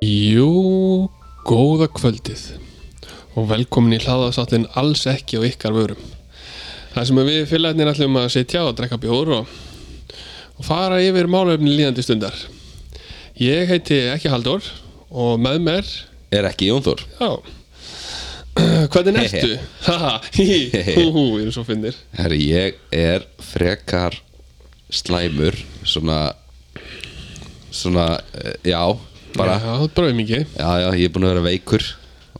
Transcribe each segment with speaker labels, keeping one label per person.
Speaker 1: Jú, góða kvöldið og velkomin í hlaðarsáttin alls ekki á ykkar vörum. Það sem við félagarnir ætlum að sitja og drekka bjór og, og fara yfir málefni líðandi stundar. Ég heiti ekki Haldur og með mér,
Speaker 2: Er ekki Jón Þór
Speaker 1: já, hvernig ertu? Haha, hí, hú, hú, ég er svo finnir.
Speaker 2: Herri, ég er frekar slæmur Svona Svona, eh, já Bara,
Speaker 1: Já, þú bröðum ekki.
Speaker 2: já, já, ég er búin að vera veikur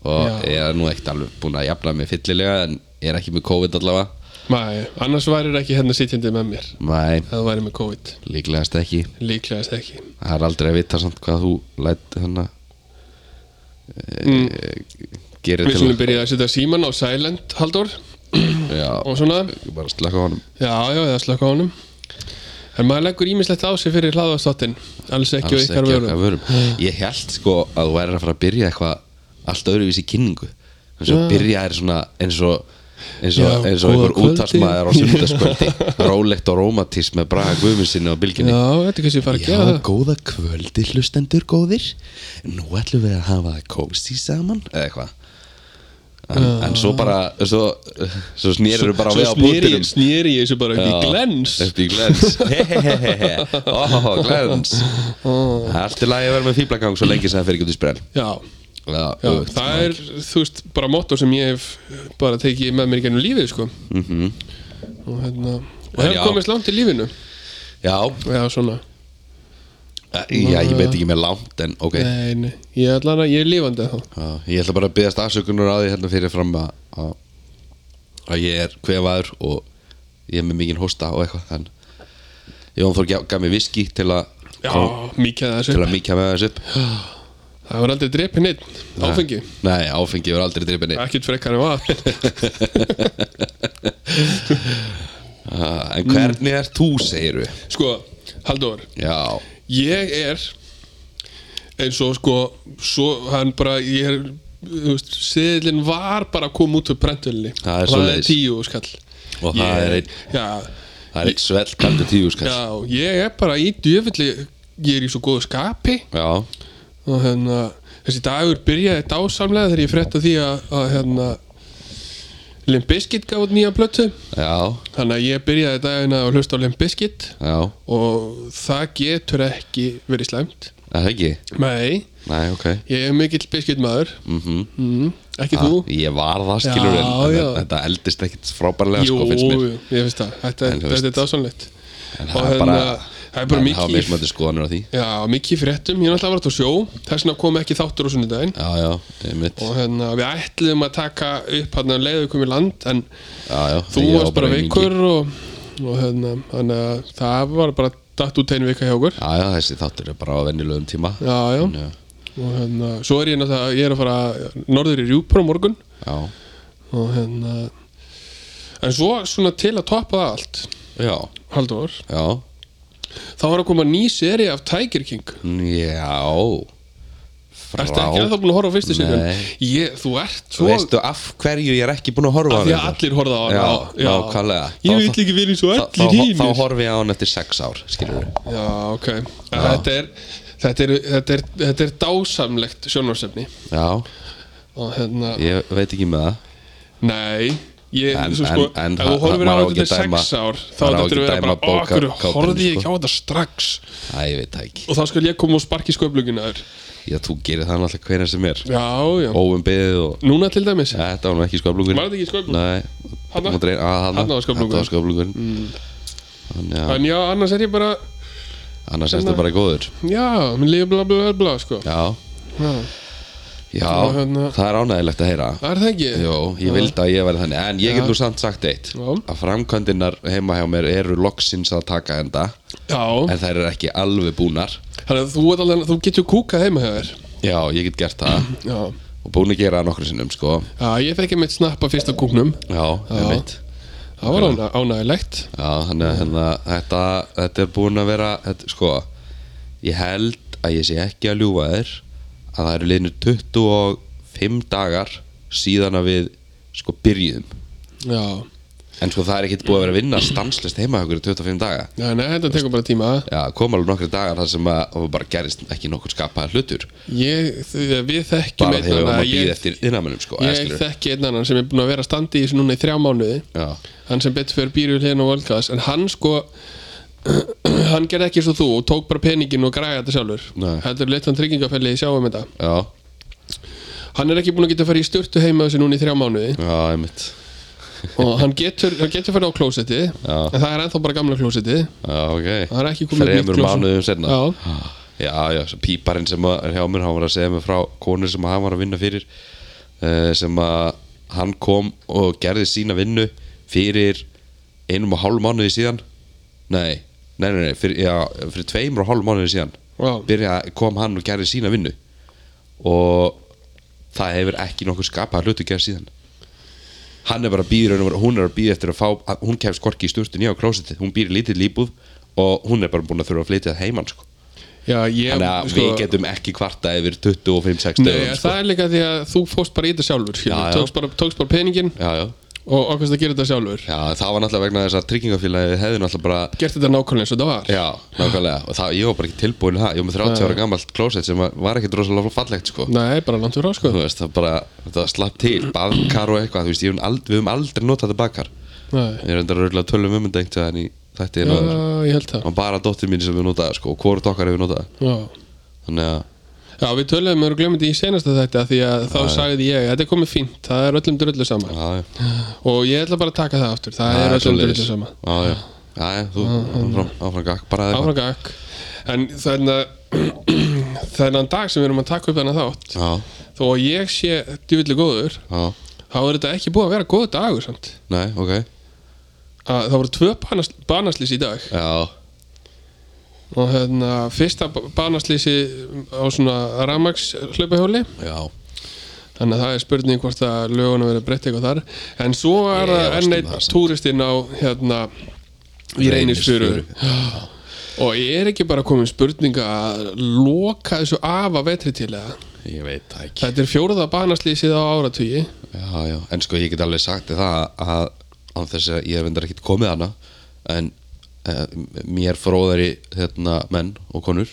Speaker 2: Og
Speaker 1: Já.
Speaker 2: ég er nú ekkert alveg búin að jafna mig fyllilega En ég er ekki með COVID allavega
Speaker 1: Mæ, annars værir ekki hérna sitjandi með mér,
Speaker 2: Nei,
Speaker 1: ef þú væri með COVID.
Speaker 2: líklegast ekki
Speaker 1: Líklegast ekki.
Speaker 2: Það er aldrei að vita samt hvað þú læt hana
Speaker 1: Mm.
Speaker 2: Gerir
Speaker 1: Við
Speaker 2: til
Speaker 1: skulum byrja að setja síman á silent, Haldur
Speaker 2: Já,
Speaker 1: og svona,
Speaker 2: ég bara slaka á honum
Speaker 1: já, já, eða slökk á honum En maður leggur ímislegt á sig fyrir hlaðvastáttin Alls ekki og
Speaker 2: Alls
Speaker 1: ykkar
Speaker 2: ekki okkar
Speaker 1: vörum
Speaker 2: vörum Ég held sko að þú væri að fara að byrja eitthvað allt öðruvísi kynningu en svo byrja er svona eins og eins og,
Speaker 1: Já,
Speaker 2: eins og
Speaker 1: góða
Speaker 2: einhver
Speaker 1: kvöldið.
Speaker 2: útastmaður á sundarskvöldi rólegt og rómatískt með braga guðminsinni á bylginni
Speaker 1: Já, þetta er hvað sem ég fara að
Speaker 2: Já,
Speaker 1: gera það
Speaker 2: góða kvöldi hlustendur góðir Nú ætlum við að hafa það kósi saman Eða eitthvað en, en svo bara Svo, svo snýrur bara við á
Speaker 1: sneri,
Speaker 2: bútinum
Speaker 1: sneri ég þessu bara upp í
Speaker 2: Já,
Speaker 1: glens
Speaker 2: upp í glens Hehehehe. Ó, glens Það er Allt í lagi að vera með fýblagang Svo lengi sem það fyrir getur sprell
Speaker 1: Já,
Speaker 2: Já,
Speaker 1: já,
Speaker 2: öfugt.
Speaker 1: það er, þú veist, bara motto sem ég hef bara tekið með mér í gennum lífið, sko
Speaker 2: Mhm.
Speaker 1: -hmm. Og hérna, og hef
Speaker 2: Já.
Speaker 1: komist langt í lífinu
Speaker 2: já,
Speaker 1: Já, svona,
Speaker 2: já, ég veit ekki með langt En ok,
Speaker 1: nei, nei, ég ætla að, ég er lífandi þá
Speaker 2: já, ég ætla bara að byggast afsökunar á því Hérna fyrir fram að- að Að ég er kvefaður Og ég er með mikinn hósta og eitthvað Þann Jón Þór gaf- gaf mér viski til að
Speaker 1: Já,
Speaker 2: kom-
Speaker 1: mikið að
Speaker 2: Til
Speaker 1: þessu,
Speaker 2: að mikja með þessu upp
Speaker 1: það var aldrei drepið neitt, áfengi
Speaker 2: Nei, áfengi var aldrei drifin
Speaker 1: ekkert frekar en vatn Ah,
Speaker 2: En hvernig er þú, segir við
Speaker 1: sko, Halldór,
Speaker 2: Já,
Speaker 1: ég er eins og sko svo hann bara, ég er þú veist, seðlinn var bara að koma út úr brentvölinni og
Speaker 2: Það er
Speaker 1: það er
Speaker 2: svoleiðis.
Speaker 1: tíu skall
Speaker 2: og það
Speaker 1: ég,
Speaker 2: er einn
Speaker 1: já,
Speaker 2: Það er eitt svell kaldur tíu skall
Speaker 1: já, ég er bara í djöfulli ég er í svo góðu skapi
Speaker 2: Já,
Speaker 1: og hérna, þessi dagur byrjaði dásamlega þegar ég frétta því að, að hérna Limp Bizkit gaf út nýja plötu
Speaker 2: já,
Speaker 1: þannig að ég byrjaði dagina að hlusta á Limp Bizkit
Speaker 2: já
Speaker 1: og það getur ekki verið slæmt
Speaker 2: Er Það ekki?
Speaker 1: Nei,
Speaker 2: Nei, ok
Speaker 1: ég er mikill biskit maður Mhm.
Speaker 2: mm
Speaker 1: Ekki þú?
Speaker 2: Ah, Ég var það skilur
Speaker 1: Já,
Speaker 2: en, en
Speaker 1: já.
Speaker 2: þetta eldist ekkit frábærlega
Speaker 1: Jú,
Speaker 2: sko finnst mér
Speaker 1: jú, ég finnst það Þetta,
Speaker 2: En þú
Speaker 1: þetta er
Speaker 2: veist-
Speaker 1: dásanlegt Og
Speaker 2: En það er
Speaker 1: hérna,
Speaker 2: bara
Speaker 1: það er bara
Speaker 2: menn hafa
Speaker 1: mikið-
Speaker 2: mismöndi skoðanur á því
Speaker 1: Já, mikið í fréttum, ég er náttúrulega að vera á sjó Þess vegna kom ekki þáttur á sunnudaginn
Speaker 2: Já, já, einmitt
Speaker 1: Og hérna, við ætluðum að taka upp hérna um hann að leiðu komið land En
Speaker 2: Já, já
Speaker 1: þú
Speaker 2: ég
Speaker 1: varst
Speaker 2: á
Speaker 1: bara
Speaker 2: aumingi.
Speaker 1: veikur og, og hérna, þannig að það var bara datt út einu vika hjá okkur
Speaker 2: Já, já, þessi þáttur er bara á venjulegum tíma
Speaker 1: Já, já,
Speaker 2: Já,
Speaker 1: og hérna, svo er ég náttúrulega Ég er að fara norður í Rjúpur á morgun
Speaker 2: já,
Speaker 1: Og hérna En svo svona til að toppa það allt
Speaker 2: já,
Speaker 1: Halldór
Speaker 2: já.
Speaker 1: Þá var að koma ný seri af Tiger King
Speaker 2: Já. Frá
Speaker 1: Ertu ekki ennþá búin að horfa á fyrstu serjun?
Speaker 2: Nei.
Speaker 1: Ég, þú ert
Speaker 2: Þú
Speaker 1: svo
Speaker 2: veistu af hverju ég er ekki búin að horfa
Speaker 1: Af
Speaker 2: á
Speaker 1: Því að
Speaker 2: þetta?
Speaker 1: allir horfa á hana
Speaker 2: Já,
Speaker 1: á-
Speaker 2: nákvæmlega.
Speaker 1: Ég
Speaker 2: Þá-
Speaker 1: vil ekki verið svo
Speaker 2: þá, þá,
Speaker 1: allir
Speaker 2: þá
Speaker 1: hínir
Speaker 2: horfi ég á hann eftir sex ár skilur við
Speaker 1: Já, ok Þetta er, þetta er, þetta er, þetta er dásamlegt sjónarsefni
Speaker 2: já,
Speaker 1: Og hérna,
Speaker 2: ég veit ekki með það
Speaker 1: nei Ég,
Speaker 2: En-
Speaker 1: svo sko,
Speaker 2: en- en
Speaker 1: ef þú
Speaker 2: það-
Speaker 1: horfir á
Speaker 2: maður á
Speaker 1: þetta
Speaker 2: ekki
Speaker 1: til
Speaker 2: dæma-
Speaker 1: sex ár þá
Speaker 2: maður á
Speaker 1: þetta er
Speaker 2: ekki
Speaker 1: að vera bara, ó,
Speaker 2: dæma
Speaker 1: hverju
Speaker 2: bókarkápunni,
Speaker 1: horfði ég
Speaker 2: sko."
Speaker 1: ekki á þetta strax
Speaker 2: Æ, ég veit það ekki
Speaker 1: og þá skal ég koma og sparki sköflugina þér
Speaker 2: já, þú gerir það náttúrulega hverja sem er
Speaker 1: Já, já,
Speaker 2: óum beðið og
Speaker 1: núna til dæmis
Speaker 2: Ja, þetta var nú ekki sköflungur
Speaker 1: Var þetta ekki sköflung?
Speaker 2: nei,
Speaker 1: Þarna?
Speaker 2: Þú mátt reyna- að, þarna.
Speaker 1: Þarna var Mm. sköflungurinn.
Speaker 2: Þetta var sköflungur þannig að
Speaker 1: En já, annars er ég bara
Speaker 2: annars er þetta bara góður
Speaker 1: Já, minn lífi bla bla bla bla sko
Speaker 2: já,
Speaker 1: Já.
Speaker 2: já
Speaker 1: Og hérna-
Speaker 2: það er ánægilegt að heyra
Speaker 1: Það er það ekki
Speaker 2: Jó, ég vildi að ég væri þannig En ég get nú samt sagt eitt
Speaker 1: Já.
Speaker 2: Að framkvæmdinnar heima hjá mér eru loksins að taka enda
Speaker 1: Já,
Speaker 2: En þær eru ekki alveg búnar
Speaker 1: þannig að þú, ert alveg- þú getur kúkað heima hjá þér
Speaker 2: Já, ég get gert það
Speaker 1: Já,
Speaker 2: Og búin að gera það nokkru sinnum, sko
Speaker 1: já ég fekk einmitt snappa fyrst á kúknum
Speaker 2: Já, ég veit
Speaker 1: Það var ána, ánægilegt
Speaker 2: Já, þannig að hérna, þetta, þetta er búin að vera þetta, sko, ég held að ég sé ekki að ljúfa þér að það eru liðnir 25 dagar síðan að við sko byrjuðum
Speaker 1: Já,
Speaker 2: en sko það er ekkert búið að vera að vinna stanslist heima hjá okkur í 25 daga
Speaker 1: Já, nei, þetta tekur bara tíma
Speaker 2: Já, kom alveg nokkri dagar þar sem að og bara gerist ekki nokkur skapaða hlutur
Speaker 1: ég, því- Við þekkjum
Speaker 2: bara
Speaker 1: einn
Speaker 2: þegar við
Speaker 1: annan-
Speaker 2: varum að
Speaker 1: ég,
Speaker 2: býða eftir innamönnum sko, eða
Speaker 1: ég
Speaker 2: skilurðu.
Speaker 1: þekki einn annan sem er búin að vera að standa í þessu núna í þrjá mánuði
Speaker 2: Já,
Speaker 1: hann sem betur fyrir býrjul hérna á Volkaðs en hann sko hann gerði ekki svo þú og tók bara peningin og græði þetta sjálfur
Speaker 2: Nei.
Speaker 1: þetta er leitt hann tryggingafæli í sjáum þetta
Speaker 2: já,
Speaker 1: hann er ekki búin að geta að fara í styrtu heima þessu núna í þrjá mánuði
Speaker 2: já, einmitt
Speaker 1: og hann getur, hann getur farið á klósetti
Speaker 2: Já.
Speaker 1: en það er ennþá bara gamla klósetti
Speaker 2: Já, ok
Speaker 1: Það er ekki komið upp nýtt
Speaker 2: Þremur
Speaker 1: klósum.
Speaker 2: mánuðum senna
Speaker 1: Já.
Speaker 2: já, já, svo píparinn sem að- er hjá mér hann var að segja mér frá konur sem hann var að vinna fyrir eh, sem að hann kom og gerði sína vinnu fyrir einum og hálf mánuði síðan nei, nei, nei, nei fyrir, já, fyrir tveimur og hálf mánuði síðan
Speaker 1: Já.
Speaker 2: Byrja, kom hann og gerði sína vinnu og það hefur ekki nokkuð skapað hlutu gerð síðan hann er bara býður hún er að býða eftir að fá að- hún kemst korki í sturtu nýja á klósiti hún býr í lítið líbúð og hún er bara búin að þurfa að flytja það heimann sko.
Speaker 1: Já, ég, sko,
Speaker 2: þannig að við getum ekki kvarta yfir 25-6
Speaker 1: Nei,
Speaker 2: dögum sko.
Speaker 1: það er líka því að þú fórst bara í þetta sjálfur skilur.
Speaker 2: Já, já.
Speaker 1: Tókst, bara, tókst bara peningin
Speaker 2: já, já.
Speaker 1: og okkast að gera þetta sjálfur
Speaker 2: já, það var náttúrulega vegna þess að tryggingafélagi hefði náttúrulega bara
Speaker 1: Gert þetta nákvæmlega eins og þetta var
Speaker 2: já, nákvæmlega og það, ég var bara ekki tilbúin í það ég var með 30 ára gamalt klósett sem var- var ekkit rosalega fallegt sko.
Speaker 1: Nei, bara langt fyrir á sko
Speaker 2: þú veist, það bara, það slapp til baðkar og eitthvað, þú veist, ég, hef ald, við höfum aldrei notað þetta baðkar
Speaker 1: Nei,
Speaker 2: ég er enda röglega tölum um þetta einhvern veginn í
Speaker 1: já,
Speaker 2: þetta er náður
Speaker 1: ég held það
Speaker 2: og bara dóttir mín sem við notaði sko, og hvort okkar hefur notaði
Speaker 1: Já,
Speaker 2: þannig að,
Speaker 1: já við töluðum og glemum þetta í senasta þetta því að þá sagði ég, þetta er komið fínt það er öllum drullu sama
Speaker 2: já, já,
Speaker 1: og ég ætla bara að taka það aftur, það er öllum
Speaker 2: svoleiðis.
Speaker 1: drullu sama
Speaker 2: já, já, já, já, þú áfram, áfram gakk, bara eða
Speaker 1: Áfram gakk En þannig að þennan dag sem við erum að taka upp þennan þátt
Speaker 2: já,
Speaker 1: þó að ég sé djúvillig góður
Speaker 2: já,
Speaker 1: þá er þetta ekki búið að vera góð dagur samt
Speaker 2: nei, ok
Speaker 1: að það voru tvö banas, banaslýs í dag
Speaker 2: já,
Speaker 1: og hérna fyrsta ba- banaslýsi á svona ramags hlaupahjóli
Speaker 2: já,
Speaker 1: þannig að það er spurning hvort að lögunum verið breytt eitthvað þar en svo
Speaker 2: Ég
Speaker 1: er það
Speaker 2: efast um
Speaker 1: enn einn
Speaker 2: það samt.
Speaker 1: túristinn á hérna í reynisfjöru
Speaker 2: Reynisfjöru.
Speaker 1: og er ekki bara komin spurninga að loka þessu af að vetri til eða
Speaker 2: ég veit það ekki
Speaker 1: þetta er fjóruða banaslýsið á áratugi
Speaker 2: já, já, en sko ég get alveg sagt þér það að án þess að ég hef endar ekkit komið hana en uh, mér fróðari hérna, menn og konur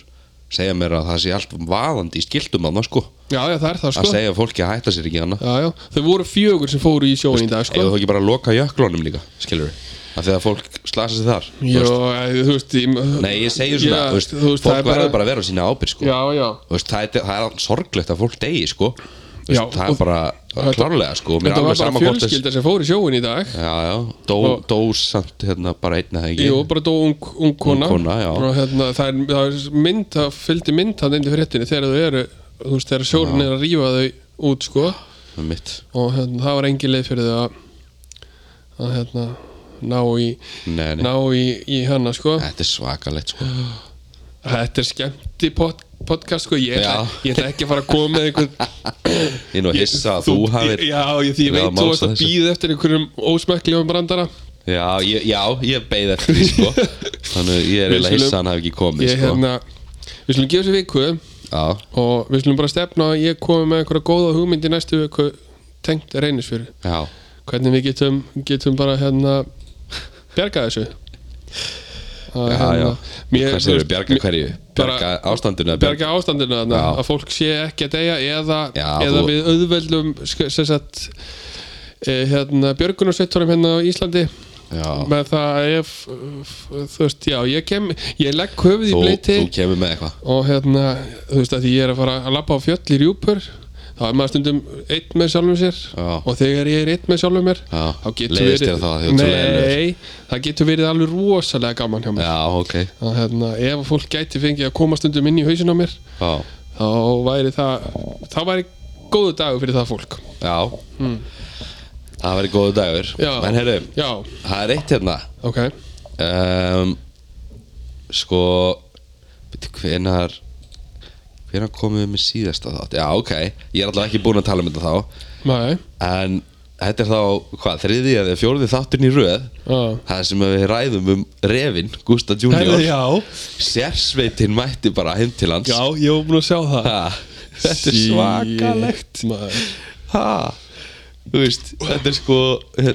Speaker 2: segja mér að það sé allt vaðandi í skiltum hana sko,
Speaker 1: já já það er það
Speaker 2: að
Speaker 1: sko
Speaker 2: segja fólki að hætta sér ekki hana
Speaker 1: já, já. þau voru fjögur sem fóru í sjóin í dag sko
Speaker 2: Ef þú ekki bara loka jöklunum líka, skilur við að þegar fólk slasa sig þar þú
Speaker 1: Já,
Speaker 2: veist.
Speaker 1: þú veist ég,
Speaker 2: Nei, ég segi svona,
Speaker 1: Já,
Speaker 2: þú veist,
Speaker 1: þú veist, það
Speaker 2: fólk
Speaker 1: er
Speaker 2: verður
Speaker 1: bara-
Speaker 2: bara að vera á sína ábyrg sko.
Speaker 1: Já, já
Speaker 2: Þú veist, það, er, það er sorglegt að fólk degi sko. Þú
Speaker 1: Já,
Speaker 2: veist, það
Speaker 1: og-
Speaker 2: er bara
Speaker 1: þetta-
Speaker 2: klárlega sko. Mér er
Speaker 1: Þetta var
Speaker 2: alveg
Speaker 1: bara
Speaker 2: sama hvort þess
Speaker 1: fjölskylda sem fór í sjóin í dag
Speaker 2: Já, já, dó,
Speaker 1: Og-
Speaker 2: dó samt hérna, bara einn að það ekki
Speaker 1: Jú, bara dó ung, ung kona,
Speaker 2: Ung kona, já.
Speaker 1: og hérna, það, er, það er mynd, það fylgdi mynd hann indi fréttinni þegar þau eru, þú veist, þegar sjórinn er að rífa þau út, sko
Speaker 2: Það er mitt
Speaker 1: og hérna, það var engin leið fyrir þau að að hérna ná í,
Speaker 2: Nei, nei,
Speaker 1: ná í, í hana, sko
Speaker 2: þetta er svakalegt sko.
Speaker 1: Þetta er skemmti pod, podcast, sko ég ætla,
Speaker 2: Já.
Speaker 1: ég ætla ekki að fara að koma með einhvern
Speaker 2: Ég er nú að hissa að þú hafir
Speaker 1: Já, ég, því ég
Speaker 2: verið að
Speaker 1: veit þú
Speaker 2: mása
Speaker 1: veist að
Speaker 2: þessu.
Speaker 1: býða eftir einhverjum ósmekklegum brandara
Speaker 2: Já, ég, já, ég beið eftir því sko. Þannig að ég er
Speaker 1: Við
Speaker 2: eiginlega hissa
Speaker 1: skulum-
Speaker 2: að hann hafi ekki komið
Speaker 1: Ég,
Speaker 2: sko.
Speaker 1: hérna, við slum gefa sér viku
Speaker 2: Já,
Speaker 1: og við slum bara stefna að ég komi með einhverja góða hugmynd í næstu viku tengt reynisfjöru
Speaker 2: já
Speaker 1: hvernig við getum, getum bara hérna bjarga þessu að, hérna,
Speaker 2: Já, já.
Speaker 1: mér, þú
Speaker 2: Hvað segir
Speaker 1: veist,
Speaker 2: við, bjarga
Speaker 1: mér-
Speaker 2: hverju?
Speaker 1: bara-
Speaker 2: Bjarga ástandinu? eða
Speaker 1: bjarga ástandinu þarna,
Speaker 2: Já.
Speaker 1: að fólk sé ekki að deyja eða,
Speaker 2: Já,
Speaker 1: eða
Speaker 2: þú-
Speaker 1: við auðveldum sk- sem sagt eh, hérna, björgunarsveittunum hérna á Íslandi
Speaker 2: Já.
Speaker 1: með það að ef, þú veist, já, ég kem ég legg höfuð í
Speaker 2: þú,
Speaker 1: bleiti
Speaker 2: þú kemur með eitthvað
Speaker 1: og hérna, þú veist að því ég er að fara að labba á fjöll í rjúpur þá er maður stundum einn með sjálfum sér
Speaker 2: Já.
Speaker 1: og þegar ég er einn með sjálfum mér
Speaker 2: Já.
Speaker 1: þá getur
Speaker 2: Leiðist
Speaker 1: verið
Speaker 2: þér þá að þú ert svo
Speaker 1: Nei, það getur verið alveg rosalega gaman hjá mér
Speaker 2: Já, ok
Speaker 1: að, hérna, ef fólk gæti fengið að koma stundum inn í hausin á mér
Speaker 2: Já,
Speaker 1: þá væri það þá væri góðu dagur fyrir það fólk
Speaker 2: já. Það verið góðu dagur
Speaker 1: Hmm. Já.
Speaker 2: En heyrðu,
Speaker 1: Já,
Speaker 2: það er eitt hérna
Speaker 1: ok
Speaker 2: um, Sko Býttu, hvenar Hvenar komum við með síðasta þátt? Já, ok, ég er allavega ekki búinn að tala um þetta þá
Speaker 1: Nei,
Speaker 2: En þetta er þá, hvað, þriði eða fjórði þátturinn í röð
Speaker 1: já
Speaker 2: Það sem við ræðum um Revin, Gústa
Speaker 1: Herðu,
Speaker 2: Junior
Speaker 1: já,
Speaker 2: Sérsveitin mætti bara heim til hans
Speaker 1: já, ég var búin að sjá það
Speaker 2: Ha, Þetta er svakalegt
Speaker 1: maður.
Speaker 2: Ha, þú veist, þetta er sko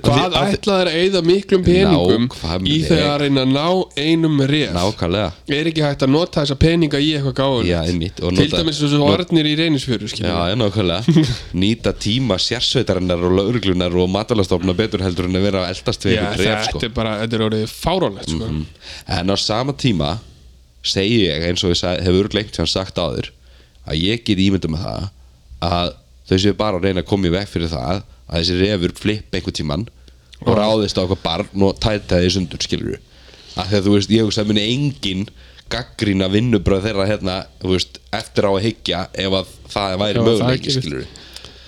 Speaker 1: Hvað
Speaker 2: að-
Speaker 1: ætlaðir að eyða miklum peningum í
Speaker 2: Nákvæmlega.
Speaker 1: þegar að reyna að ná einum ref?
Speaker 2: Nákvæmlega
Speaker 1: Er ekki hægt að nota þessa peninga í eitthvað gáður?
Speaker 2: Já, einmitt, og
Speaker 1: Til
Speaker 2: nota-
Speaker 1: dæmis þessu
Speaker 2: not-
Speaker 1: varnir í reynisfjöru, skiljum.
Speaker 2: Já, já, nákvæmlega Nýta tíma sérsveitarinnar og lauruglunar og matalastofna betur heldur en að vera að eldast við
Speaker 1: þetta
Speaker 2: einhver bréf, sko. Mhm.
Speaker 1: er bara, þetta er orðið fáránlegt, sko.
Speaker 2: En á sama tíma segi ég eins og ég sag, hefur lengt sem sagt áður að ég get ímynda með það að þau séu bara að reyna að koma í veg fyrir það að þessi refur flippa einhvern tíman og ráðist á okkur barn og tæta því sundur skilur að þegar þú veist, ég hugsa að muni engin gaggrína vinnubröð þeirra hérna, þú veist, eftir á að hyggja ef að það
Speaker 1: Já,
Speaker 2: væri
Speaker 1: það
Speaker 2: möguleiki
Speaker 1: gerist.
Speaker 2: skilur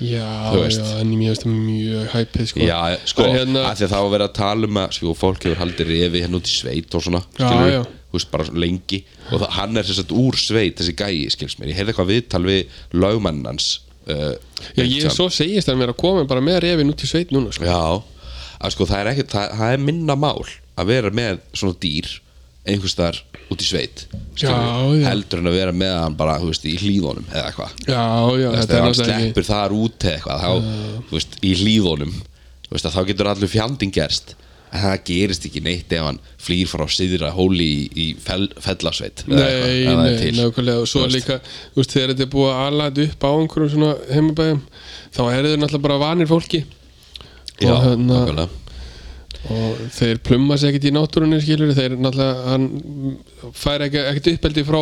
Speaker 1: Já,
Speaker 2: Þú veist.
Speaker 1: já, en mér finnst það mjög hæpið, sko.
Speaker 2: Já, sko,
Speaker 1: En
Speaker 2: hérna...
Speaker 1: hérna,
Speaker 2: af því að það var verið að tala um að sko, fólk hefur haldið refi hérna út í sveit og svona,
Speaker 1: Já,
Speaker 2: skilur
Speaker 1: já.
Speaker 2: þú veist, bara lengi og það, hann er sem sagt úr sveit, þessi gæi, skilst mér ég heyrði eitthvað viðtal við lögmannans uh,
Speaker 1: já, ég svo segist að mér að koma bara með refin út í sveit núna, sko.
Speaker 2: Já, að sko það er ekkert það, það er minna mál að vera með svona dýr einhvers þar út í sveit
Speaker 1: Já,
Speaker 2: skilurðu,
Speaker 1: já.
Speaker 2: heldur en að vera með hann bara, þú veist, í hlíðunum eða eitthvað
Speaker 1: Já, já, þetta er
Speaker 2: þegar hann
Speaker 1: náttúrulega ekki.
Speaker 2: sleppur þar út eða eitthvað þá, þú veist, í hlíðunum þú veist, að þá getur allur fjandinn gerst en það gerist ekki neitt ef hann flýr frá síðra hóli í, í fel, fellasveit eða
Speaker 1: Nei,
Speaker 2: eitthvað, ef það er
Speaker 1: nei,
Speaker 2: til.
Speaker 1: nákvæmlega og svo
Speaker 2: Þú veist.
Speaker 1: líka, þú veist, þegar þetta er búið að alað upp á einhverjum svona heimabæðum þá eru þau náttúrulega bara vanir fólki
Speaker 2: Já,
Speaker 1: og, hérna,
Speaker 2: nákvæmlega.
Speaker 1: og þeir plumma sig ekkert í náttúrunni skilur þeir náttúrulega hann fær ekki, ekkert uppeldi frá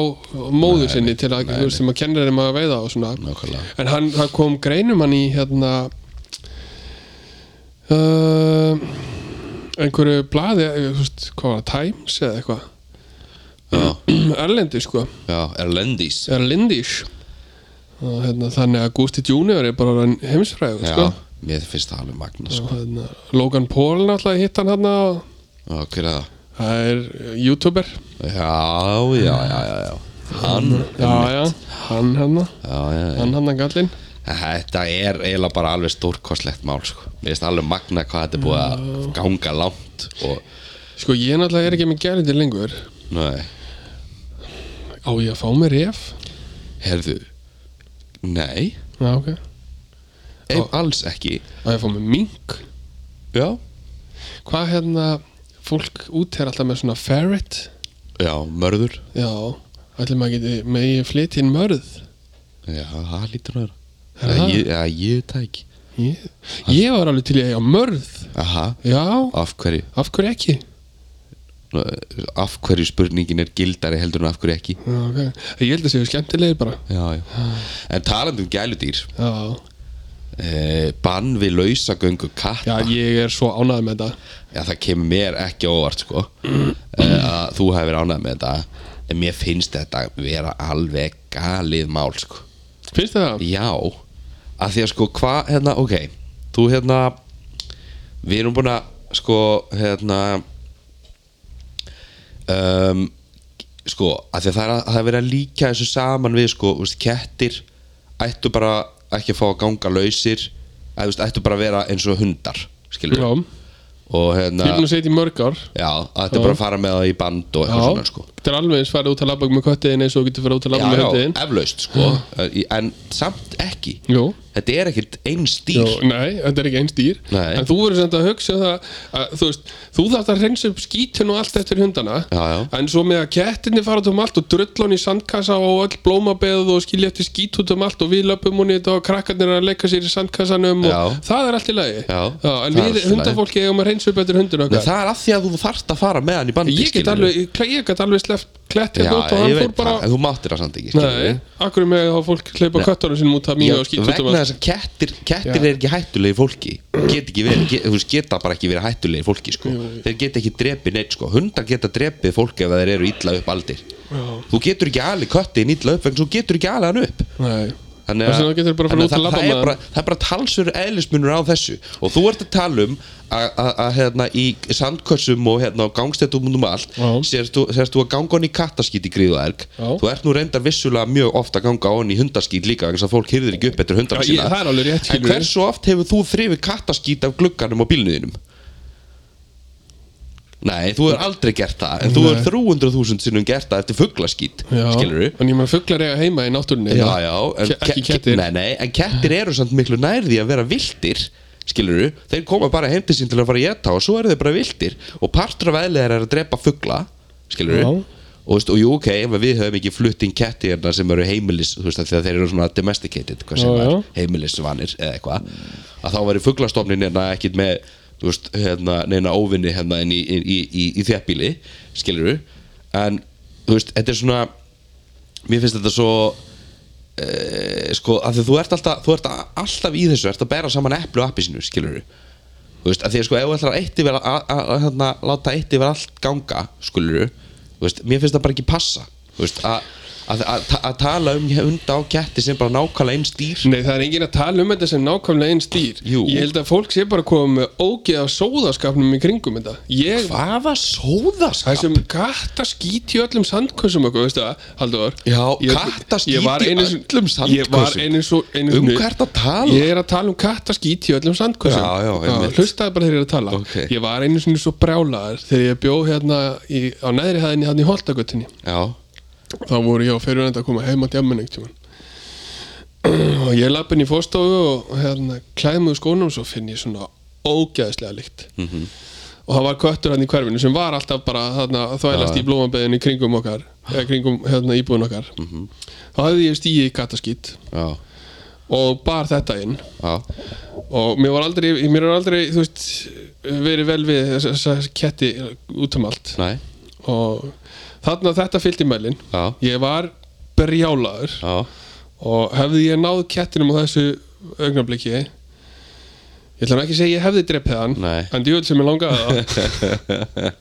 Speaker 1: móður sinni til að, þú veist, sem að kennir þeim að veiða og svona
Speaker 2: Nákvæmlega.
Speaker 1: en hann, það kom greinum hann í hérna uh, einhverju blaði, þú veist, hvað var það, Times eða eitthvað,
Speaker 2: Já,
Speaker 1: erlendi sko
Speaker 2: já, Erlendis
Speaker 1: er Lindish og hérna, þannig að Gusti Junior er bara orðinn heimsfræður
Speaker 2: Já,
Speaker 1: sko.
Speaker 2: mér finnst það alveg magna sko.
Speaker 1: og hérna, Logan Paul náttúrulega hitt hann hann og
Speaker 2: Já, hver er það?
Speaker 1: það er eh, youtuber
Speaker 2: Já, já, já, já, já. Hann
Speaker 1: já, já, hann hann
Speaker 2: já, já, já.
Speaker 1: hann hann gallinn
Speaker 2: Þetta er eiginlega bara alveg stórkostlegt mál sko. Mér finnst alveg magna hvað þetta er búið að ganga langt og,
Speaker 1: sko ég náttúrulega er ekki með gælindir lengur
Speaker 2: nei,
Speaker 1: á ég að fá mér ref
Speaker 2: herðu Nei,
Speaker 1: já, ok
Speaker 2: ef, alls ekki
Speaker 1: á ég að fá mér mink
Speaker 2: Já,
Speaker 1: hvað hérna, fólk út er alltaf með svona ferret
Speaker 2: já, mörður
Speaker 1: já, allir maður geti megi flytja inn mörð
Speaker 2: Já, það lítur að
Speaker 1: Er
Speaker 2: vera
Speaker 1: það?
Speaker 2: Ég- Já, ég tæk
Speaker 1: ég, ég var alveg til í að eiga mörð
Speaker 2: Aha,
Speaker 1: já,
Speaker 2: af hverju
Speaker 1: af hverju ekki
Speaker 2: Af hverju spurningin er gildari heldur en af hverju ekki
Speaker 1: Já, ok. Ég held að séu skemmtilegir bara
Speaker 2: Já, já En talandi um gæludýr
Speaker 1: Já,
Speaker 2: eh, Bann við lausagöngu katta
Speaker 1: já ég er svo ánægð með þetta
Speaker 2: Já, það kemur mér ekki á óvart sko eh, að þú hefur verið ánægð með þetta en mér finnst þetta vera alveg galið mál sko
Speaker 1: Finnst þið það?
Speaker 2: Já, að því að sko hvað hérna, ok, þú hérna við erum búin að sko hérna um, sko, að því að það er að, það er verið að líka þessu saman við sko, þú veist, kettir ættu bara ekki að fá að ganga lausir, að þú veist, ættu bara að vera eins og hundar, skilur
Speaker 1: Já,
Speaker 2: og
Speaker 1: ég
Speaker 2: hérna,
Speaker 1: er búin að segja þetta í mörg ár
Speaker 2: já, að þetta er bara að fara með það í band og
Speaker 1: Já,
Speaker 2: eitthvað svona sko
Speaker 1: þetta er alveg eins farið út að labba með köttiðin eins og þú getur farið út að labba
Speaker 2: Já,
Speaker 1: með
Speaker 2: já,
Speaker 1: hundiðin
Speaker 2: eflaust sko En samt ekki
Speaker 1: Jú,
Speaker 2: Þetta er ekkert einn stíl
Speaker 1: Jú, nei, þetta er ekki eins dýr
Speaker 2: Nei.
Speaker 1: En þú verður sem að hugsa um það að, Þú veist, þú þarft að reynsa upp skítun og allt eftir hundana
Speaker 2: Já, já.
Speaker 1: En svo með að kettinni fara út um allt og drulla hún í sandkassa og öll blómabeð og skilja eftir skít út um allt og við löpum hún í þetta og krakkarnir eru að leika sér í sandkassanum og
Speaker 2: Já.
Speaker 1: það er allt í lagi
Speaker 2: Já,
Speaker 1: En
Speaker 2: það er
Speaker 1: við
Speaker 2: allt í lagi.
Speaker 1: hundafólki eigum að reynsa upp eftir hundinu
Speaker 2: Nei,
Speaker 1: okkar
Speaker 2: það er af því að þú þarft að fara með hann í bandi
Speaker 1: Ég get
Speaker 2: skilurðu.
Speaker 1: alveg, ég get alveg sleft klett
Speaker 2: Já,
Speaker 1: hérna út og hann
Speaker 2: ég
Speaker 1: fór
Speaker 2: veit
Speaker 1: bara
Speaker 2: það, en þú máttir það samt ekki
Speaker 1: Nei,
Speaker 2: skilurðu.
Speaker 1: akkur með að fólk hleypa köttunum sinum út að
Speaker 2: Já,
Speaker 1: mýja og skýta út um
Speaker 2: Vegna
Speaker 1: allt
Speaker 2: þess að kettir, kettir
Speaker 1: Já.
Speaker 2: er ekki hættulegi fólki get ekki verið, get, þú veist, geta bara ekki verið hættulegi fólki sko. Þeir geta ekki drepið neitt sko. Hundar geta drepið fólk ef þeir eru illa upp aldir
Speaker 1: Já.
Speaker 2: Þú getur ekki alveg köttin illa upp vegna þú getur ekki alveg hann upp
Speaker 1: Nei,
Speaker 2: Þannig
Speaker 1: Þess vegna getur bara farið
Speaker 2: þannig
Speaker 1: út að
Speaker 2: það,
Speaker 1: labba
Speaker 2: það,
Speaker 1: með
Speaker 2: er bara, það er bara talsur eðlismunur á þessu og þú ert að tala um að- að að, hérna, í sandkössum og hérna, gangstættum um allt
Speaker 1: Já.
Speaker 2: sérst þú, sérst þú að ganga honni í kattaskít í gríðu erg
Speaker 1: Já.
Speaker 2: þú ert nú reyndar vissulega mjög ofta að ganga honni í hundaskít líka vegna þess að fólk hyrðir ekki upp eftir hundar
Speaker 1: Já, ég- það er alveg rétt,
Speaker 2: en
Speaker 1: skilurðu.
Speaker 2: hversu oft hefur þú þrifið kattaskít af glugganum á bílnuðinum? Nei, þú hefur aldrei gert það en þú
Speaker 1: Nei.
Speaker 2: hefur 300.000 sinnum gert það eftir fugglaskít
Speaker 1: já
Speaker 2: skilur
Speaker 1: En ég maður fugglar eiga heima í náttúrunni
Speaker 2: Já, já, en
Speaker 1: Ke- ekki
Speaker 2: ke-
Speaker 1: kettir.
Speaker 2: Nei, nei, en kettir eru samt miklu nær því að vera viltir skilur þeir koma bara heim til sín til að fara að geta og svo eru þeir bara viltir og partur af eðlið er að drepa fugla skilur
Speaker 1: Já.
Speaker 2: og, veist, og jú ok, ef að við höfum ekki flutting ketti hérna sem eru heimilis þú veist af því að þeir eru svona domesticated hvað sem
Speaker 1: Já,
Speaker 2: var,
Speaker 1: já.
Speaker 2: heimilisvanir eða eitthvað að þá væri fuglastofnin hérna ekkit með þú veist, hérna, neina óvinni hérna inn í, í, í, í, í þjæppbíli skilur en þú veist, þetta er svona mér finnst þetta svo e, sko, af því þú ert alltaf þú ert alltaf í þessu, ert að bæra saman epli og appisinu, skilur þú veist, af því að sko, ef þú ætlar að eitt yfir að- að að, hérna, láta eitt yfir allt ganga skilur þú veist, mér finnst það bara ekki passa þú veist, að að- að ta- að tala um hunda og ketti sem bara nákvæmlega einn stýr
Speaker 1: Nei, það er enginn að tala um þetta sem nákvæmlega einn stýr
Speaker 2: Jú.
Speaker 1: Ég held að fólk sé bara að koma með ógeð af sóðaskapnum í kringum þetta Ég,
Speaker 2: hvaða
Speaker 1: það
Speaker 2: sóðaskap
Speaker 1: sem katta skýt í öllum sandkursum okkur, veistu það, Halldór
Speaker 2: Já,
Speaker 1: Ég-
Speaker 2: kattaskít
Speaker 1: ég var
Speaker 2: í
Speaker 1: einu sinni-
Speaker 2: öllum
Speaker 1: Ég var
Speaker 2: sandkössum.
Speaker 1: einu svo einu
Speaker 2: Um
Speaker 1: sinni-
Speaker 2: hvað ertu að tala?
Speaker 1: Ég er að tala um kattaskít í öllum sandkursum
Speaker 2: Já, já, einmitt.
Speaker 1: Hlustaði bara þegar ég er að tala
Speaker 2: Ok.
Speaker 1: Ég var einu sinni svo brjálaður þegar ég bjó hérna í, á neðri hæðinni hann í Holtagötunni
Speaker 2: Já,
Speaker 1: þá voru ég og fyrirvenandi að koma heim á djammun einhvern tímann og ég lapp inn í fórstofu og hérna, klæðum úr skónum svo finn ég svona ógæðislega líkt
Speaker 2: mhm,
Speaker 1: -hmm. og það var köttur hann í hverfinu sem var alltaf bara þarna að þvælast
Speaker 2: Já.
Speaker 1: í blómanbeðinu kringum okkar eða kringum hérna, íbúðun okkar
Speaker 2: Mhm.
Speaker 1: -hmm. þá hafði ég stíið í kattaskýt
Speaker 2: já,
Speaker 1: og bar þetta inn
Speaker 2: já
Speaker 1: og mér var aldrei, mér var aldrei þú veist, verið vel við þess- þess að ketti út um allt
Speaker 2: Nei,
Speaker 1: og þarna þetta fyllt í mælin
Speaker 2: já,
Speaker 1: ég var berjálaður
Speaker 2: já
Speaker 1: og hefði ég náð kettinum á þessu augnabliki ég ætla nú ekki að segja ég hefði dreppið hann
Speaker 2: Nei.
Speaker 1: en djúvel sem ég langaði það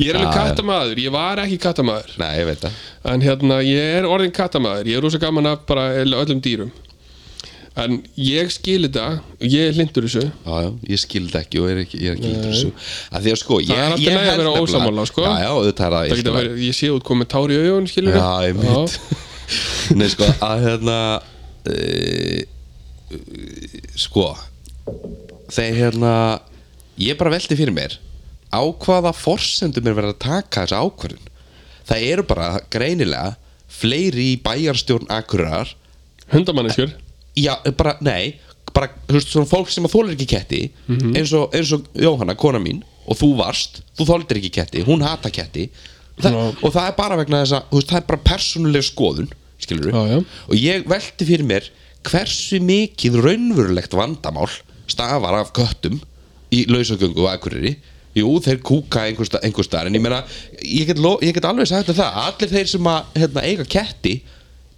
Speaker 1: ég er alveg kattamaður, ég var ekki kattamaður
Speaker 2: Nei, ég veit það
Speaker 1: en hérna, ég er orðin kattamaður ég er rosa gaman af bara öllum dýrum en ég skil þetta ég er hlindur þessu
Speaker 2: Já, já, ég skildi ekki og er ekki, ég er ekki hlindur þessu að því að sko, ég,
Speaker 1: Það er allt í
Speaker 2: ég
Speaker 1: lagi að vera
Speaker 2: nefnilega-
Speaker 1: ósammála, sko.
Speaker 2: já, já, auðvitað er það
Speaker 1: það
Speaker 2: ég
Speaker 1: geta
Speaker 2: skil
Speaker 1: verið, ég sé út komið tár í augun skilur
Speaker 2: já, ég mynd nei, sko, að hérna e, sko þeir hérna ég bara velti fyrir mér á hvaða forsendum er verið að taka þessa ákvörðun það eru bara greinilega fleiri í bæjarstjórn akkurar
Speaker 1: hundamanniskjur
Speaker 2: já, bara, nei bara, þú veist, svona fólk sem að þólar ekki ketti
Speaker 1: Mhm.
Speaker 2: eins, og, eins og Jóhanna, kona mín og þú varst, þú þólar ekki ketti hún hata ketti Þa,
Speaker 1: Já.
Speaker 2: og það er bara vegna þess að, þú veist, það er bara persónuleg skoðun, skilur
Speaker 1: Já, já.
Speaker 2: og ég velti fyrir mér hversu mikið raunverulegt vandamál stafar af köttum í lausagöngu og akkurýri Jú, þeir kúka einhvers sta- einhvers staðar en ég meina, ég get, lo, ég get alveg sagt þér það að allir þeir sem að hérna, eiga ketti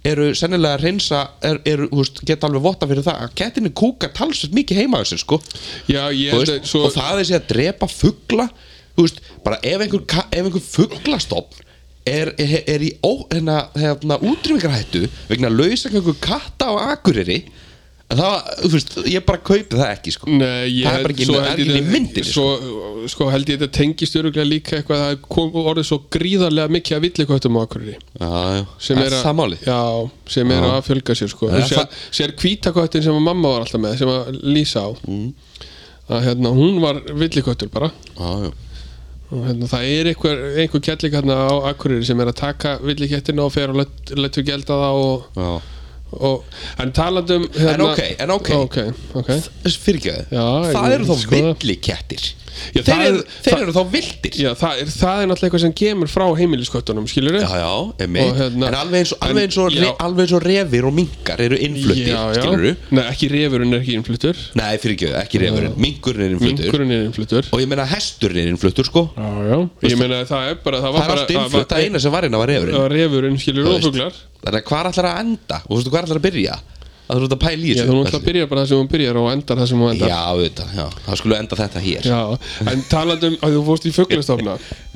Speaker 2: eru sennilega að reynsa er, eru, húst, geta alveg votta fyrir það að kettinni kúka talsveit mikið heima þessu sko
Speaker 1: já, ég
Speaker 2: Þú
Speaker 1: held
Speaker 2: veist,
Speaker 1: að svo
Speaker 2: og það er sér að drepa fugla þú veist, bara ef einhver, ka- ef einhver fuglastofn er, er, er í ó, hérna, hérna, útrýmingarhættu vegna lausa einhver katta á akureyri það, þú veist, ég bara kaupi það ekki sko.
Speaker 1: Nei, ég
Speaker 2: það er bara
Speaker 1: held,
Speaker 2: ekki,
Speaker 1: svo
Speaker 2: það er
Speaker 1: held ég
Speaker 2: ekki í
Speaker 1: þetta-
Speaker 2: myndinni sko.
Speaker 1: svo, sko, held ég þetta tengist öruglega líka eitthvað að það kom orðið svo gríðarlega mikið að villiköttum á Akureyri
Speaker 2: já, já,
Speaker 1: sem
Speaker 2: það
Speaker 1: er,
Speaker 2: er það máli
Speaker 1: já, sem er að fjölga sér sko.
Speaker 2: Já,
Speaker 1: sér,
Speaker 2: það-
Speaker 1: sér hvítaköttin sem að mamma var alltaf með sem að lýsa á
Speaker 2: Mm.
Speaker 1: að hérna, hún var villiköttur bara
Speaker 2: já, já,
Speaker 1: og hérna, það er einhver, einhver kjallik hérna á Akureyri sem er að taka villikettina og fer og let- letur gelda það og,
Speaker 2: já.
Speaker 1: og, en talandum hérna,
Speaker 2: ok, en ok.
Speaker 1: ok, ok.
Speaker 2: Þess- fyrirgefðu,
Speaker 1: Já,
Speaker 2: það
Speaker 1: ég-
Speaker 2: eru þá
Speaker 1: skoða.
Speaker 2: villikettir
Speaker 1: Já,
Speaker 2: þeir,
Speaker 1: það er-
Speaker 2: eru, þeir
Speaker 1: það-
Speaker 2: eru þá vildir
Speaker 1: Já, það er, það er náttúrulega eitthvað sem kemur frá heimilisköttunum, skilur
Speaker 2: Já, já, emitt,
Speaker 1: Og hérna-
Speaker 2: en alveg eins og, alveg eins og,
Speaker 1: En- já.
Speaker 2: alveg eins og refir og minkar eru innfluttir,
Speaker 1: já, já.
Speaker 2: skilur
Speaker 1: Nei, ekki refurinn er ekki innfluttur
Speaker 2: Nei, fyrir ekki, ekki refurinn, minkurinn er innfluttur
Speaker 1: Mingurinn er innfluttur
Speaker 2: Og ég meina hesturinn er innfluttur sko
Speaker 1: Já, já Ég meina það er bara Það
Speaker 2: Það
Speaker 1: var
Speaker 2: er
Speaker 1: bara
Speaker 2: allt innflutt, það eina sem var inn var refurinn
Speaker 1: var refurinn, skilur,
Speaker 2: Þú
Speaker 1: og
Speaker 2: veist.
Speaker 1: fuglar
Speaker 2: Þannig að hvað ætlar að enda, og þú veistu hvað ætlar að byrja Það þú ert að pæla í
Speaker 1: Já,
Speaker 2: þessu
Speaker 1: þú náttúrulega byrjar bara það sem hún byrjar og endar það sem hún endar
Speaker 2: Já, auðvitað, já, þá skulle enda þetta hér Já,
Speaker 1: Já, en talandum að þú fórst í fuglastofna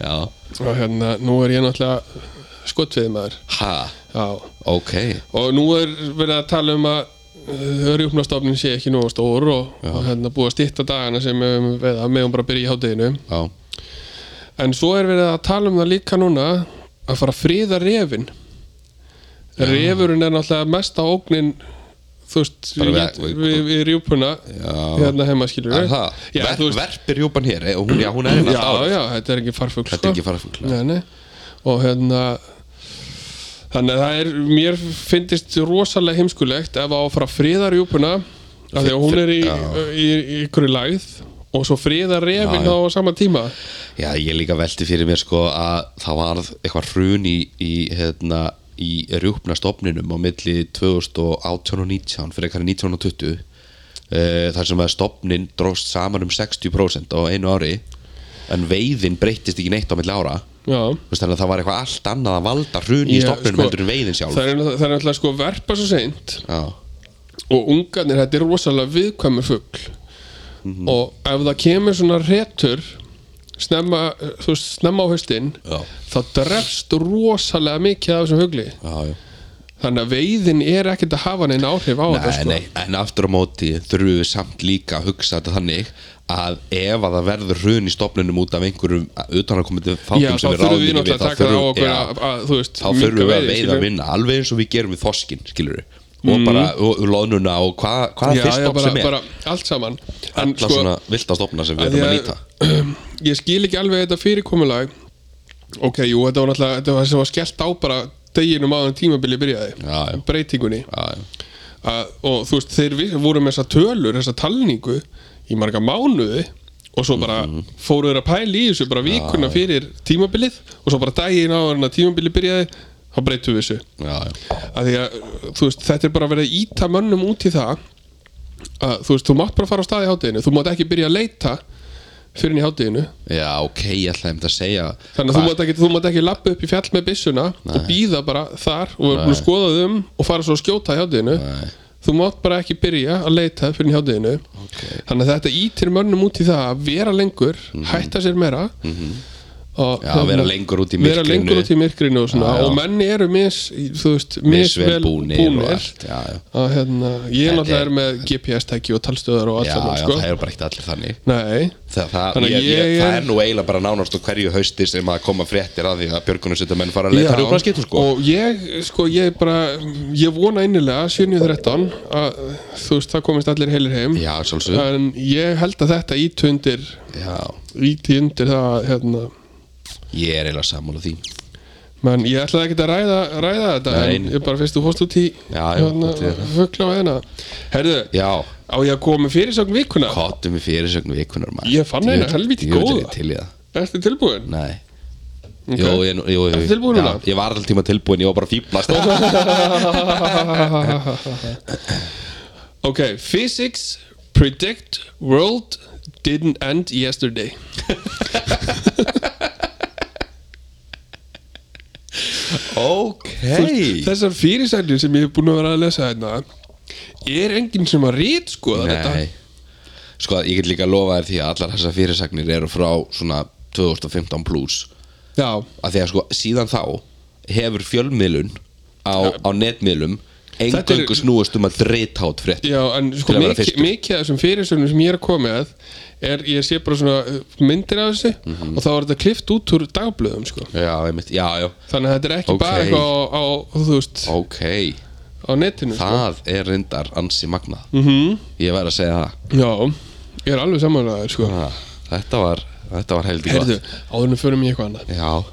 Speaker 1: og hérna, nú er ég náttúrulega skottveið maður
Speaker 2: ha,
Speaker 1: Já,
Speaker 2: ok
Speaker 1: og nú er verið að tala um að örjúknastofnin sé ekki nógu stór og, og hérna búið að stýtta dagana sem við höfum veiða, meðum bara að byrja í hátteginu
Speaker 2: Já,
Speaker 1: En svo er verið að tala um það líka núna að fara að friða refin Refurinn er náttúrulega mesta ógnin þú veist,
Speaker 2: Bara
Speaker 1: við,
Speaker 2: við- sko.
Speaker 1: við, við, við rjúpuna
Speaker 2: Já.
Speaker 1: hérna heima skilur
Speaker 2: er það,
Speaker 1: Já,
Speaker 2: Ver,
Speaker 1: þú veist,
Speaker 2: verpir júpan hér eh, og hún, já, hún er
Speaker 1: já,
Speaker 2: ennast árið
Speaker 1: já, sko. þetta er ekki farfugl
Speaker 2: Þetta er ekki farfugl, já.
Speaker 1: nei, nei. Og hérna Þannig að það er, mér finnist rosalega heimskulegt ef á að fara að friða rjúpuna af því að hún er í,
Speaker 2: Já.
Speaker 1: í, í ykkur læð og svo friða refin
Speaker 2: Já,
Speaker 1: þá á sama tíma
Speaker 2: Já, ég líka velti fyrir mér sko að það varð eitthvað hrun í, í, hérna, í rjúpna stopninum á milli 2018 og 19 fyrir eitthvað 19 og 20 uh, þar sem að stopnin dróst saman um 60% á einu ári en veiðin breyttist ekki neitt á milli ára
Speaker 1: Já
Speaker 2: Þú veist, þannig að það var eitthvað allt annað að valda hrun í
Speaker 1: Ég,
Speaker 2: stopninum
Speaker 1: sko,
Speaker 2: heldur en veiðin sjálf
Speaker 1: Það er, það er náttúrulega sko verpa svo seint
Speaker 2: Já,
Speaker 1: og ungarnir, þetta er rosalega viðkvæmur fugl
Speaker 2: Mhm.
Speaker 1: og ef það kemur svona réttur snemma, þú veist, snemma á haustin
Speaker 2: Já.
Speaker 1: þá drefst rosalega mikið af þessum hugli
Speaker 2: já, já
Speaker 1: þannig að veiðin er ekkert að hafa neina áhrif á þetta
Speaker 2: Nei,
Speaker 1: sko.
Speaker 2: nei, en aftur á móti þurfum við samt líka að hugsa þetta þannig að ef að það verður hrun í stofnunum út af einhverjum
Speaker 1: Já,
Speaker 2: utanakomandi þáttum
Speaker 1: þá
Speaker 2: sem við
Speaker 1: þurfum við
Speaker 2: ráðum ekki við
Speaker 1: náttúrulega að taka það á okkur að, að, þú veist,
Speaker 2: þá þurfum við að
Speaker 1: veiði,
Speaker 2: veiða
Speaker 1: skilur.
Speaker 2: að vinna alveg eins og við gerum við þoskinn, skilur við og bara, og og loðnuna og hvað hvað
Speaker 1: Mm. Já,
Speaker 2: fyrst
Speaker 1: já,
Speaker 2: stofn
Speaker 1: bara,
Speaker 2: sem er
Speaker 1: bara allt saman En sko,
Speaker 2: alla svona vilda stofna sem við
Speaker 1: að því
Speaker 2: erum að
Speaker 1: að-
Speaker 2: nýta
Speaker 1: ég skil ekki alveg þetta fyrirkomulag Ok, jú, þetta var náttúrulega þetta var sem var skellt á bara deginum á þann tímabili byrjaði
Speaker 2: Já, já.
Speaker 1: breytingunni
Speaker 2: Já, já.
Speaker 1: að, og þú veist, þeir vi- voru með þessa tölur, þessa talningu í marga mánuði og svo bara
Speaker 2: Mhm.
Speaker 1: fóru þeir að pæli í þessu bara vikuna fyrir tímabilið og svo bara daginn á þannig að tímabilið byrjaði þá breytum við þessu
Speaker 2: Já, já.
Speaker 1: að því að, þú veist, þetta er bara verið að íta mönnum út í það að, þú veist, þú mátt bara fara á staði í hátæðinu þú mátt ekki byrja að leita fyrir í hátæðinu
Speaker 2: já, ok, ég ætlaði einmitt að segja
Speaker 1: þannig að þú mátt ekki, þú mátt ekki lappa upp í fjall með byssuna og býða bara þar og vera búin að skoða þum og fara svo að skjóta í hátæðinu
Speaker 2: Nei.
Speaker 1: þú mátt bara ekki byrja að leita fyrir í hátæðinu
Speaker 2: Ok.
Speaker 1: þannig að þetta ítir mönnum út í það að vera lengur hætta sér meira og,
Speaker 2: Mhm.
Speaker 1: hérna,
Speaker 2: Já, vera lengur út í
Speaker 1: vera
Speaker 2: myrkrinu.
Speaker 1: lengur út í myrkrinu og, svona,
Speaker 2: Já, já.
Speaker 1: og menn eru mis, þú veist,
Speaker 2: misvel búnir og allt já, já,
Speaker 1: að hérna, ég
Speaker 2: Þetta
Speaker 1: náttúrulega er
Speaker 2: er-
Speaker 1: með GPS-tæki og talstöðar og allt
Speaker 2: já,
Speaker 1: saman
Speaker 2: já
Speaker 1: sko.
Speaker 2: það er bara ekkert allir þannig
Speaker 1: Nei,
Speaker 2: Þa, það,
Speaker 1: Þannig
Speaker 2: ég,
Speaker 1: að
Speaker 2: ég,
Speaker 1: ég
Speaker 2: það
Speaker 1: er-
Speaker 2: er nú eiginlega bara nánast og hverju hausti sem að koma fréttir að því að björgunarsutamenn fara að leita
Speaker 1: Já,
Speaker 2: rjúpna skiptum sko.
Speaker 1: og ég, sko, ég bara ég vona innilega 7.13 að þú veist, það komist allir heilir heim
Speaker 2: Já, sjálfsög
Speaker 1: en ég held að þetta ítundir
Speaker 2: Já,
Speaker 1: ítundir það hérna,
Speaker 2: ég er eiginlega sammála því
Speaker 1: menn ég ætlaði ekki að ræða, ræða þetta
Speaker 2: Nei.
Speaker 1: en ég bara fyrst þú hóst út í
Speaker 2: Já, já, út í
Speaker 1: hérna,
Speaker 2: þetta.
Speaker 1: fugla á hérna herðu,
Speaker 2: Já,
Speaker 1: á ég að koma með fyrirsögn vikuna
Speaker 2: kottum við fyrirsögnum vikunar maður
Speaker 1: Ég fann eina helvíti
Speaker 2: Ég vil
Speaker 1: góða.
Speaker 2: ekki til í það
Speaker 1: ertu tilbúin?
Speaker 2: Nei
Speaker 1: Ok.
Speaker 2: Jó, ég, jó, jó,
Speaker 1: Ertu tilbúin
Speaker 2: já,
Speaker 1: núna?
Speaker 2: Ég var alltaf tíma tilbúin, ég var bara fýblast
Speaker 1: ok, physics predict world didn't end yesterday
Speaker 2: Ok
Speaker 1: Þú veist, Þessar fyrirsælir sem ég hef búin að vera að lesa hérna Er enginn sem að rít skoða þetta
Speaker 2: Nei Sko, ég get líka að lofa þér því að allar þessar fyrirsögnir eru frá svona 2015 pluss
Speaker 1: Já,
Speaker 2: að því að sko síðan þá hefur fjölmiðlun á, á netmiðlum engöngu
Speaker 1: er-
Speaker 2: snúist um að dreita át frétt
Speaker 1: já, en sko
Speaker 2: Til að vera
Speaker 1: mikið,
Speaker 2: fyrstur.
Speaker 1: mikið af þessum fyrirsælum sem ég er að koma með er, Ég sé bara svona uh, myndir af þessu
Speaker 2: Mhm.
Speaker 1: Og þá er þetta klift út úr dagblöðum sko.
Speaker 2: já, einmitt, já, já,
Speaker 1: Þannig að þetta er ekki
Speaker 2: Ok.
Speaker 1: bara eitthvað á, á, þú veist,
Speaker 2: ok
Speaker 1: á netinu sko.
Speaker 2: það er reyndar ansi magnað -hmm. ég verð að segja það
Speaker 1: Já, ég er alveg samanlegaður sko.
Speaker 2: Ha, þetta var, þetta var heldur
Speaker 1: Herðu,
Speaker 2: gott
Speaker 1: áður en fyrir mig eitthvað annað
Speaker 2: já,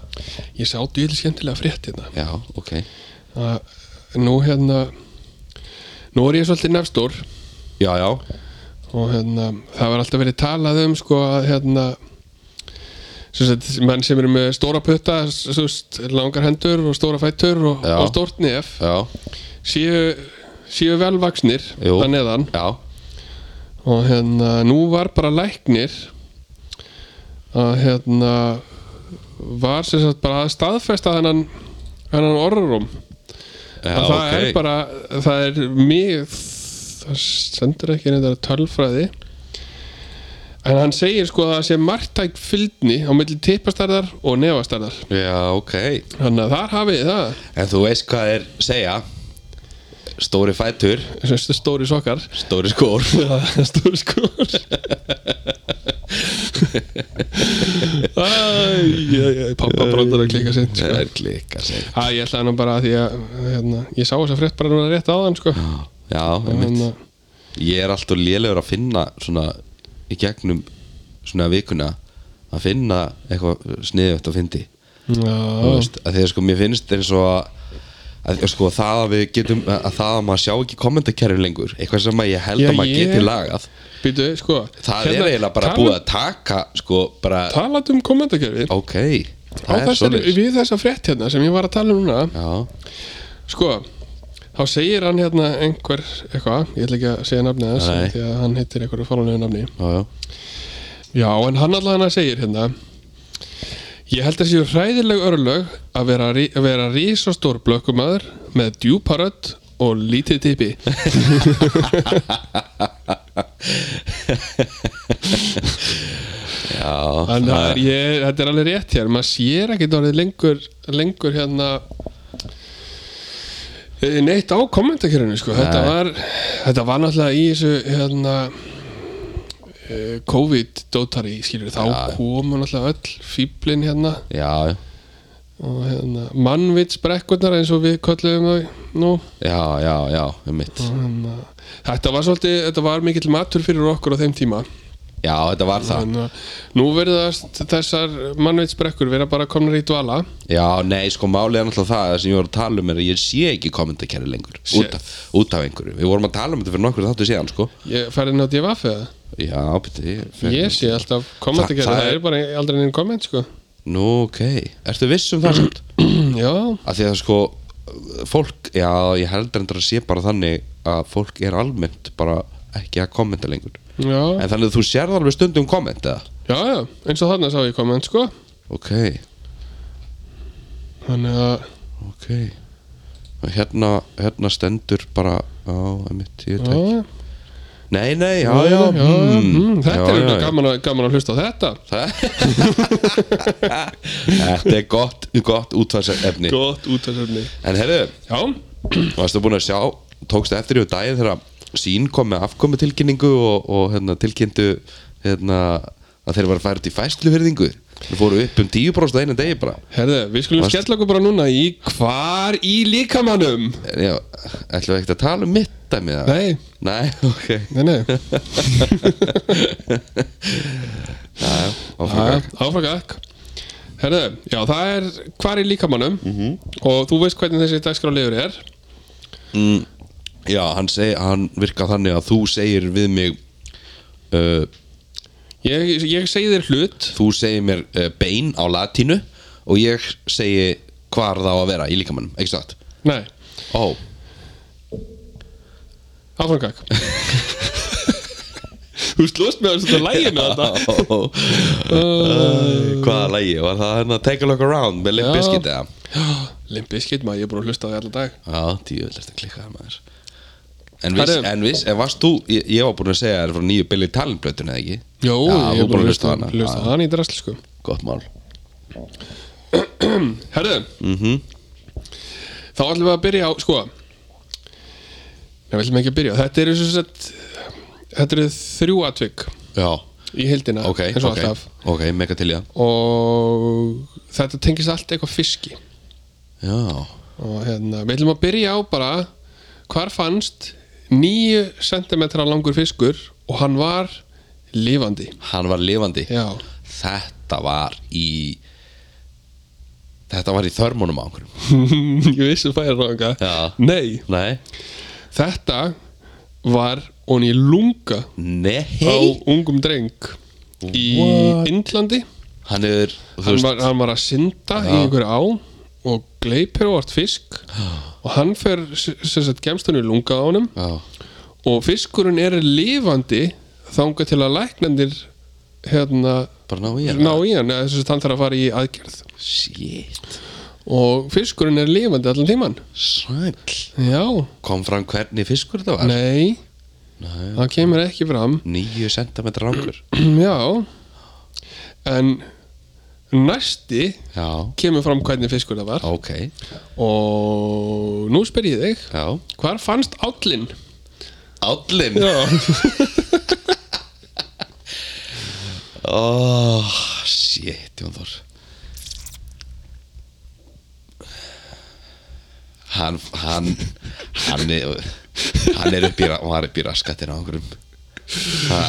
Speaker 1: Ég sá dýl skemmtilega frétt hérna
Speaker 2: já, ok
Speaker 1: Að Nú hérna Nú er ég svolítið nefstór
Speaker 2: já, já,
Speaker 1: og hérna, það var alltaf verið talað um sko að hérna sem sagt, menn sem eru með stóra putta s- þú veist, langar hendur og stóra fætur og,
Speaker 2: Já.
Speaker 1: og stórt nef
Speaker 2: já,
Speaker 1: séu, séu velvaksnir
Speaker 2: Jú.
Speaker 1: að neðan
Speaker 2: já
Speaker 1: og hérna nú var bara læknir að hérna var sem sagt bara að staðfesta þennan hennan orðrum
Speaker 2: Já,
Speaker 1: að það
Speaker 2: ok.
Speaker 1: er bara það er mjög það sendur ekki neitt tölfræði en hann segir sko að það sé margtæk fylgni á milli tippastarðar og nefastarðar
Speaker 2: Já, ok
Speaker 1: þannig að þar hafið þið það
Speaker 2: En þú veist hvað er segja Stóri fætur,
Speaker 1: þessi stóri sokkar
Speaker 2: stóri skór
Speaker 1: stóri skór Æ, pappa bróður að klika sinn sko.
Speaker 2: Það er klika segja
Speaker 1: Æ, ég ætlaði nú bara að því að hérna, ég sá þess að frétt bara núna rétt áðan sko.
Speaker 2: Já, einmitt
Speaker 1: Þannig að-
Speaker 2: Ég er alltaf lélegur að finna svona í gegnum svona vikuna að finna eitthvað sniðið að fyndi
Speaker 1: Já,
Speaker 2: þú veist, að því að sko mér finnst eins og að að, sko, það að við getum að það að maður sjá ekki kommentarkerfi lengur eitthvað sem að ég held
Speaker 1: Já,
Speaker 2: að maður
Speaker 1: ég-
Speaker 2: geti lagað
Speaker 1: Býtu, sko
Speaker 2: það er eiginlega bara búið að taka sko bara,
Speaker 1: Talat um kommentarkerfið
Speaker 2: ok
Speaker 1: um- á
Speaker 2: það er
Speaker 1: þessari,
Speaker 2: svolítið
Speaker 1: við þessa frétt hérna sem ég var að tala um núna
Speaker 2: já,
Speaker 1: Sko, þá segir hann hérna einhver eitthvað, ég ætla ekki að segja nafnið
Speaker 2: Nei.
Speaker 1: hans því að hann heitir einhverju fórlunlegu nafni
Speaker 2: já, já,
Speaker 1: Já, en hann allavega segir hérna Ég held að séu hræðileg örlög að vera, rí- að vera rísastór blökkumæður með djúparödd og lítið tipi
Speaker 2: já.
Speaker 1: Þannig að ég, þetta er alveg rétt hér maður sér ekkert orðið lengur lengur hérna eh, neitt á kommentakjörinu sko. þetta
Speaker 2: Nei.
Speaker 1: var þetta var náttúrulega í þessu hérna eh, COVID-dótari skilur þá
Speaker 2: Já.
Speaker 1: komu náttúrulega öll fýblin hérna
Speaker 2: já,
Speaker 1: og hérna mannvitsbrekkurnar eins og við köllum þau nú
Speaker 2: já, já, já, um mitt
Speaker 1: hérna, þetta var svolítið, þetta var mikill matur fyrir okkur á þeim tíma
Speaker 2: já, þetta var það
Speaker 1: Þannig að nú verðast þessar mannvitsbrekkur vera bara komnar í dvala
Speaker 2: Já, nei, sko málið er náttúrulega það það sem ég var að tala um er að ég sé ekki kommentarkerfi lengur
Speaker 1: Sé-
Speaker 2: út af, út af einhverju, við vorum að tala um þetta fyrir nokkur þáttu síðan, sko
Speaker 1: Ég færi inn á divaf eða?
Speaker 2: Já, beti,
Speaker 1: Ég sé alltaf kommentarkerfi,
Speaker 2: Þa- það
Speaker 1: það
Speaker 2: er-
Speaker 1: er bara aldrei neinn komment sko
Speaker 2: Nú, ok, ertu viss um það samt?
Speaker 1: Já,
Speaker 2: Af því að sko, fólk já, ég heldur endur að sé bara þannig að fólk er almennt bara ekki að kommenta lengur
Speaker 1: já,
Speaker 2: En þannig að þú sérð alveg stundum komment, eða?
Speaker 1: já, já, eins og þarna sá ég komment sko
Speaker 2: Ok,
Speaker 1: Þannig að,
Speaker 2: ok Og Hérna, hérna stendur bara, já, einmitt, ég
Speaker 1: já,
Speaker 2: veit ekki
Speaker 1: já,
Speaker 2: Nei, nei, já,
Speaker 1: já,
Speaker 2: já, Hmm.
Speaker 1: já, mm, Þetta er
Speaker 2: já,
Speaker 1: auðvitað
Speaker 2: já.
Speaker 1: gaman, að- gaman að hlusta á þetta
Speaker 2: Þetta er gott, gott útvarsefni
Speaker 1: Gott út af sérni
Speaker 2: En herru,
Speaker 1: Já,
Speaker 2: varstu búin að sjá Tókstu eftir yfir daginn þegar sín kom með afkomu tilkynningu og, og hérna, tilkynntu hérna, að þeir var að færa til fæsluverðingu Þeir fóru upp um 10% á einu degi bara
Speaker 1: herðu, við skulum
Speaker 2: Varst-
Speaker 1: skella okkur bara núna í Hvar í líkamannum?
Speaker 2: En Já, ætlum við ekkert að tala um mitt dæmi það?
Speaker 1: Nei,
Speaker 2: Nei, ok
Speaker 1: nei, nei,
Speaker 2: áfram gang.
Speaker 1: áfragak Herðu, já, það er Hvar í líkamannum
Speaker 2: Mhm.
Speaker 1: Og þú veist hvernig þessi dagskrálegur er
Speaker 2: Mm, Já, hann, seg, hann virka þannig að þú segir við mig uh,
Speaker 1: Ég, ég segi þér hlut
Speaker 2: þú segir mér uh, bein á latínu og ég segi hvar það á að vera í líkamannum, ekki satt?
Speaker 1: Nei,
Speaker 2: Ó,
Speaker 1: áframkak Þú slóst með þessu læginu þetta
Speaker 2: oh. hvaða lægi? Var það hérna Take a Look Around með Limp
Speaker 1: Já.
Speaker 2: Bizkit eða?
Speaker 1: Limp Bizkit maður, ég er búin að hlusta á því allan dag
Speaker 2: Já, djúvel er þetta klikkaðar maður En viss,
Speaker 1: Herru.
Speaker 2: en viss, en varst þú, ég, ég var búin að segja þér frá nýju Billy Talent blötun eða ekki?
Speaker 1: Jó,
Speaker 2: Já,
Speaker 1: ég
Speaker 2: þú
Speaker 1: er búin að hlusta á hana Hlusta
Speaker 2: Já,
Speaker 1: á hana í drasl sko
Speaker 2: Gott mál
Speaker 1: Herðu
Speaker 2: Mhm.
Speaker 1: Þá ætlum við að byrja á, sko Nei, við ætlum ekki að byrja á. Þetta eru svo sett Þetta eru þrjú atvik
Speaker 2: Já,
Speaker 1: í heildina
Speaker 2: ok,
Speaker 1: eins og
Speaker 2: ok,
Speaker 1: alltaf
Speaker 2: ok, mega til í það
Speaker 1: og þetta tengist allt eitthvað fiski
Speaker 2: Já,
Speaker 1: og hérna, við ætlum að byrja á bara hvar fannst 9 cm langur fiskur og hann var lifandi
Speaker 2: hann var lifandi
Speaker 1: já,
Speaker 2: Þetta var í Þetta var í þörmunum á einhverjum
Speaker 1: ég vissi að færa ranga
Speaker 2: Já.
Speaker 1: nei,
Speaker 2: Nei
Speaker 1: þetta var onni lunga á
Speaker 2: Nei
Speaker 1: ungum dreng í
Speaker 2: What?
Speaker 1: Indlandi
Speaker 2: Hann er Þú
Speaker 1: hann
Speaker 2: veist
Speaker 1: var, hann var að synda í einhverju á og gleipir og vart fisk og hann fer s- sem sagt gemstunni lunga á honum
Speaker 2: Já
Speaker 1: og fiskurinn er lifandi þangað til að læknandir hérna
Speaker 2: Bara ná í hann
Speaker 1: ná í hann eða þess að hann þarf að fara í aðgerð
Speaker 2: Shit
Speaker 1: og fiskurinn er lifandi allan tíman
Speaker 2: Sæll
Speaker 1: já,
Speaker 2: Kom fram hvernig fiskur þetta var
Speaker 1: nei,
Speaker 2: Nei.
Speaker 1: það kemur ekki fram
Speaker 2: Níu sentimetra langur
Speaker 1: já en næsti
Speaker 2: Já
Speaker 1: kemur fram hvernig fiskur það var
Speaker 2: Ok
Speaker 1: og nú spyr ég þig
Speaker 2: Já
Speaker 1: hvar fannst állinn?
Speaker 2: Allin
Speaker 1: já,
Speaker 2: Oh Shit Jón Þór Hann Hann Hann er Hann er upp í, ra- var upp í raskatinn á einhverjum Ha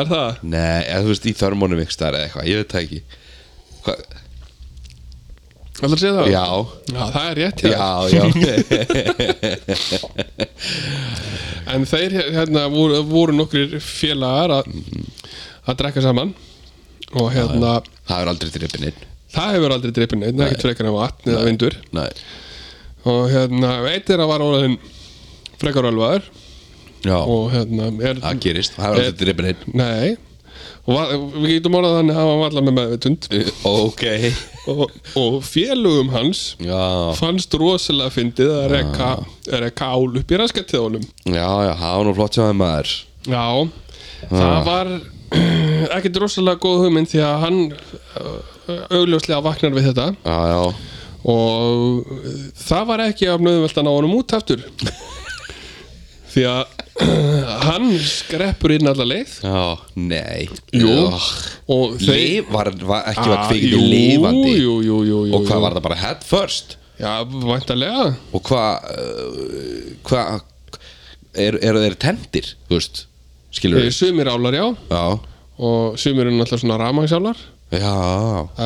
Speaker 1: er það
Speaker 2: Nei, eða þú veist í þörmónum ykkur eða eitthvað, ég veit það ekki Hva?
Speaker 1: Ætlar að segja það?
Speaker 2: Já,
Speaker 1: Já, það er rétt hjá
Speaker 2: já, já
Speaker 1: þér. En þeir hérna voru, voru nokkrir félagar að, að drekka saman og hérna,
Speaker 2: Það er aldrei drifin inn
Speaker 1: það hefur aldrei dreipin neitt, ekkert frekar en vatn eða vindur
Speaker 2: Nei.
Speaker 1: og hérna, eitt er að var orðin frekar alvaður
Speaker 2: Já,
Speaker 1: og hérna, er
Speaker 2: það gerist Það er aldrei drifin inn
Speaker 1: Nei og var, við getum orðað þannig að hann var allar með meðvitund
Speaker 2: Ok
Speaker 1: og, og félugum hans
Speaker 2: Já,
Speaker 1: fannst rosalega fyndið að rekka, rekka ál upp í raskatið á honum
Speaker 2: já, já, það var nú flott hjá þeim maður
Speaker 1: Já,
Speaker 2: Ah.
Speaker 1: það var ekkert rosalega góð hugmynd því að hann uh, augljóslega vaknar við þetta
Speaker 2: Já, já,
Speaker 1: og uh, það var ekki af nöðumvelt að ná honum út aftur því að hann skreppur inn alla leið
Speaker 2: já, nei
Speaker 1: og þeir Ah,
Speaker 2: Leif var, var ekki var kvikið
Speaker 1: jú,
Speaker 2: lifandi
Speaker 1: jú, jú, jú, jú,
Speaker 2: Og hvað
Speaker 1: jú.
Speaker 2: var það bara head first
Speaker 1: Já, væntalega
Speaker 2: Og hvað uh, Hvað er, Eru þeir tendir, þú veist Skilur við
Speaker 1: Sumir álar, já
Speaker 2: Já,
Speaker 1: og sumir eru náttúrulega svona ramagsálar
Speaker 2: já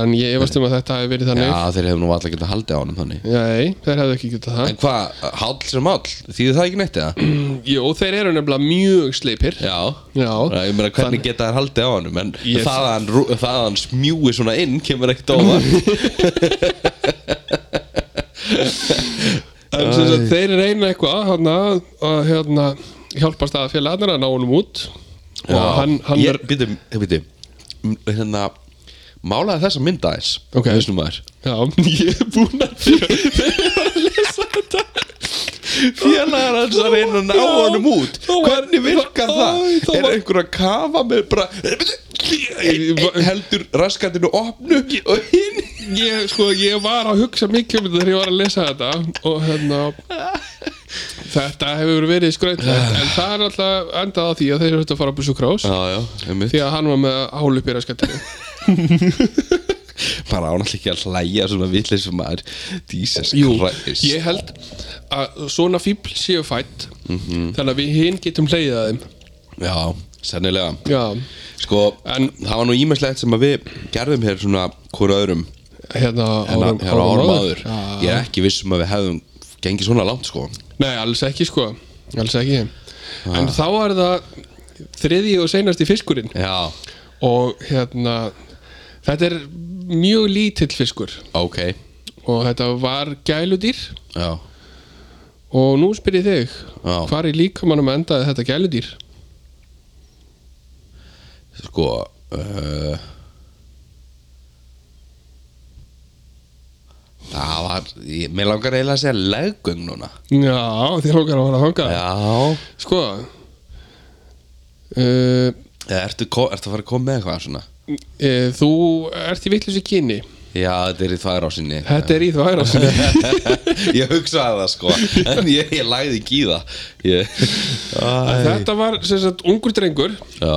Speaker 1: en ég efast um að þetta hefði verið þannig
Speaker 2: Já, þeir hefðu nú alltaf getað haldið á honum þannig
Speaker 1: Nei, þeir hefðu ekki getað það
Speaker 2: En hvað, hall sem hall, þýðir það ekki neitt eða?
Speaker 1: Jú, þeir eru nefnilega mjög sleipir
Speaker 2: Já
Speaker 1: Já,
Speaker 2: Ég meina hvernig geta þær haldið á honum En
Speaker 1: Ég-
Speaker 2: það, að hann, rú- það að hann smjúi svona inn kemur ekkert ofar
Speaker 1: en sem sagt þeir reyna eitthvað hann að, að hérna, hjálpa staðafélagarnir að ná honum út og hann, hann
Speaker 2: Ég,
Speaker 1: er
Speaker 2: býtum, býtum Hérna, málaði þessa mynda eins
Speaker 1: Ok.
Speaker 2: Þessum maður
Speaker 1: Já, ég er búinn að
Speaker 2: Félagar hans að reyna að ná
Speaker 1: Já.
Speaker 2: honum út
Speaker 1: Þá var-
Speaker 2: Hvernig virkar
Speaker 1: Æ,
Speaker 2: það?
Speaker 1: þá
Speaker 2: Er
Speaker 1: var-
Speaker 2: einhver að kafa með bara Einn einn heldur raskatinu opnu og hinn
Speaker 1: ég, sko, ég var að hugsa mikið um þetta þegar ég var að lesa þetta og hérna þetta hefur verið skröndlegt en það er alltaf endað á því að þeir höfðu að fara að busu krás
Speaker 2: Já, já, einmitt
Speaker 1: því að hann var með hál upp í raskatinu
Speaker 2: bara án alltaf ekki að hlæja svona vitleysum maður Jesus
Speaker 1: Jú,
Speaker 2: Christ
Speaker 1: ég held að svona fíbl séu fætt
Speaker 2: Mhm.
Speaker 1: þannig að við hinn getum hleyðið að þeim
Speaker 2: já, sennilega
Speaker 1: Já,
Speaker 2: sko,
Speaker 1: En-
Speaker 2: það var nú ímestlegt sem að við gerðum hér svona hvora öðrum
Speaker 1: hérna
Speaker 2: hérna
Speaker 1: árum,
Speaker 2: hérna árum áður
Speaker 1: Já.
Speaker 2: ég er ekki viss um að við hefðum gengið svona langt sko
Speaker 1: Nei, alls ekki sko Alls ekki En þá er það þriðji og seinasti fiskurinn
Speaker 2: já,
Speaker 1: Og hérna Þetta er mjög lítill fiskur
Speaker 2: ok
Speaker 1: Og þetta var gæludýr
Speaker 2: já,
Speaker 1: Og nú spyr ég þig
Speaker 2: já,
Speaker 1: Hvar í líkamannum endaði þetta gæludýr?
Speaker 2: sko uh, það var ég, mér langar eiginlega að segja leggöng núna
Speaker 1: Já, þér okkar að fara að hanga
Speaker 2: já,
Speaker 1: Sko uh,
Speaker 2: Eða ertu, ko- ertu að fara að koma með eitthvað svona
Speaker 1: e, Þú ert í vitlusi kynni
Speaker 2: já, þetta er í þvær ásinni
Speaker 1: Þetta er í það æra
Speaker 2: ég hugsaði það sko en ég, ég lagði ekki í það ég...
Speaker 1: Þetta var sem sagt ungur drengur
Speaker 2: já,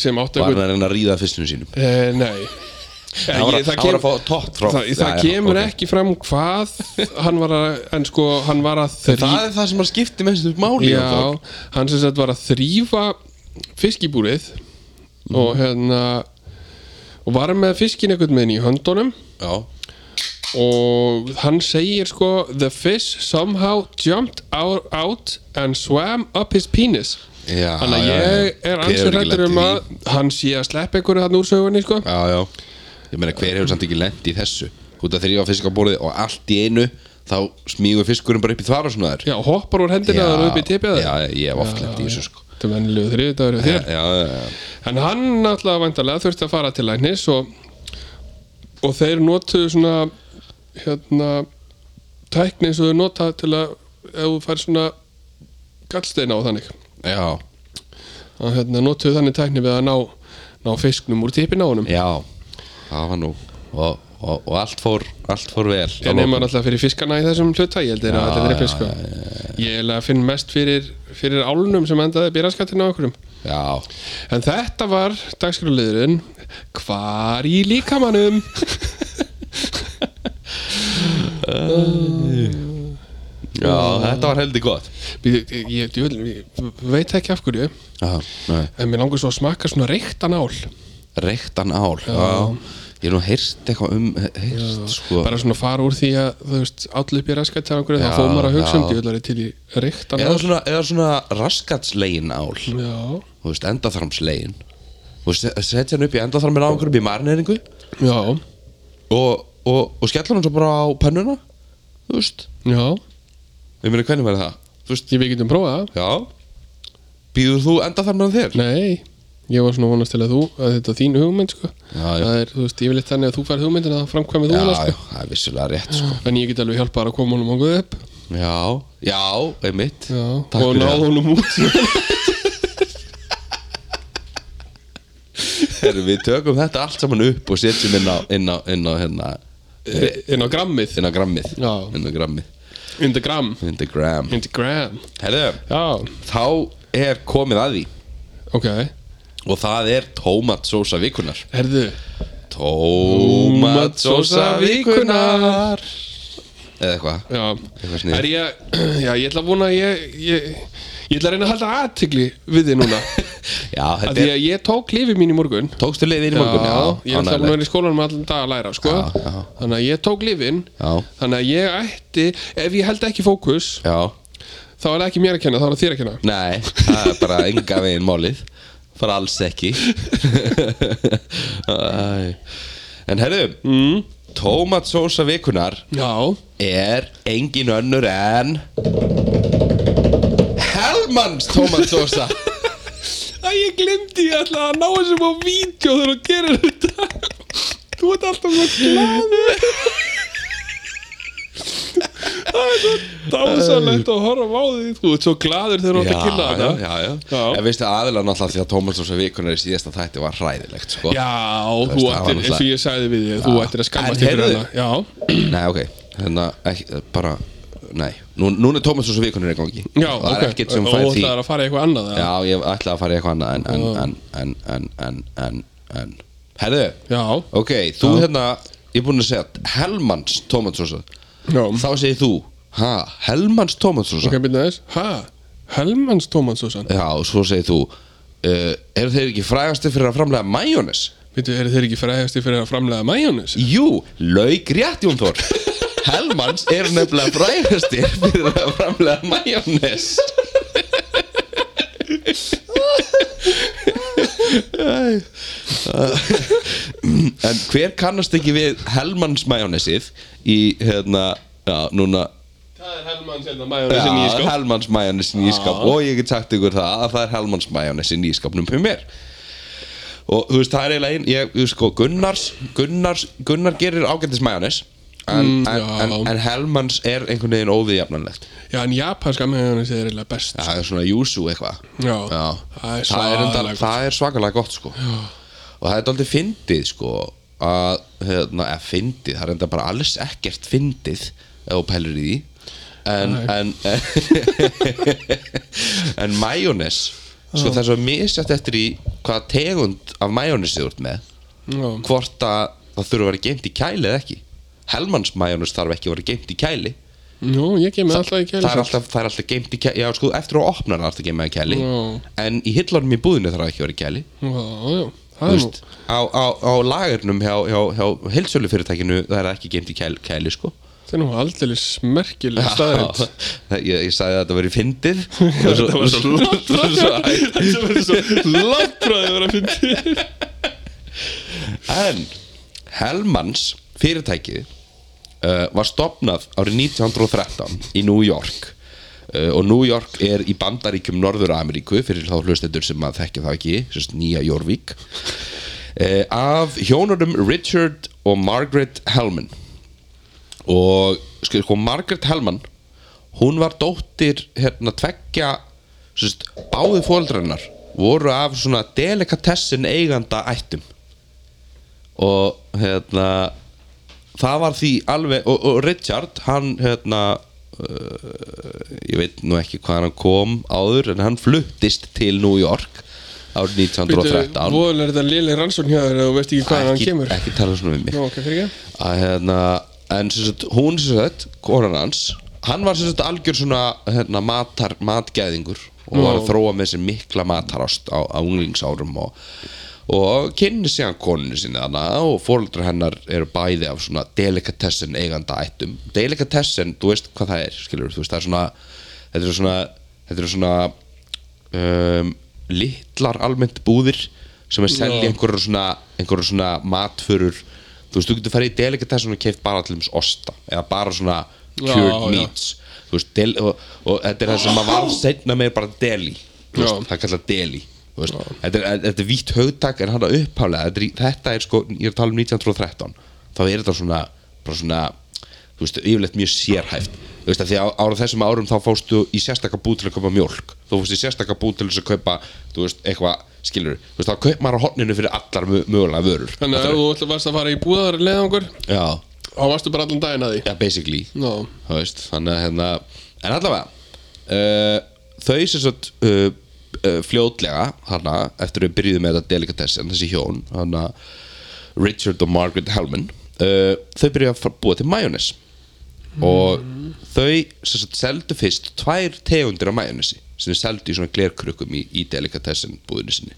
Speaker 1: sem átti
Speaker 2: var
Speaker 1: einhvern
Speaker 2: hann að reyna að ríða fyrstinu sínum
Speaker 1: Eh, nei
Speaker 2: hann var,
Speaker 1: Ég- það
Speaker 2: ég, hann var
Speaker 1: kem-
Speaker 2: að fá tótt frá
Speaker 1: það, það kemur ekki fram hvað hann var að, en sko hann var að
Speaker 2: það er það sem að skipti mestu máli hjá
Speaker 1: já,
Speaker 2: fólk.
Speaker 1: hann sem sagt var að þrýfa fiskibúrið
Speaker 2: Mhm.
Speaker 1: og hérna og var með fiskin einhvern veginn í höndunum
Speaker 2: já,
Speaker 1: og hann segir sko the fish somehow jumped out, out and swam up his penis
Speaker 2: já
Speaker 1: þannig að
Speaker 2: já,
Speaker 1: ég
Speaker 2: já.
Speaker 1: er
Speaker 2: Hver
Speaker 1: ansið
Speaker 2: hefur ekki
Speaker 1: rættur
Speaker 2: lent
Speaker 1: um
Speaker 2: í
Speaker 1: að hann sé að sleppa einhverju þarna úr sögunni sko
Speaker 2: því? já, já ég meina hver hefur samt ekki lent í þessu út að þegar ég var fisk á borðið og allt í einu þá smígur fiskurinn bara upp í þvara svona þær
Speaker 1: já, hoppar úr hendina og upp í tipið á þér.
Speaker 2: já, Eh. ég hef oft lent í þessu sko
Speaker 1: Þetta er mennilegu þriðdagur hjá
Speaker 2: já,
Speaker 1: þér
Speaker 2: já, já,
Speaker 1: En hann náttúrulega vantarlega þurfti að fara til læknis og, og þeir notuðu svona hérna tækni eins og þau nota til að ef þú fær svona gallsteina á þannig
Speaker 2: já,
Speaker 1: að hérna notuðu þannig tækni við að ná, ná fisknum úr tipin á honum
Speaker 2: já það var nú og, og, og allt fór, allt fór vel
Speaker 1: Ég nefnir alltaf fyrir fiskana í þessum hluta ég held þeir að
Speaker 2: Já,
Speaker 1: þetta er
Speaker 2: já,
Speaker 1: eitthvað sko Ég held að finn mest fyrir, fyrir álunum sem endaði býraskattina á okkurum
Speaker 2: Já,
Speaker 1: En þetta var dagskráliðurinn Hvar í líkamannum?
Speaker 2: já þetta var heldur gott
Speaker 1: Ég, ég, ég, djöfull, ég veit ekki af hverju En mér langar svo að smakka svona reyktan ál
Speaker 2: Reyktan ál já. ég er nú heyrt eitthvað um heyrt, sko,
Speaker 1: bara svona fara úr því að þú veist allir býr raskat hjá einhverju
Speaker 2: Já,
Speaker 1: þá fóð maður að hugsa um
Speaker 2: já.
Speaker 1: djöðlari til í reyktan
Speaker 2: eða svona, eða svona raskatslegin ál
Speaker 1: já,
Speaker 2: þú veist, endaþarmslegin þú veist, setja hann upp í endaþarmin á einhverjum í marineringu
Speaker 1: já,
Speaker 2: og, og, og skellur hann svo bara á pennuna þú veist,
Speaker 1: já
Speaker 2: ég meina hvernig verður það þú veist,
Speaker 1: ég við getum prófað það
Speaker 2: já býður þú endaþarmin þér?
Speaker 1: Nei, ég var svona að vonast til að þú að þetta er þín hugmynd sko
Speaker 2: Já, já.
Speaker 1: það er, þú veist, ég vil eitt þannig að þú fær hugmyndin að það framkvæmi þú
Speaker 2: já,
Speaker 1: hana
Speaker 2: já,
Speaker 1: sko
Speaker 2: það er vissulega rétt sko.
Speaker 1: en ég get alveg hjálpað að koma honum á guð upp
Speaker 2: já, já, einmitt
Speaker 1: já,
Speaker 2: Takk
Speaker 1: og
Speaker 2: fyrir
Speaker 1: ná
Speaker 2: það.
Speaker 1: honum út sko.
Speaker 2: Heru, við tökum þetta allt saman upp og setjum inn á, inn á, inn á, hérna,
Speaker 1: inn á grammið,
Speaker 2: inn á grammið
Speaker 1: Já.
Speaker 2: inn á grammið,
Speaker 1: in the gram
Speaker 2: inn á gram
Speaker 1: in the gram,
Speaker 2: Herðu,
Speaker 1: já,
Speaker 2: þá er komið að því
Speaker 1: ok
Speaker 2: og það er tómatsósa vikunar
Speaker 1: herðu,
Speaker 2: tómatsósa vikunar eða eitthvað
Speaker 1: já
Speaker 2: Eitthvað sniðugt.
Speaker 1: er ég, já, ég ætla að vona að ég, ég ég ætla að reyna að halda aðtigli við þig núna
Speaker 2: já,
Speaker 1: af
Speaker 2: þetta
Speaker 1: því
Speaker 2: er,
Speaker 1: að ég tók lífið mín í morgun
Speaker 2: tókstu leið inn í morgun
Speaker 1: já, ég ætla að búin að
Speaker 2: ánægilegt.
Speaker 1: vera í skólanum allan dag að læra sko.
Speaker 2: Já, já.
Speaker 1: þannig að ég tók lifin
Speaker 2: Já.
Speaker 1: þannig að ég ætti, ef ég held ekki fókus
Speaker 2: já,
Speaker 1: þá er það ekki mér að kenna, þá er það þér að kenna
Speaker 2: nei, það er bara enga veginn málið fara alls ekki Æ. en herru mm. tómatsósa vikunar
Speaker 1: já,
Speaker 2: er engin önnur en Hellmanns tómatsósa
Speaker 1: að ég glemdi ég ætla að ná þessum á vídeo þegar þú gerir þetta þú ert alltaf svo glaði það er svo dásalegt að horfa á því þú ert svo glaður þegar þú ert að kynna
Speaker 2: já,
Speaker 1: þetta
Speaker 2: já, já.
Speaker 1: Já.
Speaker 2: En veistu aðilega náttúrulega því að Tómasósa vikunar í síðasta þætti var hræðilegt sko.
Speaker 1: Já,
Speaker 2: veist,
Speaker 1: þú
Speaker 2: það var
Speaker 1: ættir,
Speaker 2: náttúrulega-
Speaker 1: eins og ég sagði við þig, þú
Speaker 2: Já.
Speaker 1: ættir að
Speaker 2: En
Speaker 1: skammast ykkur
Speaker 2: heyrðu-
Speaker 1: hana Já,
Speaker 2: Nei, ok, hérna ekki, bara, nei Nú, Núna er Tómasósa vikunar í gangi
Speaker 1: Já,
Speaker 2: Það
Speaker 1: ok,
Speaker 2: er ekkert sem
Speaker 1: og
Speaker 2: fær því
Speaker 1: það er að fara í eitthvað annað eða?
Speaker 2: Já, ég ætla að fara í eitthvað annað en, en, en, en, en, en, en, en Herðu,
Speaker 1: Já,
Speaker 2: ok, þú hérna Ég er búin að segja Hellmanns Tómasósa
Speaker 1: já,
Speaker 2: Þá segir þú, ha, Hellmanns Tómasósa
Speaker 1: ok, byrja þess Ha, Helmans Tómansson
Speaker 2: Já, og svo segir þú uh, Eru þeir ekki frægasti fyrir að framlega majónes?
Speaker 1: Veitu, eru þeir ekki fræðasti fyrir að framlega majónis?
Speaker 2: Jú, lauk rétt Jón Þór Helmans er nefnilega frægasti fyrir að framlega majónes En hver kannast ekki við Helmans majónesið í hérna, já, núna
Speaker 1: Það er Helmans hérna
Speaker 2: Já,
Speaker 1: majónisin í sko
Speaker 2: Helmans majónesin í ískap og ég get sagt ykkur það að það er Helmans majónesin í ískapnum fyrir mér og þú veist það er eiginlega ein ég, þú veist, sko, Gunnars, Gunnars Gunnar gerir ágættis majónes en,
Speaker 1: Mm,
Speaker 2: en,
Speaker 1: já.
Speaker 2: en, en Helmans er einhvern veginn óviðjafnanlegt
Speaker 1: Já, en japanska majónis er eiginlega best
Speaker 2: það er svona júsu eitthvað
Speaker 1: Já,
Speaker 2: Já.
Speaker 1: það er
Speaker 2: það, er
Speaker 1: svakalega
Speaker 2: undar,
Speaker 1: gott.
Speaker 2: það er svakalega gott sko. og það er aldrei fyndið sko, að, hérna, eða fyndið það er enda bara alls ekkert fyndið ef þú pælur í því en, en, en, en majónes sko, það er svo misjætt eftir í hvaða tegund af majónes þú ert með
Speaker 1: Já,
Speaker 2: hvort að það þurfa að vera geimt í kæli eða ekki Helmans majónes þarf ekki að vera geimt í kæli
Speaker 1: Nú, ég kemur alltaf í kæli
Speaker 2: það er alltaf, það er alltaf geimt í kæli já sko eftir að opna hann alltaf geimt í kæli
Speaker 1: Já.
Speaker 2: en í hillanum í búðinu þarf það ekki að vera í kæli
Speaker 1: Já, já,
Speaker 2: Þú
Speaker 1: það er nú
Speaker 2: veist, á, á, á lagarnum hjá, hjá, hjá heilsölu fyrirtækinu það er ekki geimt í kæli, kæli sko
Speaker 1: Það er nú aldrei smerkileg staðrind
Speaker 2: Já, ég, ég sagði að þetta verið fyndið og svo, og svo, og svo,
Speaker 1: Þetta verður svo langtræði að vera að fyndi
Speaker 2: en Helmans fyrirtækið uh, var stopnað árið 1913 í New York uh, og New York er í bandaríkjum Norður Ameríku fyrir þá hlustendur sem að þekkja það ekki sérst nýja Jórvík uh, af hjónunum Richard og Margaret Hellman og sko, sko Margaret Hellman hún var dóttir hérna tveggja sérst, báði fóldrennar voru af svona delikatessin eiganda ættum og hérna það var því alveg og, og Richard hann hérna uh, ég veit nú ekki hvað hann kom áður en hann fluttist til New York árið 1913
Speaker 1: Vóðan er þetta léleg rannsókn hjá þér og þú veist ekki hvaðan hann
Speaker 2: ekki,
Speaker 1: kemur
Speaker 2: ekki tala svona við mig
Speaker 1: Nú, ok, fyrir ekki
Speaker 2: að hérna en sem sagt, hún sem sagt, konan hans hann var sem sagt algjör svona hérna, matar, matgæðingur og var að þróa með þessi mikla matarást á, á unglingsárum og, og kynni sig hann konunni sinni þarna og fóreldrar hennar eru bæði af svona delikatessen eiganda ættum delikatessen, þú veist hvað það er skilur, þú veist, það er svona þetta eru svona, þetta eru svona um, litlar almennt búðir sem er selja
Speaker 1: Já.
Speaker 2: einhverjum svona, einhverjum svona matförur þú veist, þú getur farið í delikatessen og keift bara til þess osta eða bara svona
Speaker 1: Já,
Speaker 2: cured
Speaker 1: já.
Speaker 2: meats Þú veist, del, og, og þetta er það sem maður var setna meir bara deli Þú veist,
Speaker 1: Já.
Speaker 2: það er kallað deli þú veist. þetta er, þetta er vítt haugtak en hann er upphálega þetta er, í- þetta er sko, ég er að tala um 1913 þá er þetta svona, bara svona þú veist, yfirleitt mjög sérhæft þú veist, að því á, ára þessum árum þá fórstu í sérstaka bú til að kaupa mjólk þú fórstu í sérstaka bú til þess að kaupa þú veist, eitthvað, skilur þú veist, þá kaup maður á hotninu fyrir allar mö- mögulega vörur
Speaker 1: Þannig að ef þú ætla varst að fara í búðar leiðangur
Speaker 2: já,
Speaker 1: þá varstu bara allan daginn að því
Speaker 2: já, basically
Speaker 1: Nó,
Speaker 2: Þú veist, þannig að hérna en allavega uh, þau sem sagt uh, uh, fljótlega hana, eftir við byrjuðum með þetta delikatessen, þessi hjón hana, Richard og Margaret Hellman uh, þau byrjuðu að fara- búa til majónes og þau sem sagt seldu fyrst tvær tegundir af majónesi sem þau seldu í svona glerkrukkum í, í delikatessen búðinu sinni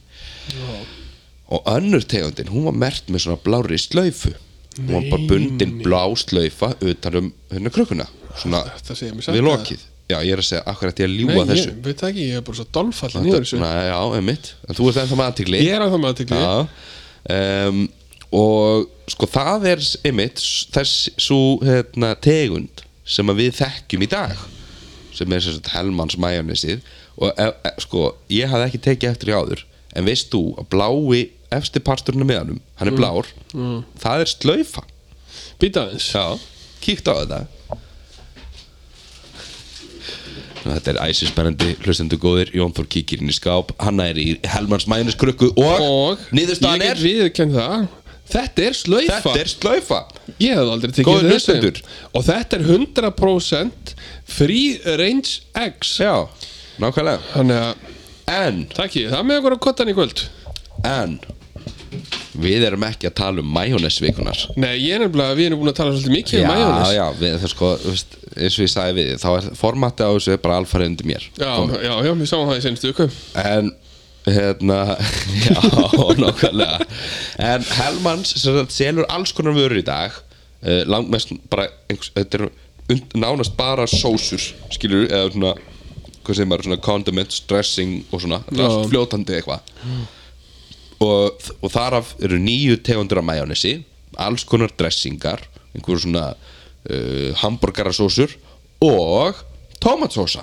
Speaker 2: og önnur tegundin, hún var mert með svona blári slaufu hún var bara bundin blá slaufa utan um hérna krökkuna svona
Speaker 1: þetta segir mér satt
Speaker 2: við
Speaker 1: eða?
Speaker 2: lokið já, ég er að segja, akkur ætti ég að
Speaker 1: Nei,
Speaker 2: ljúga
Speaker 1: ég
Speaker 2: þessu
Speaker 1: veit það ekki, ég er bara svo dolfallin í þessu
Speaker 2: Þetta- já, emitt, en þú ert ennþá með aðtigli
Speaker 1: Ég er að það með aðtekli
Speaker 2: Já um, Og sko það er einmitt þess svo hérna, tegund sem að við þekkjum í dag sem er sérst Helmans majónesið og e, e, sko ég hafði ekki tekið eftir í áður en veist þú að blái efsti parturinn með hannum, hann er blár það er slaufa
Speaker 1: Býta aðeins
Speaker 2: Mm. Já, kíkt á þetta Nú, Þetta er æsispennandi hlustendur góðir, Jón Þór kíkir inn í skáp hann er í Helmans majóneskrukku og,
Speaker 1: Og
Speaker 2: niðurstaðan
Speaker 1: ég
Speaker 2: er
Speaker 1: get viðurkennt það Þetta er slaufa
Speaker 2: Þetta er slaufa
Speaker 1: Ég hef aldrei tekið
Speaker 2: Góðir
Speaker 1: þessu.
Speaker 2: hlustendur.
Speaker 1: Og þetta er 100% free range eggs
Speaker 2: Já, nákvæmlega
Speaker 1: Þannig að,
Speaker 2: En,
Speaker 1: takk ég, það með okkur á kottan í kvöld
Speaker 2: en Við erum ekki að tala um majónesvikunar
Speaker 1: Nei, ég er nefnilega, við erum búin að tala svolítið mikið um
Speaker 2: Já,
Speaker 1: majónis
Speaker 2: já, við, það sko, þú veist, eins og ég sagði við þig, Þá er formatið á þessu er bara alfarið undir mér
Speaker 1: já, já, já, við sáum það í senstu ykkur
Speaker 2: En, hérna Já, nákvæmlega En Helmans sem sagt, selur alls konar vörur í dag uh, Langmest bara einhvers, Þetta er und, nánast bara sósur Skilur, eða svona Hvað segir maður, svona condiments, dressing og svona Þetta er
Speaker 1: Já.
Speaker 2: allt fljótandi eitthvað og, og þar af eru nýju tegundur af majónesi alls konar dressingar einhver svona uh, hamburgarasósur og tómatsósa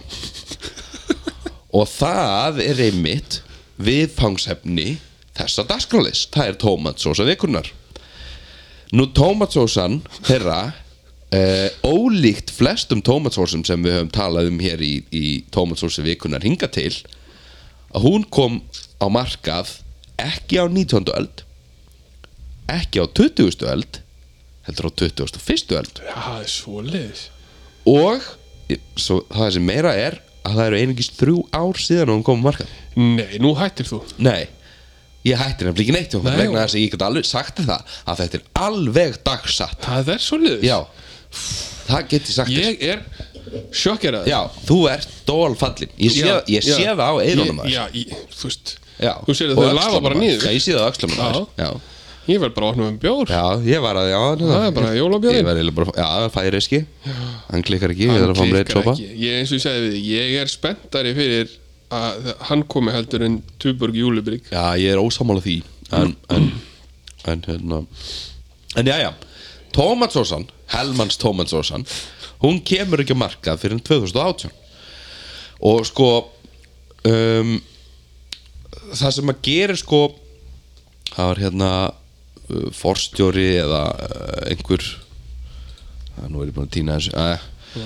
Speaker 2: og það er einmitt viðfangsefni þessa dagskrális það er tómatsósa vikunar nú tómatsósan þeirra Uh, ólíkt flestum tómatsósum sem við höfum talað um hér í, í tómatsósi vikunar hinga til að hún kom á markað ekki á 19. öld ekki á 20. öld heldur á 21. öld
Speaker 1: Já, það er svoleiðis
Speaker 2: og svo, það sem meira er að það eru einungis þrjú ár síðan að hún kom á markað
Speaker 1: Nei, nú hættir þú
Speaker 2: nei, ég hætti nefnilega ekki neitt um
Speaker 1: Nei,
Speaker 2: hún
Speaker 1: og-
Speaker 2: vegna þess að ég get alveg sagt þér það að þetta er alveg dagsatt
Speaker 1: Það er svoleiðis
Speaker 2: já, það get ég sagt þér
Speaker 1: Ég er sjokkeraður
Speaker 2: já, þú ert dólfallin ég sé,
Speaker 1: Já,
Speaker 2: ég sé
Speaker 1: já.
Speaker 2: það á
Speaker 1: Ég-
Speaker 2: eyrunum þér.
Speaker 1: Já, ég, þú veist
Speaker 2: Já,
Speaker 1: Þú sér
Speaker 2: og
Speaker 1: það þau lafa
Speaker 2: öxlunum
Speaker 1: bara
Speaker 2: þér.
Speaker 1: nýður
Speaker 2: já, ég sé það á öxlunum þér. já
Speaker 1: Ég verð bara að opna um bjór
Speaker 2: Já, ég var að, já,
Speaker 1: Það er bara jólabjórinn.
Speaker 2: Ég var eiginlega bara, já, færi eski Hann klikkar ekki, ég er að fá mér eitt
Speaker 1: klikkar
Speaker 2: sopa
Speaker 1: ekki. Ég eins og ég segi við þig, ég er spenntari fyrir að hann komi heldur en Tuborg Júlibrík
Speaker 2: Já, ég er ósámála því En, en, en, hérna En, já, já, Tómatsósan Helmans Tómatsósan Hún kemur ekki að markað fyrir 2018 Og sko um, Það sem að gera sko Það var hérna uh, Forstjóri eða uh, einhver að nú er ég búin að týna þessu Eh,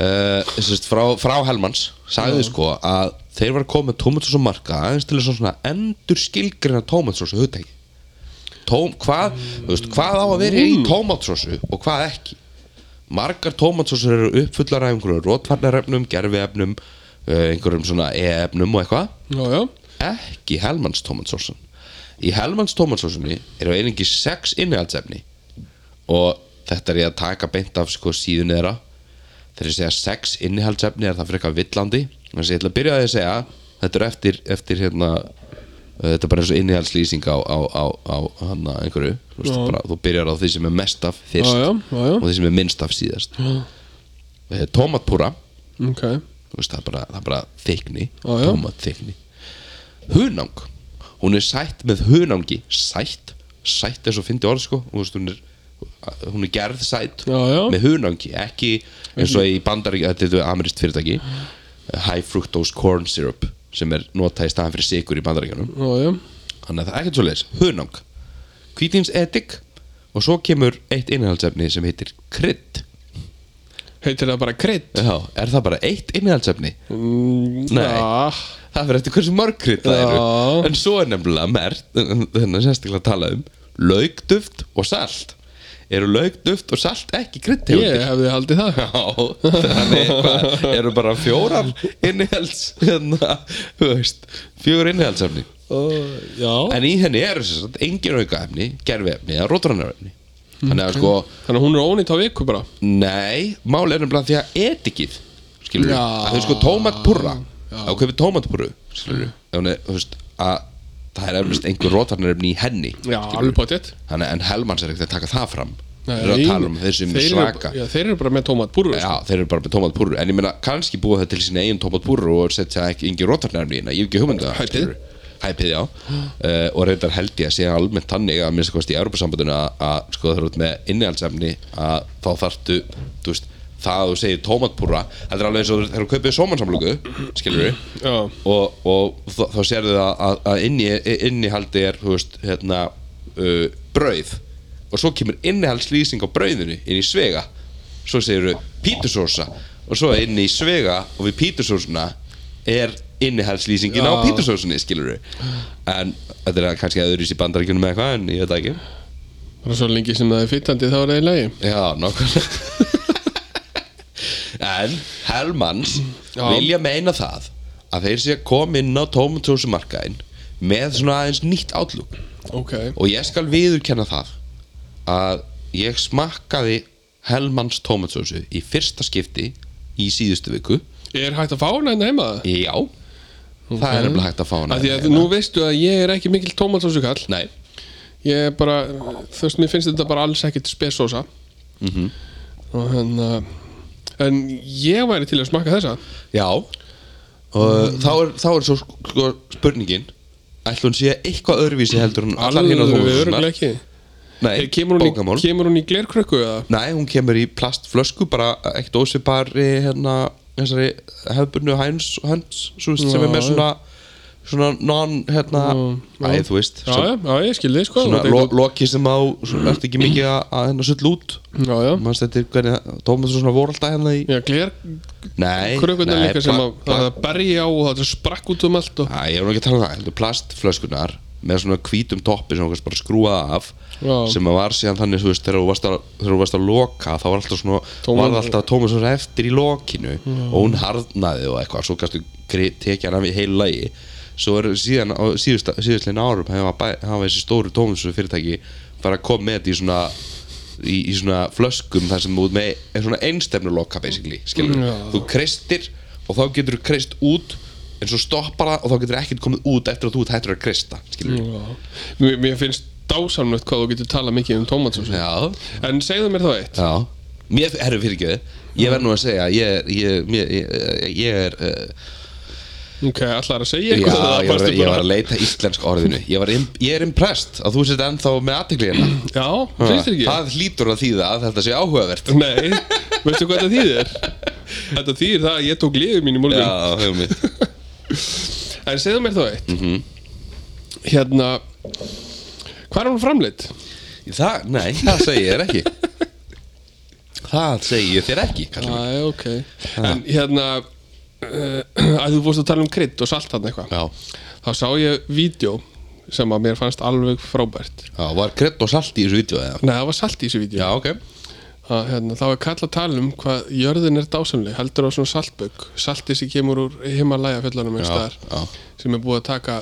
Speaker 2: að, uh, sérst, frá, frá Helmans sagði sko að þeir var að koma með tómatsós og marka aðeins til þess að svona endur skilgrina tómatsós og hugtæki Tóm, hvað, þú veist, hvað á að vera í tómatsósu og hvað ekki margar tómatsósur eru uppfullar af einhverjum rótvarnarefnum, gerfiefnum uh, einhverjum svona e-efnum og eitthvað
Speaker 1: Já, já,
Speaker 2: ekki Helmans tómatsósun í Helmans tómatsósunni eru einengi sex innihaldsefni og þetta er ég að taka beint af sko síðun þeirra þegar ég segja sex innihaldsefni er það frekar villandi þannig að ég ætla að byrja á því að segja þetta er eftir, eftir hérna þetta er bara eins og innihalslýsing á, á, á, á hana einhverju þú, veist,
Speaker 1: Já.
Speaker 2: bara, þú byrjar á því sem er mest af fyrst
Speaker 1: Já, já, já, já.
Speaker 2: og því sem er minnst af síðast Eh, tómatpúra
Speaker 1: ok,
Speaker 2: þú veist, það, er bara, það er bara þykni
Speaker 1: Já, já.
Speaker 2: tómatþykni hunang, hún er sætt með hunangi sætt, sætt er svo fyndi orð sko, þú veist, hún er hún er gerð sætt
Speaker 1: Já, já.
Speaker 2: með hunangi ekki eins og í bandarík þetta er amerist fyrirtæki high fructose corn syrup sem er notað í staðan fyrir sigur í bandaríkjanum
Speaker 1: já, já
Speaker 2: þannig að það er ekkert svo leiðis, hunang hvítins edik og svo kemur eitt innihaldsefni sem heitir krydd
Speaker 1: heitir það bara krydd
Speaker 2: já, er það bara eitt innihaldsefni
Speaker 1: Mm,
Speaker 2: Nei.
Speaker 1: já,
Speaker 2: það fyrir eftir hversu mörg krydd það
Speaker 1: Já.
Speaker 2: eru en svo er nefnilega mert þannig að sérstaklega að tala um laugduft og salt eru laugduft og salt ekki kryddtegundir
Speaker 1: ég hefði haldið það
Speaker 2: Já, þannig hvað, eru bara fjórar innihalds hérna, þú veist, fjögur innihaldsefni
Speaker 1: uh, já,
Speaker 2: en í henni eru sem sagt engin aukaefni, gerfiefni eða rótrannarefni þannig að sko,
Speaker 1: þannig að hún er ónýtt á viku bara
Speaker 2: nei, máli er nefnilega því að etikið skilur við,
Speaker 1: Já.
Speaker 2: að þau sko tómatpurra
Speaker 1: Já. Mm.
Speaker 2: þá kaupir tómatpurru skilur við, þú veist að það er efnist einhver rótrannarefni í henni
Speaker 1: já, alveg potið
Speaker 2: þannig en Helmans er ekkert að taka það fram Þeir eru að tala um þeir sem
Speaker 1: þeir eru-
Speaker 2: svaka
Speaker 1: já, þeir eru bara með sko. tómatbúrur
Speaker 2: Já, þeir eru bara með tómatpúrur En ég meina, kannski búa það til sína eigin tómatpúrur Og setja ekki yngi rótarnefni hérna Ég hef ekki hugmynda
Speaker 1: Hæpið.
Speaker 2: Hæpið, já uh, Og reyndar held ég að sé almennt þannig Að minnst kosti í Europasambandinu að- Að sko það eru út með innihaldsefni Að þá þarftu, þú veist Það að þú segir tómatpúra Það er alveg eins og þeir eru kaupið sómansamlöku Skilur við
Speaker 1: Já.
Speaker 2: Og, og þá, þá sérðu það að, að inni, innihaldi er, þú veist, hérna uh, Brauð Og svo kemur innihaldslýsing á brauðinu Inn í svega svo segirðu pítursósa og svo inn í svega og við pítursósuna er innihaldslýsingin á
Speaker 1: Já.
Speaker 2: pítursósunni skilurðu en þetta er kannski aðurís í bandaríkjunum eða eitthvað en ég veit það ekki
Speaker 1: bara svo lengi sem það er fýtandi þá er það í lagi
Speaker 2: já, nákvæmlega en Hellmans
Speaker 1: Já.
Speaker 2: vilja meina það að þeir sé að koma inn á tómatósumarkaðin með svona aðeins nýtt átlug
Speaker 1: ok,
Speaker 2: og ég skal viðurkenna það að ég smakkaði Hellmans tómatsósu í fyrsta skipti í síðustu viku
Speaker 1: er hægt að fá hana hérna heima
Speaker 2: já, það er nefnilega hægt að fá hana hérna
Speaker 1: Af því að nú veistu að ég er ekki mikill tómatsósu kall
Speaker 2: nei,
Speaker 1: Ég er bara, þú veist, mér finnst þetta bara alls ekkit spesósa
Speaker 2: Mhm.
Speaker 1: Og hérna En ég væri til að smakka þessa
Speaker 2: já og þá, er, þá er svo sko spurningin ætlum hún sé eitthvað öðruvísi heldur hún allar hérna
Speaker 1: Alveg
Speaker 2: tómatsunar
Speaker 1: örugglega ekki
Speaker 2: nei,
Speaker 1: Hey, kemur, hún í,
Speaker 2: bókamál.
Speaker 1: kemur hún í glerkrökku eða?
Speaker 2: nei, hún kemur í plastflösku bara ekkert ósipari hérna, þessari hefbunnu hæns hans, svo, veist, sem
Speaker 1: Já,
Speaker 2: er með
Speaker 1: já.
Speaker 2: svona svona non, hérna
Speaker 1: Já, já.
Speaker 2: æ, þú veist,
Speaker 1: Já,
Speaker 2: sem-
Speaker 1: já, já, ég skilði sko
Speaker 2: svona
Speaker 1: þetta er
Speaker 2: lo,
Speaker 1: eitthvað-
Speaker 2: loki sem á svona, ertu ekki mikið að, að hérna sull út
Speaker 1: Já, já,
Speaker 2: mannst þetta er hvernig Tómas svona voru alltaf hérna í
Speaker 1: já
Speaker 2: nei,
Speaker 1: glerkrökkunar líka sem að
Speaker 2: pla,
Speaker 1: það bergi á og það sprakk út um allt og,
Speaker 2: að, ég var nú ekki að tala um það, heldur plastflöskunar með svona hvítum toppi sem okkar bara skrúaða af
Speaker 1: Já.
Speaker 2: sem að var síðan þannig þú veist, þegar þú varst að, þegar þú varst að loka þá var alltaf svona,
Speaker 1: Tómas-
Speaker 2: varð alltaf Tómas svona eftir í lokinu og hún harðnaði og eitthvað, svo kannstu tekja hann af í heilu lagi svo er síðan á síðust, síðustlegin árum hafa, bæ- hafa þessi stóru Tómas fyrirtæki bara að koma með þetta í svona í, í svona flöskum þar sem þú ert með er svona einstefnu loka basically skilur
Speaker 1: Já.
Speaker 2: þú kreistir og þá getur þú kreist út en svo stoppar það og þá getur ekki komið út eftir að þú ert hættur að kreista skilur
Speaker 1: já. Mér, mér finnst dásamlegt hvað þú getur talað mikið um tómatsósu
Speaker 2: já,
Speaker 1: En segðu mér þá eitt
Speaker 2: já mér erum fyrir ekki ég verð nú að segja ég, ég, mér- ég, ég er uh,
Speaker 1: Ok, allar að segja
Speaker 2: já, ég,
Speaker 1: eitthvað eða
Speaker 2: var,
Speaker 1: varstu
Speaker 2: ég var
Speaker 1: bara-
Speaker 2: að leita íslensk orðinu ég, var, im- ég er impressed að þú sett ennþá með aðteklina
Speaker 1: Já, finnst þér ekki?
Speaker 2: það hlýtur að þýða að þetta sé áhugavert
Speaker 1: Nei, veistu hvað þetta þýðir? Þetta þýðir það að ég tók liðið mín í
Speaker 2: já,
Speaker 1: múlum
Speaker 2: hugmynd
Speaker 1: En segðu mér þá eitt
Speaker 2: Mhm.
Speaker 1: Hérna Hvað er hún framleitt?
Speaker 2: Það, nei, það segi ég þér ekki Það segi ég þér ekki kallinn minn.
Speaker 1: Æ, ok En hérna uh, að þú fórst að tala um krydd og salt hann eitthvað
Speaker 2: Já,
Speaker 1: þá sá ég vídeo sem að mér fannst alveg frábært
Speaker 2: já, var kredd og salt í þessu vídeo eða?
Speaker 1: Nei, það var salt í þessu vídeo
Speaker 2: Já, ok
Speaker 1: að hérna, þá er kall að tala um hvað jörðin er dásamleg, heldur á svona saltbögg salti sem kemur úr himalæja fjöllunum eins
Speaker 2: Já,
Speaker 1: staðar,
Speaker 2: já,
Speaker 1: sem er búið að taka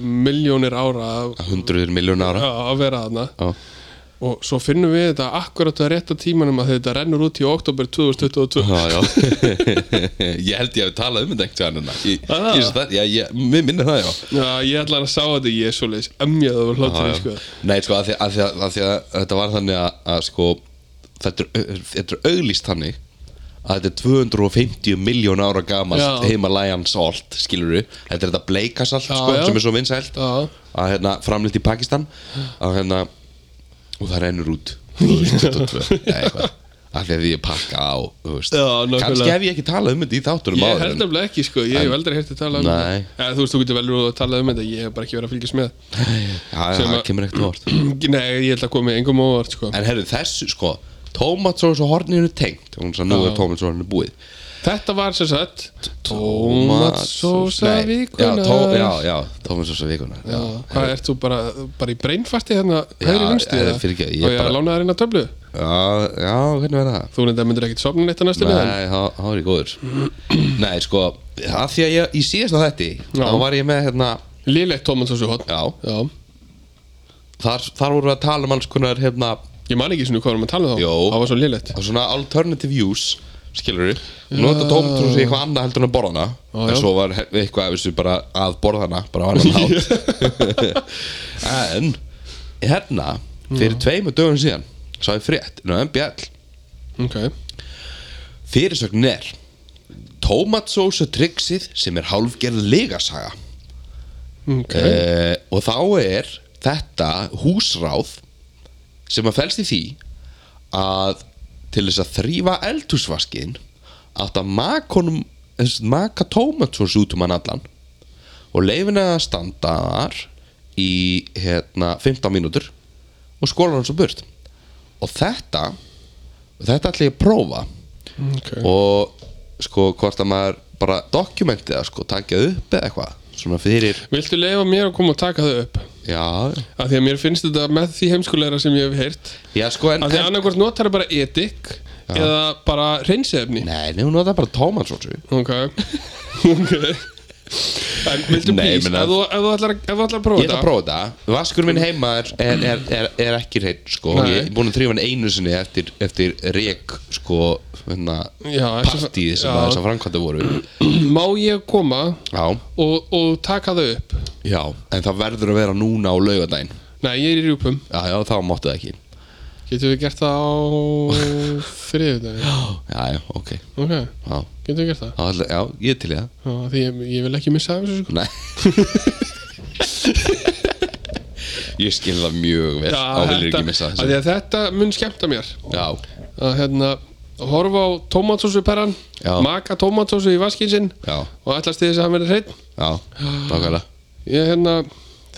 Speaker 1: miljónir ára að,
Speaker 2: hundruður miljónar ára
Speaker 1: að vera þarna
Speaker 2: Já,
Speaker 1: og svo finnum við þetta akkurat að rétta tímanum að þetta rennur út í oktober 2022
Speaker 2: Já, já. ég held ég hafi talað um þetta einhvern veginn ég,
Speaker 1: Ah.
Speaker 2: ég, ég, ég, ég, mér minnir það já
Speaker 1: Já, ég ætla að sá þetta, ég er svoleiðis ömjað og
Speaker 2: Já,
Speaker 1: hláttur
Speaker 2: já.
Speaker 1: í sko
Speaker 2: Nei, sko, að því að, því að, að, því að þetta var þannig að, að sko, þetta er, au- þetta er auglýst þannig að þetta er 250 miljón ára gamalt
Speaker 1: Já.
Speaker 2: Himalayan salt, skilur við Þetta er þetta bleikasalt,
Speaker 1: Já,
Speaker 2: sko,
Speaker 1: já.
Speaker 2: sem er svo vinsælt
Speaker 1: Já.
Speaker 2: að hérna, framlýtt í Pakistan að, hérna, og það rennur út 2022 eða eitthvað af því að ég pakka á þú veist.
Speaker 1: Já, nákvæmlega.
Speaker 2: kannski hef ég ekki talað um þetta í þáttunum
Speaker 1: Ég
Speaker 2: áður, en-
Speaker 1: held nefnilega ekki sko, ég hef aldrei hérti talað um
Speaker 2: Nei.
Speaker 1: þetta Eða, Þú veist, þú getur vel að tala um þetta, ég hef bara ekki verið að fylgjast með
Speaker 2: Já, já,
Speaker 1: sem
Speaker 2: það
Speaker 1: að-
Speaker 2: kemur ekkert á óvart
Speaker 1: Nei, ég held að komi engum á óvart sko
Speaker 2: En herru, þessu sko Tómatsós og hornin eru tengt Hún sagði, nú
Speaker 1: Já.
Speaker 2: er tómatsósinu búið
Speaker 1: Þetta var sem sagt Tómatsósa
Speaker 2: Nei,
Speaker 1: vikunar
Speaker 2: Já, tó, já, já tómatsósa vikunar
Speaker 1: Já, Hvað ert þú bara, bara í breinfarti hérna hægri vinstri?
Speaker 2: eh,
Speaker 1: eða?
Speaker 2: fyrirgefðu, ég
Speaker 1: Og ég
Speaker 2: bara-
Speaker 1: að lána þær inn að töflu
Speaker 2: já, já, hvernig verða það?
Speaker 1: Þú reyndar myndir ekkit sofna neitt að næstu með
Speaker 2: Nei, það það var ég góður Nei, sko, að því að ég í síðasta þætti
Speaker 1: Já.
Speaker 2: Þá var ég með, hérna
Speaker 1: Lilegt tómatsósu hot
Speaker 2: Já,
Speaker 1: Já,
Speaker 2: þar, þar voru við að tala um alls konar, hérna
Speaker 1: ég man ekki svona hvað varum að tala um þá
Speaker 2: Jó.
Speaker 1: Það var svo lilegt
Speaker 2: á svona alternative use skilur við, nota tómatsósu í eitthvað annað heldur en að borða hana
Speaker 1: Já, já.
Speaker 2: en svo var he- eitthvað af þessu bara að borða hana bara á annan hátt en hérna fyrir tveimu dögum síðan sá ég frétt inn á MBL
Speaker 1: Ok,
Speaker 2: fyrirsögnin er tómatsósu tryggsið sem er hálfgerð legasaga
Speaker 1: ok
Speaker 2: Eh, og þá er þetta húsráð sem að felst í því að til þess að þrýfa eldhúsvaskin átt að maka honum þess- maka tómatsós út um hann allan og leifin að standa þar í hérna 15 mínútur og skóla hann svo burt og þetta þetta ætla ég að prófa
Speaker 1: Ok,
Speaker 2: og sko hvort að maður bara dokumenti það sko, takja upp eða eitthvað svona fyrir,
Speaker 1: Viltu leifa mér að koma og taka þau upp?
Speaker 2: já
Speaker 1: Af því að mér finnst þetta með því heimskulegra sem ég hef heyrt
Speaker 2: Já sko en,
Speaker 1: Af því að
Speaker 2: en
Speaker 1: annarkvort notar bara edik Eða bara reynsefni
Speaker 2: Nei, nei, hún notar bara tómatsósu
Speaker 1: Ok Ok En viltu
Speaker 2: Nei,
Speaker 1: please,
Speaker 2: ég meina-
Speaker 1: ef þú, ef þú ætlar að- ef þú ætlar að prófa
Speaker 2: Ég ætla að prófa þetta Vaskur minn heima er, er, er, er, er ekki hreitt sko
Speaker 1: Nei.
Speaker 2: Ég er búin að þrýfa hann einu sinni eftir, eftir rek sko hérna,
Speaker 1: Já, þessi-
Speaker 2: partíð
Speaker 1: já.
Speaker 2: sem að þessar framkvæmta voru
Speaker 1: Má ég koma
Speaker 2: Já,
Speaker 1: og, og taka þau upp?
Speaker 2: já En það verður að vera núna á laugardaginn
Speaker 1: Nei, ég er í rjúpum
Speaker 2: Já, já, þá máttu það ekki
Speaker 1: Getum við gert það á þriðjudagi?
Speaker 2: Já, já, ok Já,
Speaker 1: Ok,
Speaker 2: já,
Speaker 1: getum við gert það?
Speaker 2: ætla- já ég er til í það
Speaker 1: Já, því ég, ég vil ekki missa af þessu sko
Speaker 2: Nei Ég skil það mjög vel
Speaker 1: Já,
Speaker 2: Á viljur
Speaker 1: þetta-
Speaker 2: ekki missa
Speaker 1: af því
Speaker 2: þessu
Speaker 1: að Þetta mun skemmta mér
Speaker 2: Já,
Speaker 1: að hérna horfa á tómatsósu perran
Speaker 2: Já.
Speaker 1: maka tómatsósu í vaskinsinn
Speaker 2: já,
Speaker 1: og ætlast til þess að hann verður hreinn
Speaker 2: já, nákvæmlega
Speaker 1: ég hérna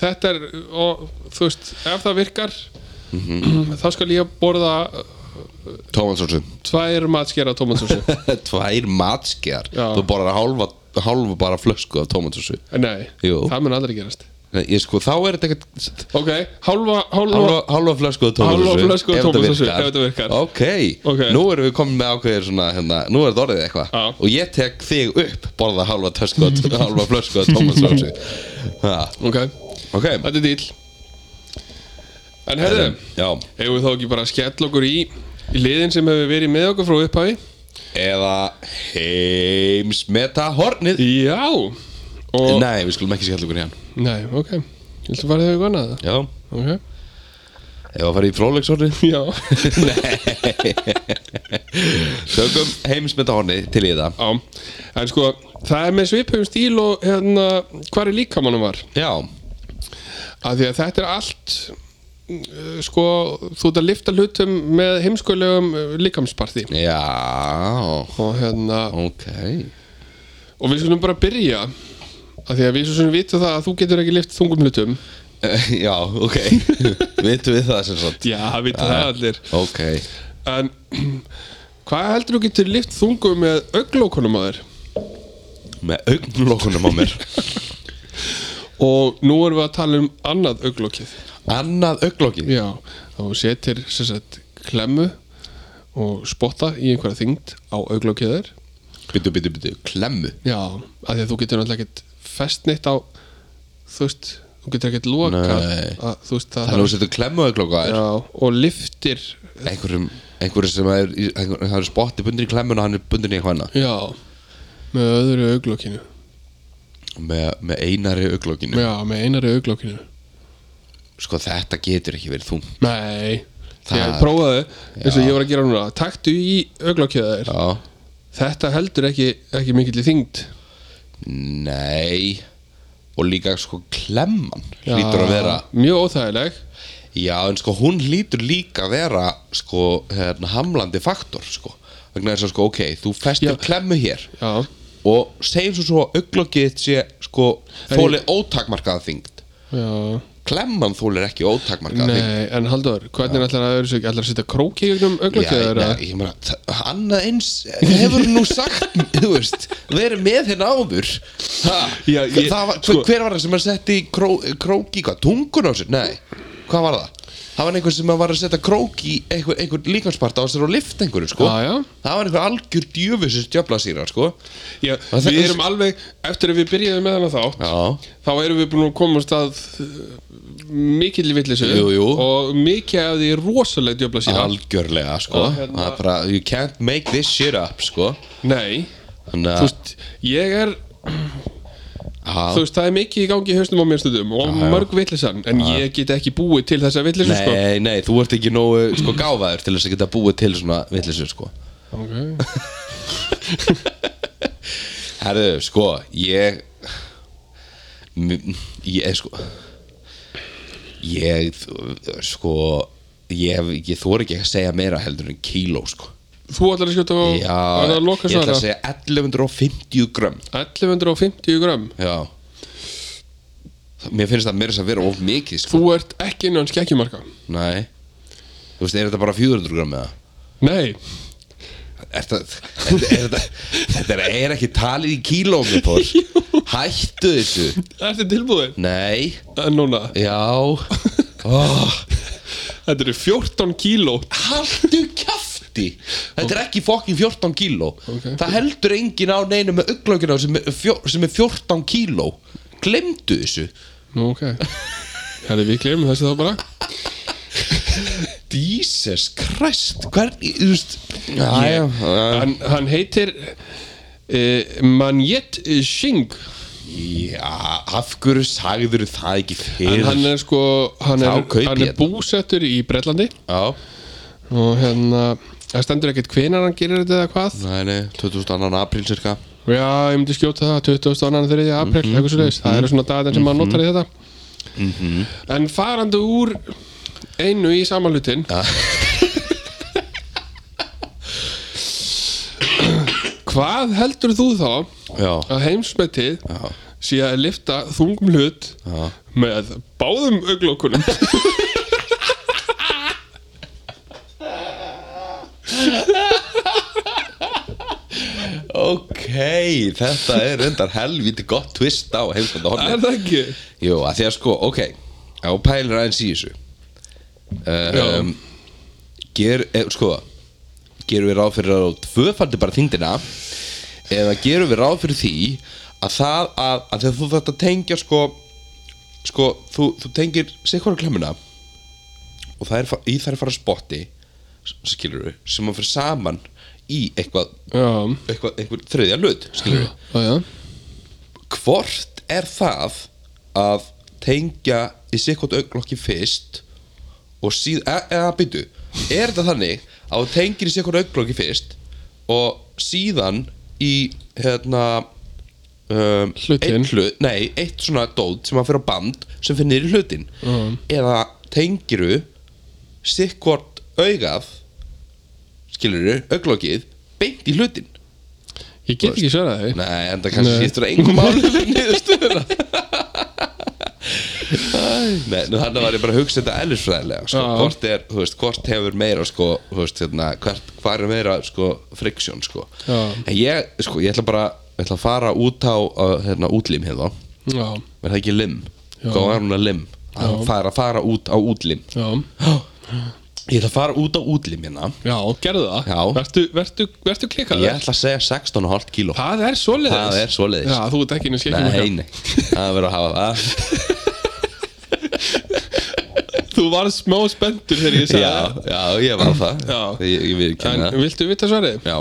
Speaker 1: þetta er og þú veist ef það virkar
Speaker 2: Mhm.
Speaker 1: þá skal ég borða
Speaker 2: Tómatsósu
Speaker 1: tvær matskera tómatsósu
Speaker 2: tvær matskeðar
Speaker 1: Já.
Speaker 2: þú borðar hálfa, hálfa bara flösku af tómatsósu
Speaker 1: nei,
Speaker 2: Jú.
Speaker 1: það mun aldrei gerast
Speaker 2: Nei, ég sko, þá er þetta ekkert
Speaker 1: ok, hálfa, hálfa,
Speaker 2: hálfa, hálfa flösku af tómatsósu
Speaker 1: Hálfa flösku af
Speaker 2: ef þetta
Speaker 1: tómatsósu,
Speaker 2: virkar.
Speaker 1: ef þetta virkar.
Speaker 2: ok,
Speaker 1: Ok.
Speaker 2: nú erum við komin með ákveðir svona, hérna, nú er þetta orðið eitthvað
Speaker 1: Já.
Speaker 2: og ég tek þig upp borða hálfa, tösku, af- hálfa flösku af tómatsósu Ha,
Speaker 1: ok,
Speaker 2: ok
Speaker 1: þetta er dýl en herðu
Speaker 2: já,
Speaker 1: eigum við þá ekki bara að skella okkur í í liðin sem hefur verið með okkur frá upphæði
Speaker 2: eða heimsmeta hornið
Speaker 1: já og
Speaker 2: nei, við skulum ekki skella okkur í hann
Speaker 1: Nei, ok Viltu fara þegar við gana það?
Speaker 2: já,
Speaker 1: Ok
Speaker 2: ef að fara í frólegshornið
Speaker 1: Já
Speaker 2: tökum heimsmeta hornið til í það
Speaker 1: Já En sko, það er með svipum stíl og hérna hvar er líkamannum var
Speaker 2: já,
Speaker 1: Af því að þetta er allt uh, sko, þú ert að lifta hlutum með heimskulegum uh, líkamsparti
Speaker 2: Já,
Speaker 1: og hérna,
Speaker 2: ok
Speaker 1: og við skulum bara byrja af því að við svo sem vitum það að þú getur ekki lift þungum hlutum
Speaker 2: Já, ok Vitum við það sem sagt
Speaker 1: Já, það vita það allir
Speaker 2: Ok
Speaker 1: En hvað heldur þú getur lift þungum með auglókunum að þér?
Speaker 2: Með augnlokunum á mér
Speaker 1: Og nú erum við að tala um annað auglókið
Speaker 2: Annað augnlokið
Speaker 1: Já, þá setir sem sagt klemmu og spotta í einhverja þyngd á auglókiðar
Speaker 2: Byttu, byttu, byttu Klemmu
Speaker 1: Já, af því að þú getur náttúrulega ekkert fest neitt á þú veist, þú getur ekkert lokað
Speaker 2: Nei.
Speaker 1: að, þú veist það,
Speaker 2: Þannig að þú setur klemmu að klokka þér
Speaker 1: já, og liftir
Speaker 2: einhverjum, einhverjum sem er, í- einhver, það er spotti bundur í klemmuna hann er bundur í eitthvað annað
Speaker 1: já, með öðru auglokkinu
Speaker 2: með, með einari auglokinu
Speaker 1: já, með einari auglokkinu
Speaker 2: sko þetta getur ekki verið þungt
Speaker 1: nei,
Speaker 2: Það-
Speaker 1: ég prófaði eins og ég var að gera núna, taktu í auglokkinu þér,
Speaker 2: já,
Speaker 1: þetta heldur ekki ekki mikill í þyngd
Speaker 2: nei og líka sko klemman hlýtur að vera
Speaker 1: mjög óþægileg
Speaker 2: Já, en sko hún hlýtur líka að vera sko, hérna, hamlandi faktor sko, vegna þess að sko, ok þú festir
Speaker 1: Já.
Speaker 2: klemmu hér
Speaker 1: já,
Speaker 2: og segjum svo svo að augnlokkið þitt sé sko,
Speaker 1: En
Speaker 2: þóli ótakmarkaða þyngd
Speaker 1: já
Speaker 2: klemman þólir ekki ótakmarkaða þyngd
Speaker 1: Nei, en Haldur, hvernig ætlar að öðru sig ætlar að setja krók í gegnum
Speaker 2: Já,
Speaker 1: auglökið
Speaker 2: nei, ég meina, þa- annað eins hefur nú sagt, þú veist verið með hérna áður ha,
Speaker 1: Já, ég-
Speaker 2: það var,
Speaker 1: sko-
Speaker 2: hver var það sem að setja í kró, krók í hvað, tungun á sér, nei hvað var það, það var einhver sem að var að setja krók í einhver, einhver líkansparta á sér og lift einhverju, sko
Speaker 1: Já, já.
Speaker 2: það var einhver algjör djöfisins djöflasýra, sko
Speaker 1: Já,
Speaker 2: Það-
Speaker 1: við erum alveg, eftir að við byrjuðum með hana þá
Speaker 2: já,
Speaker 1: þá erum við búin að komast að mikil villisu
Speaker 2: Jú, jú.
Speaker 1: og mikið af því rosalega djöfla síðan
Speaker 2: algjörlega, sko
Speaker 1: Og hérna-
Speaker 2: það er bara, you can't make this shit up, sko
Speaker 1: Nei,
Speaker 2: þannig
Speaker 1: þú
Speaker 2: að,
Speaker 1: veist, ég er
Speaker 2: já,
Speaker 1: þú veist, það er mikið í gangi í hausnum á mér stundum og
Speaker 2: já.
Speaker 1: mörg villisan, en ég get ekki búið til þessa villisu sko
Speaker 2: nei, nei, þú ert ekki nógu, sko, gáfaður til þess að geta búið til svona villisur, sko
Speaker 1: Ok.
Speaker 2: Herðu, sko, ég M- Ég, sko Ég, sko Ég, ég þor ekki að segja meira heldur en kíló, sko
Speaker 1: Þú ætlar að skjóta á
Speaker 2: Já,
Speaker 1: á það að
Speaker 2: ég
Speaker 1: loka
Speaker 2: ætla
Speaker 1: svara
Speaker 2: að segja 1150 grömm
Speaker 1: 1150 grömm
Speaker 2: Já Mér finnst það meira þess að vera of mikið, sko
Speaker 1: Þú ert ekki innan skekkjumarka
Speaker 2: Nei Þú veist, er þetta bara 400 grömm eða?
Speaker 1: Nei,
Speaker 2: Er það, er, er, þetta- þetta er, er ekki talið í kílóm, ég fór Hættu þessu
Speaker 1: ertu tilbúðin?
Speaker 2: Nei
Speaker 1: En núna,
Speaker 2: Já oh.
Speaker 1: þetta eru 14 kíló
Speaker 2: Haldu kjafti Þetta er ekki fokkin 14 kíló
Speaker 1: Ok.
Speaker 2: Það heldur engin á neinu með auglökinu sem, er fjó- sem er 14 kíló Glemdu þessu
Speaker 1: Nú, ok Herri, við glemum þessu þá bara
Speaker 2: Jesus Christ Hvernig, þú veist Jæja, já,
Speaker 1: Hann, hann heitir uh, Manjet Shing
Speaker 2: já, af hverju sagður það ekki
Speaker 1: En
Speaker 2: fyrir
Speaker 1: hann er sko Hann
Speaker 2: Þá
Speaker 1: er,
Speaker 2: kaupi
Speaker 1: hann
Speaker 2: ég
Speaker 1: er búsettur í Bretlandi
Speaker 2: Já,
Speaker 1: Og hérna Það stendur ekkert hvenar hann gerir þetta eða hvað
Speaker 2: það er 2002. apríl cirka
Speaker 1: Já, ég myndi skjóta það 22. april eitthvað svo Það eru svona dagarn sem maður notar í þetta En farandi úr Einu í samanlutin ja. Hvað heldur þú þá
Speaker 2: Já,
Speaker 1: að heimsmetið
Speaker 2: já,
Speaker 1: sé að lifta þungum hlut
Speaker 2: já
Speaker 1: með báðum auglokkunum
Speaker 2: Ok, þetta er reyndar helviti gott twist á heimsbanda
Speaker 1: er það ekki?
Speaker 2: Jú, að því að sko, ok Ef hún pælir aðeins í þessu
Speaker 1: Já.
Speaker 2: um, ger, eh, Sko Gerum við ráð fyrir að þú tvöfaldi bara þyngdina Eða gerum við ráð fyrir því Að það að, að þegar þú þarft að tengja sko Sko, þú, þú tengir Sikvara klemmuna Og það er fa- í þær fara spotti Skilur við, sem að fyrir saman Í eitthvað,
Speaker 1: Já,
Speaker 2: eitthvað Einhver þriðja hlut, skilur við
Speaker 1: já, já
Speaker 2: hvort er það að tengja í sikkot auglokki fyrst og síðan, eða býtu er þetta þannig að þú tengir í sikkot auglokki fyrst og síðan í hérna um,
Speaker 1: Hlutinn.
Speaker 2: einn hlut, nei, eitt svona dót sem að fyrir á band sem finnir í hlutin
Speaker 1: Mhm.
Speaker 2: eða tengiru sikkort augað skilurðu, auglokið beint í hlutin
Speaker 1: Ég get ekki svarað því
Speaker 2: Nei, en það kannski
Speaker 1: Nei.
Speaker 2: skiptur að engum máli fyrir niðurstöðuna Æ, Nei, nú þannig var ég bara að hugsa þetta ellisfræðilega sko.
Speaker 1: Já.
Speaker 2: hvort, er, þú veist, hvort hefur meira sko, þú veist, hérna, hvert, hvað er meira sko, friksjón sko.
Speaker 1: Já.
Speaker 2: En ég, sko, ég ætla bara ég ætla að fara út á á, hérna, útlim hérna.
Speaker 1: Já,
Speaker 2: Er það ekki lim?
Speaker 1: Já.
Speaker 2: Hvað var hún að lim? Að
Speaker 1: Já.
Speaker 2: fara, fara út á útlim
Speaker 1: já,
Speaker 2: Ég ætla að fara út á útlim hérna
Speaker 1: já, gerðu það
Speaker 2: Já.
Speaker 1: Vertu, vertu, vertu klikkað
Speaker 2: Ég ætla að segja 16,5 kíló
Speaker 1: Það er svoleiðis
Speaker 2: Það er svoleiðis.
Speaker 1: Já, þú ert ekki inn í
Speaker 2: Nei,
Speaker 1: skekkjum
Speaker 2: nei, það verður að hafa það
Speaker 1: þú varð smá spenntur þegar ég sagði
Speaker 2: já, já, ég var það
Speaker 1: Já.
Speaker 2: Ég, ég við
Speaker 1: það
Speaker 2: kynna
Speaker 1: En um- viltu vita svarið?
Speaker 2: Já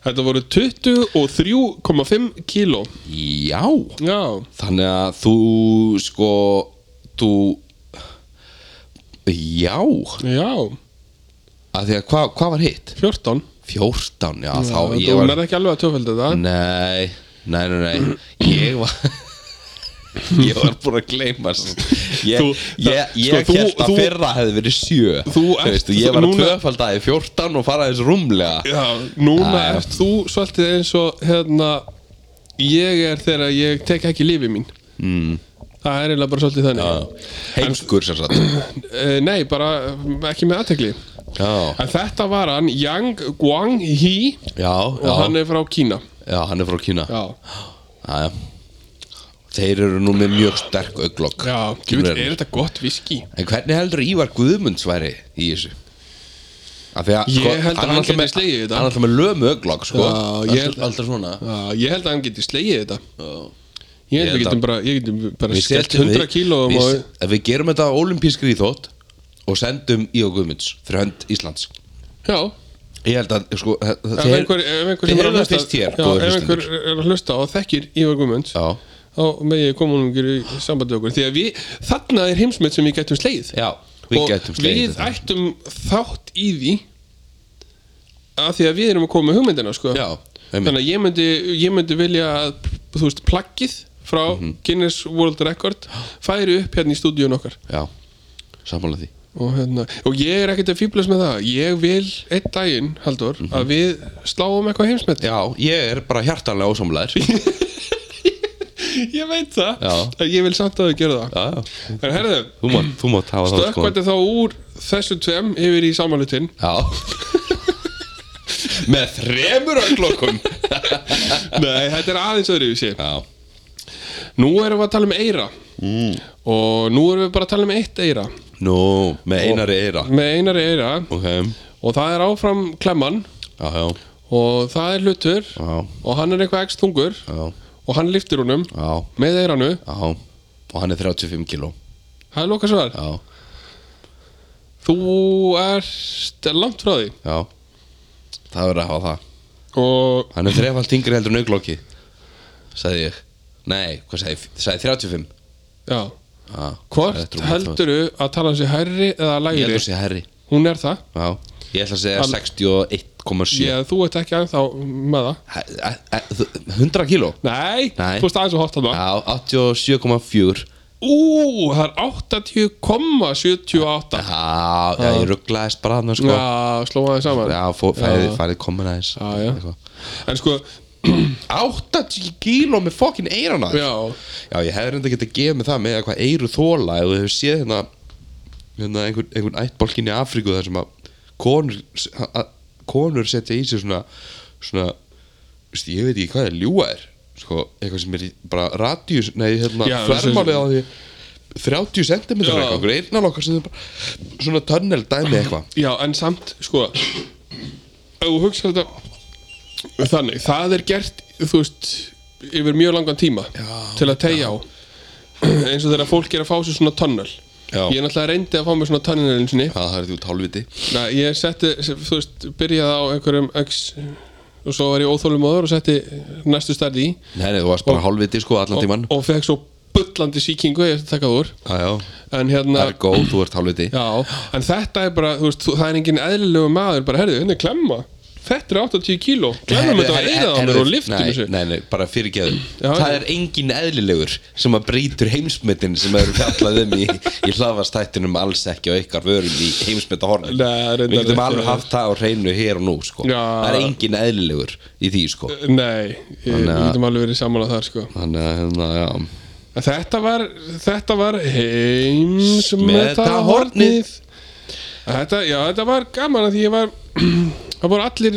Speaker 1: Þetta voru 23,5 kíló
Speaker 2: Já
Speaker 1: Já,
Speaker 2: Þannig að þú sko Þú Já að
Speaker 1: já,
Speaker 2: Því að hvað hva var hitt?
Speaker 1: 14
Speaker 2: 14, já, þá
Speaker 1: Þú
Speaker 2: ég var
Speaker 1: nærði ekki alveg að töfölda þetta
Speaker 2: Nei, nei, nei, nei Ég var Ég var búin að gleyma s- Ég,
Speaker 1: Þú-
Speaker 2: ég, ég
Speaker 1: sko, þú-
Speaker 2: held að
Speaker 1: þú-
Speaker 2: fyrra hefði verið sjö
Speaker 1: Þú ert-
Speaker 2: veistu, Ég var að
Speaker 1: núna-
Speaker 2: tvöfaldaði 14 og faraði þessu rúmlega
Speaker 1: Já, núna
Speaker 2: Já, já.
Speaker 1: ert þú svolítið eins og hérna Ég er þegar ég tek ekki lífi mín
Speaker 2: mm,
Speaker 1: Það er eiginlega bara svolítið þannig
Speaker 2: Heimskur sem sagt
Speaker 1: Eh, Nei, bara eh, ekki með aðtekli
Speaker 2: Já,
Speaker 1: En þetta var hann Yang Guang He
Speaker 2: já,
Speaker 1: og
Speaker 2: já,
Speaker 1: hann er frá Kína
Speaker 2: já, hann er frá Kína
Speaker 1: Já,
Speaker 2: Já, já. Þeir eru nú með mjög sterk auglokk
Speaker 1: já, djú, er þetta gott viski?
Speaker 2: En hvernig heldur Ívar Guðmunds væri í þessu? Af því að sko,
Speaker 1: Ég held að
Speaker 2: er
Speaker 1: hann
Speaker 2: alltaf
Speaker 1: gæti
Speaker 2: með-
Speaker 1: slegið þetta.
Speaker 2: Hann er alltaf með lömu auglokk sko
Speaker 1: Já, ég
Speaker 2: Alltaf-
Speaker 1: held-
Speaker 2: Alltaf svona
Speaker 1: Já, ég held að hann geti slegið þetta Ég held
Speaker 2: Ég
Speaker 1: að við
Speaker 2: held
Speaker 1: getum bara, ég getum bara
Speaker 2: Við
Speaker 1: skellt
Speaker 2: setjum-
Speaker 1: 100
Speaker 2: við-
Speaker 1: kílóum
Speaker 2: við-
Speaker 1: um og
Speaker 2: Ef við gerum þetta olimpískri í þótt Og sendum Ívar Guðmunds Fyrir hönd Íslands
Speaker 1: Já,
Speaker 2: Ég held að sko
Speaker 1: ef einhver, ef einhver sem
Speaker 2: Þeir
Speaker 1: er
Speaker 2: eru
Speaker 1: að
Speaker 2: það
Speaker 1: hlusta
Speaker 2: fyrst hér
Speaker 1: Já,
Speaker 2: góðir
Speaker 1: ef einhver
Speaker 2: hlustendur.
Speaker 1: er að hlusta og þekkir Ívar Guðmunds
Speaker 2: Já,
Speaker 1: þá megi koma hún í sambandi við okkur því að við, þarna er heimsmynd sem við gætum sleið
Speaker 2: já, við
Speaker 1: og
Speaker 2: getum slegið
Speaker 1: við ættum þátt í því að því að við erum að koma með hugmyndina sko.
Speaker 2: Já, einmitt.
Speaker 1: þannig að ég myndi, ég myndi vilja að þú veist, plaggið frá
Speaker 2: Mhm.
Speaker 1: Guinness World Record færi upp hérna í stúdíun okkar
Speaker 2: Já, sammála því
Speaker 1: og, hérna, og ég er ekkert að fýblast með það ég vil einn daginn, Haldur að við sláum eitthvað heimsmet
Speaker 2: Mhm. Já, ég er bara hjartanlega ósamlegaður
Speaker 1: ég veit það,
Speaker 2: Já.
Speaker 1: en ég vil samt að þau gera það
Speaker 2: Já, já.
Speaker 1: en herðu,
Speaker 2: Þú mátt, þú mátt hafa það sko
Speaker 1: stökkvætti þá úr þessu tveim yfir í samanlutin
Speaker 2: Já Með þremur öllokkum
Speaker 1: nei, þetta er aðeins öðru við sé
Speaker 2: Já,
Speaker 1: nú erum við að tala um eira mm. og nú erum við bara að tala um eitt eira
Speaker 2: nú, með einari eira
Speaker 1: með einari eira
Speaker 2: Ok,
Speaker 1: og það er áfram klemman
Speaker 2: já, já,
Speaker 1: og það er hlutur
Speaker 2: já,
Speaker 1: og hann er eitthvað ekst þungur
Speaker 2: já,
Speaker 1: og hann liftir honum
Speaker 2: já,
Speaker 1: með eiranu,
Speaker 2: já Og hann er 35 kíló
Speaker 1: það er loka svar
Speaker 2: Já,
Speaker 1: Þú ert langt frá því
Speaker 2: já Það verður að hafa það
Speaker 1: og
Speaker 2: Hann er þrefald yngri heldur en auglokki Sagði ég Nei, hvað sagði ég? Sagði 35
Speaker 1: já,
Speaker 2: Já,
Speaker 1: hvort
Speaker 2: þetta er rúmlega tvö.
Speaker 1: helduru að tala sér hærri eða
Speaker 2: Ég
Speaker 1: lægri?
Speaker 2: heldur sé herri
Speaker 1: Hún er það.
Speaker 2: Já, ég ætla að segja
Speaker 1: Hann-
Speaker 2: 61,7
Speaker 1: Ég, þú ert ekki ennþá með það.
Speaker 2: Hæ- hæ- hæ- þú- 100 kíló
Speaker 1: Nei,
Speaker 2: Nei.
Speaker 1: þú veist aðeins og hótt hann það.
Speaker 2: Já, 87,4
Speaker 1: Ú, það er 80,78.
Speaker 2: Já, já, ég rugglaðist bara hann sko.
Speaker 1: Já, slóa það saman.
Speaker 2: Já, fó- færið færi komin aðeins
Speaker 1: Já, já.
Speaker 2: Eitthvað.
Speaker 1: En sko,
Speaker 2: 80 kíló með fokkin eirana
Speaker 1: já,
Speaker 2: já, ég hefði reynda getið að gefa mig það með eitthvað eiru þóla ef þú hefur séð hérna, hérna einhvern, einhvern ættbólkin í Afríku þar sem að konur, að, konur setja í sig svona, svona veist, ég veit ekki hvað það ljúa er sko, eitthvað sem er í bara radíus nei, hérna,
Speaker 1: Já,
Speaker 2: flermálið á því 30 cm
Speaker 1: Já.
Speaker 2: eitthvað, eirnalokkar sem þau bara svona tunnel dæmi eitthvað
Speaker 1: já, en samt, sko, ef þú hugsa þetta þannig, það er gert, þú veist, yfir mjög langan tíma
Speaker 2: Já,
Speaker 1: til að tegja á. Eins og þegar fólk er að fá sér svona tunnel.
Speaker 2: Já.
Speaker 1: Ég er náttúrulega reyndi að fá mér svona tunnel einu sinni.
Speaker 2: Já, það er því út hálfviti
Speaker 1: Nei, ég setti, þú veist, byrjaði á einhverjum x og svo var ég óþólum áður og setti næstu stærði í
Speaker 2: Nei, nei, þú varst bara hálfviti sko allan tíman
Speaker 1: og, og fekk svo bullandi sýkingu ég eftir að taka það úr
Speaker 2: Já, já,
Speaker 1: en hérna,
Speaker 2: það er góð, þú ert hálfviti
Speaker 1: já, en þetta er bara þú veist, þú- það er engin eðlilegu maður bara, herðu, hérna er klemma þetta er 80 kíló, klemmum þetta að eira á mér og liftum
Speaker 2: nei,
Speaker 1: þessu
Speaker 2: nei, nei, bara fyrirgeðu
Speaker 1: Já,
Speaker 2: Það
Speaker 1: já.
Speaker 2: er engin eðlilegur sem að brýtur heimsmetin sem eru fjallað um í, í hlaðvastættinum alls ekki og ykkar vörum í heimsmetahornin
Speaker 1: Nei, reyndar
Speaker 2: Við getum
Speaker 1: ekki.
Speaker 2: alveg haft það á hreinu hér og nú sko.
Speaker 1: Já.
Speaker 2: Það er engin eðlilegur í því sko.
Speaker 1: Nei, ég- við
Speaker 2: Þannig að-
Speaker 1: getum alveg verið saman að það sko.
Speaker 2: Þannig að hérna, já
Speaker 1: En Þetta var, þetta var heimsmetahornið Þetta, já, þetta var gaman að því ég var Það voru allir,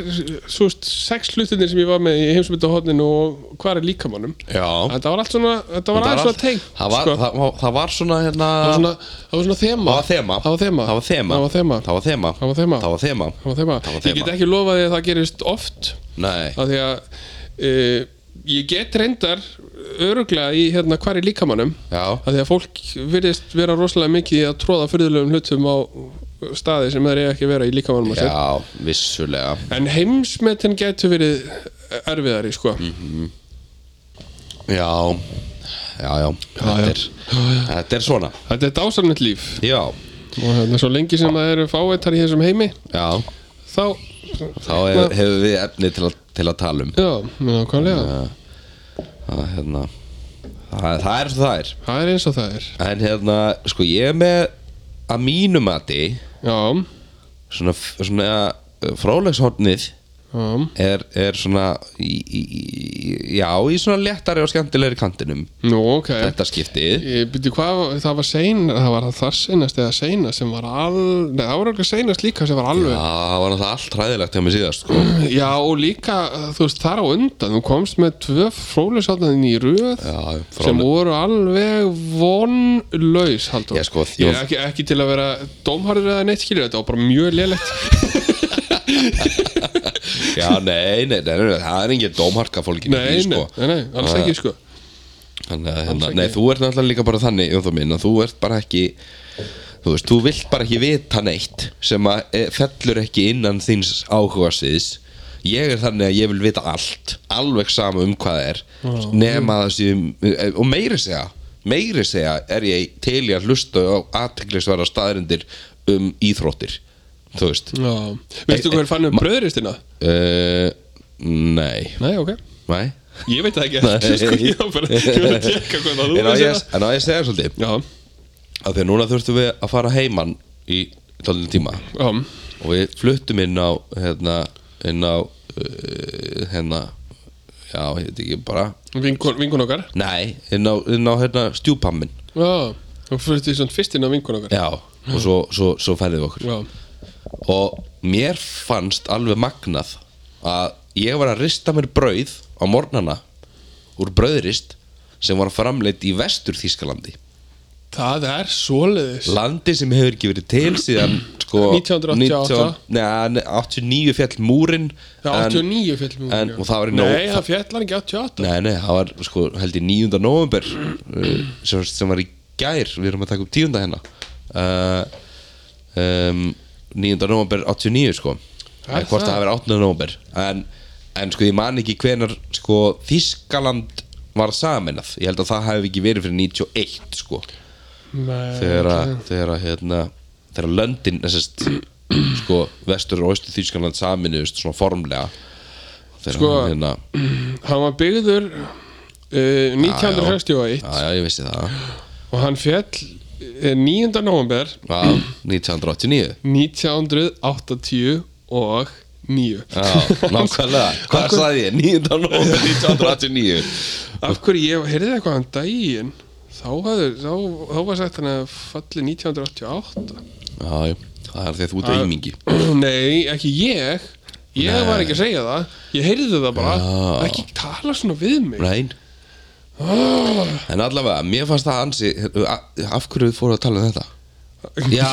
Speaker 1: svo veist, sex hlutinir sem ég var með í heimsmetahorninu og hvað er líkamannum
Speaker 2: Já
Speaker 1: Þetta var allt svona, þetta var
Speaker 2: Það
Speaker 1: aðeins
Speaker 2: var,
Speaker 1: svona tengt
Speaker 2: það, var,
Speaker 1: sko.
Speaker 2: það, var, það var svona hérna
Speaker 1: það var svona, það var svona þema
Speaker 2: Það var þema
Speaker 1: Það var þema
Speaker 2: Það var þema
Speaker 1: Það var þema
Speaker 2: Það var þema
Speaker 1: Það var þema.
Speaker 2: Það
Speaker 1: Það var
Speaker 2: var þema
Speaker 1: þema.
Speaker 2: Það var
Speaker 1: Ég
Speaker 2: þema.
Speaker 1: get ekki lofað því að það gerist oft
Speaker 2: Nei
Speaker 1: af því að e, ég get reyndar öruglega í hérna hvar í líkamannum
Speaker 2: Já,
Speaker 1: að því að fólk virðist vera rosalega mikið í að tróða fyrðulegum hlutum á staði sem þeir eiga ekki að vera í líkamannum að sér
Speaker 2: já, vissulega
Speaker 1: en heimsmetin getur verið erfiðari sko
Speaker 2: Já, já, já, þetta,
Speaker 1: já.
Speaker 2: Er, þetta er svona
Speaker 1: þetta er dásamnett líf
Speaker 2: Já,
Speaker 1: og hérna svo lengi sem það eru fáveittar í þessum heimi
Speaker 2: já
Speaker 1: þá,
Speaker 2: Þá hef, hefur við efni til að, til að tala um Eh,
Speaker 1: já, nákvæmlega
Speaker 2: að, hérna, það, það er svo það er
Speaker 1: það er eins og það er
Speaker 2: En hérna, sko, ég er með að mínu mati
Speaker 1: já,
Speaker 2: svona, svona frólegshornið
Speaker 1: já,
Speaker 2: er, er svona í, í, í- já, í svona léttari og skemmtilegri kantinum
Speaker 1: nú ok
Speaker 2: þetta skiptið
Speaker 1: Ég byrju hvað, það var sein það var það þar seinast eða seinast sem var al, nei það var eitthvað seinast líka sem var
Speaker 2: Já,
Speaker 1: alveg já.
Speaker 2: það var náttúrulega allt ræðilegt hjá mig síðast sko.
Speaker 1: og líka, eh, þú veist, þar á undan þú komst með tvö frólusáttaðin í röð
Speaker 2: Já,
Speaker 1: sem voru alveg vonlaus haldur,
Speaker 2: Já, sko,
Speaker 1: ég
Speaker 2: þjó-
Speaker 1: er ekki, ekki til að vera dómharður eða neitt skilur þetta var bara mjög lélegt
Speaker 2: Já, nei, nei, nei, nei, nei, það er engin dómharka fólkin
Speaker 1: nei,
Speaker 2: í því, sko.
Speaker 1: nei, nei, nei, alls ekki sko
Speaker 2: Þannig að, hérna, nei, þú ert náttúrulega líka bara þannig, Jónþór minn, að þú ert bara ekki, þú veist, þú vilt bara ekki vita neitt sem að e, fellur ekki innan þíns áhugasviðs. Ég er þannig að ég vil vita allt, alveg sama um hvað það er, nema það séum, e, og meiri segja, meiri segja er ég til í að hlusta á aðteglisvara staðrindir um íþróttir, þú veist.
Speaker 1: já. veistu hver fann um bröðristina?
Speaker 2: Uh, nei,
Speaker 1: nei, ok,
Speaker 2: nei.
Speaker 1: ég veit það ekki sko, ég var bara, ég var að tjekka hvað það þú
Speaker 2: En á
Speaker 1: veist
Speaker 2: ég,
Speaker 1: það.
Speaker 2: en á ég að segja svolítið
Speaker 1: já,
Speaker 2: að því að núna þurftum við að fara heiman í tólinu tíma
Speaker 1: já
Speaker 2: og við fluttum inn á hérna, inn á uh, hérna já, hérna ekki bara
Speaker 1: Vinkun, vinkun okkar
Speaker 2: nei, inn á, inn á hérna stjúpammin
Speaker 1: Já, þú fyrir því svona fyrst inn á vinkun okkar
Speaker 2: já, og svo, svo, svo færðum við okkur
Speaker 1: Já,
Speaker 2: og mér fannst alveg magnað að ég var að rista mér brauð á morgnana úr brauðrist sem var framleitt í vestur Þýskalandi
Speaker 1: það er svoleiðis
Speaker 2: landi sem hefur ekki verið til síðan sko,
Speaker 1: 1988.
Speaker 2: 19, nei, 89 fjall múrin
Speaker 1: Já, 89 fjall múrin
Speaker 2: en-
Speaker 1: já.
Speaker 2: og það var í
Speaker 1: Nei,
Speaker 2: nóg-
Speaker 1: það fjallar ekki 88
Speaker 2: nei, nei, það var sko, held ég 9. november uh, sem, sem var í gær við erum að taka upp 10. hérna uh, um, 9. november 89 sko
Speaker 1: Það er
Speaker 2: en hvort
Speaker 1: það.
Speaker 2: það hafi verið 8. november en, en sko ég man ekki hvenar sko Þískaland var saminað ég held að það hafi ekki verið fyrir 91 sko
Speaker 1: Nei,
Speaker 2: þegar að þegar að hérna þegar að löndin þessast sko vestur og austur Þýskaland saminuðust svona formlega þegar
Speaker 1: Sko,
Speaker 2: að hérna
Speaker 1: Hann var byggður eh, uh, 1961
Speaker 2: já, já, ég vissi það
Speaker 1: og hann fjall uh, 9. november
Speaker 2: já, 1989
Speaker 1: 1989 og 9
Speaker 2: já, nákvæmlega
Speaker 1: Af
Speaker 2: hvað
Speaker 1: hverju-
Speaker 2: sagði ég? 19. nóvember 1989
Speaker 1: Af hverju ég heyrði eitthvað um daginn þá, hafði, þá, þá var sagt hann að falli 1988
Speaker 2: já, já, það er því að þú ert
Speaker 1: Að-
Speaker 2: aumingi
Speaker 1: Nei, ekki ég Ég
Speaker 2: Nei.
Speaker 1: var ekki að segja það Ég heyrði það bara
Speaker 2: Já.
Speaker 1: Ekki tala svona við mig
Speaker 2: Nein En allavega, mér fannst það ansi a- Af hverju fóru að tala um þetta? Já,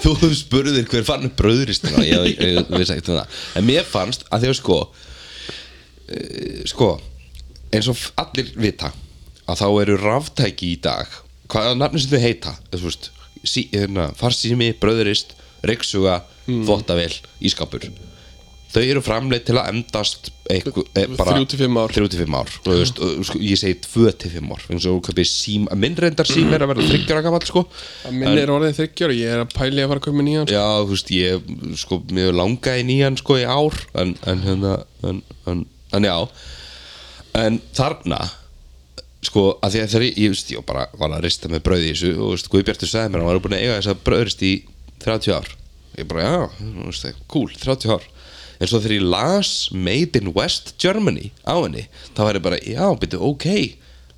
Speaker 2: þú spurðir hver fann upp bröðristina Ég, ég, ég vissi ekkert um það En mér fannst að þegar sko eh, Sko Eins og f- allir vita Að þá eru ráftæki í dag Hvaða nafni sem þau heita þú veist, sí, hérna, Farsími, bröðrist, reyksuga
Speaker 1: Hmm.
Speaker 2: Þvottavél, ískapur Þau eru framleitt til að endast einhver, eh, bara-
Speaker 1: Þrjú til fimm ár.
Speaker 2: 35 ár og þú veist, og, sko, ég segi 2-5 ár eins og þú kaupir sím, að minn reyndar sím er að verða 30 ára gamall sko
Speaker 1: Að Minn er orðin þryggjör og ég er að pæli að fara að koma nýjan sko.
Speaker 2: já, þú veist, ég sko, mér langaði nýjan sko í ár en, en hérna, en, en, en já en þarna sko, að því að þegar ég, ég, veist, ég bara var að rista með brauði í þessu og þú veist, Guðbjartur sagði mér að hann var búin að eiga þess að brauðrist í 30 ár ég bara, já, þú veist, cool, 30 ár en svo þegar ég las Made in West Germany á henni þá var ég bara, já, byrju, ok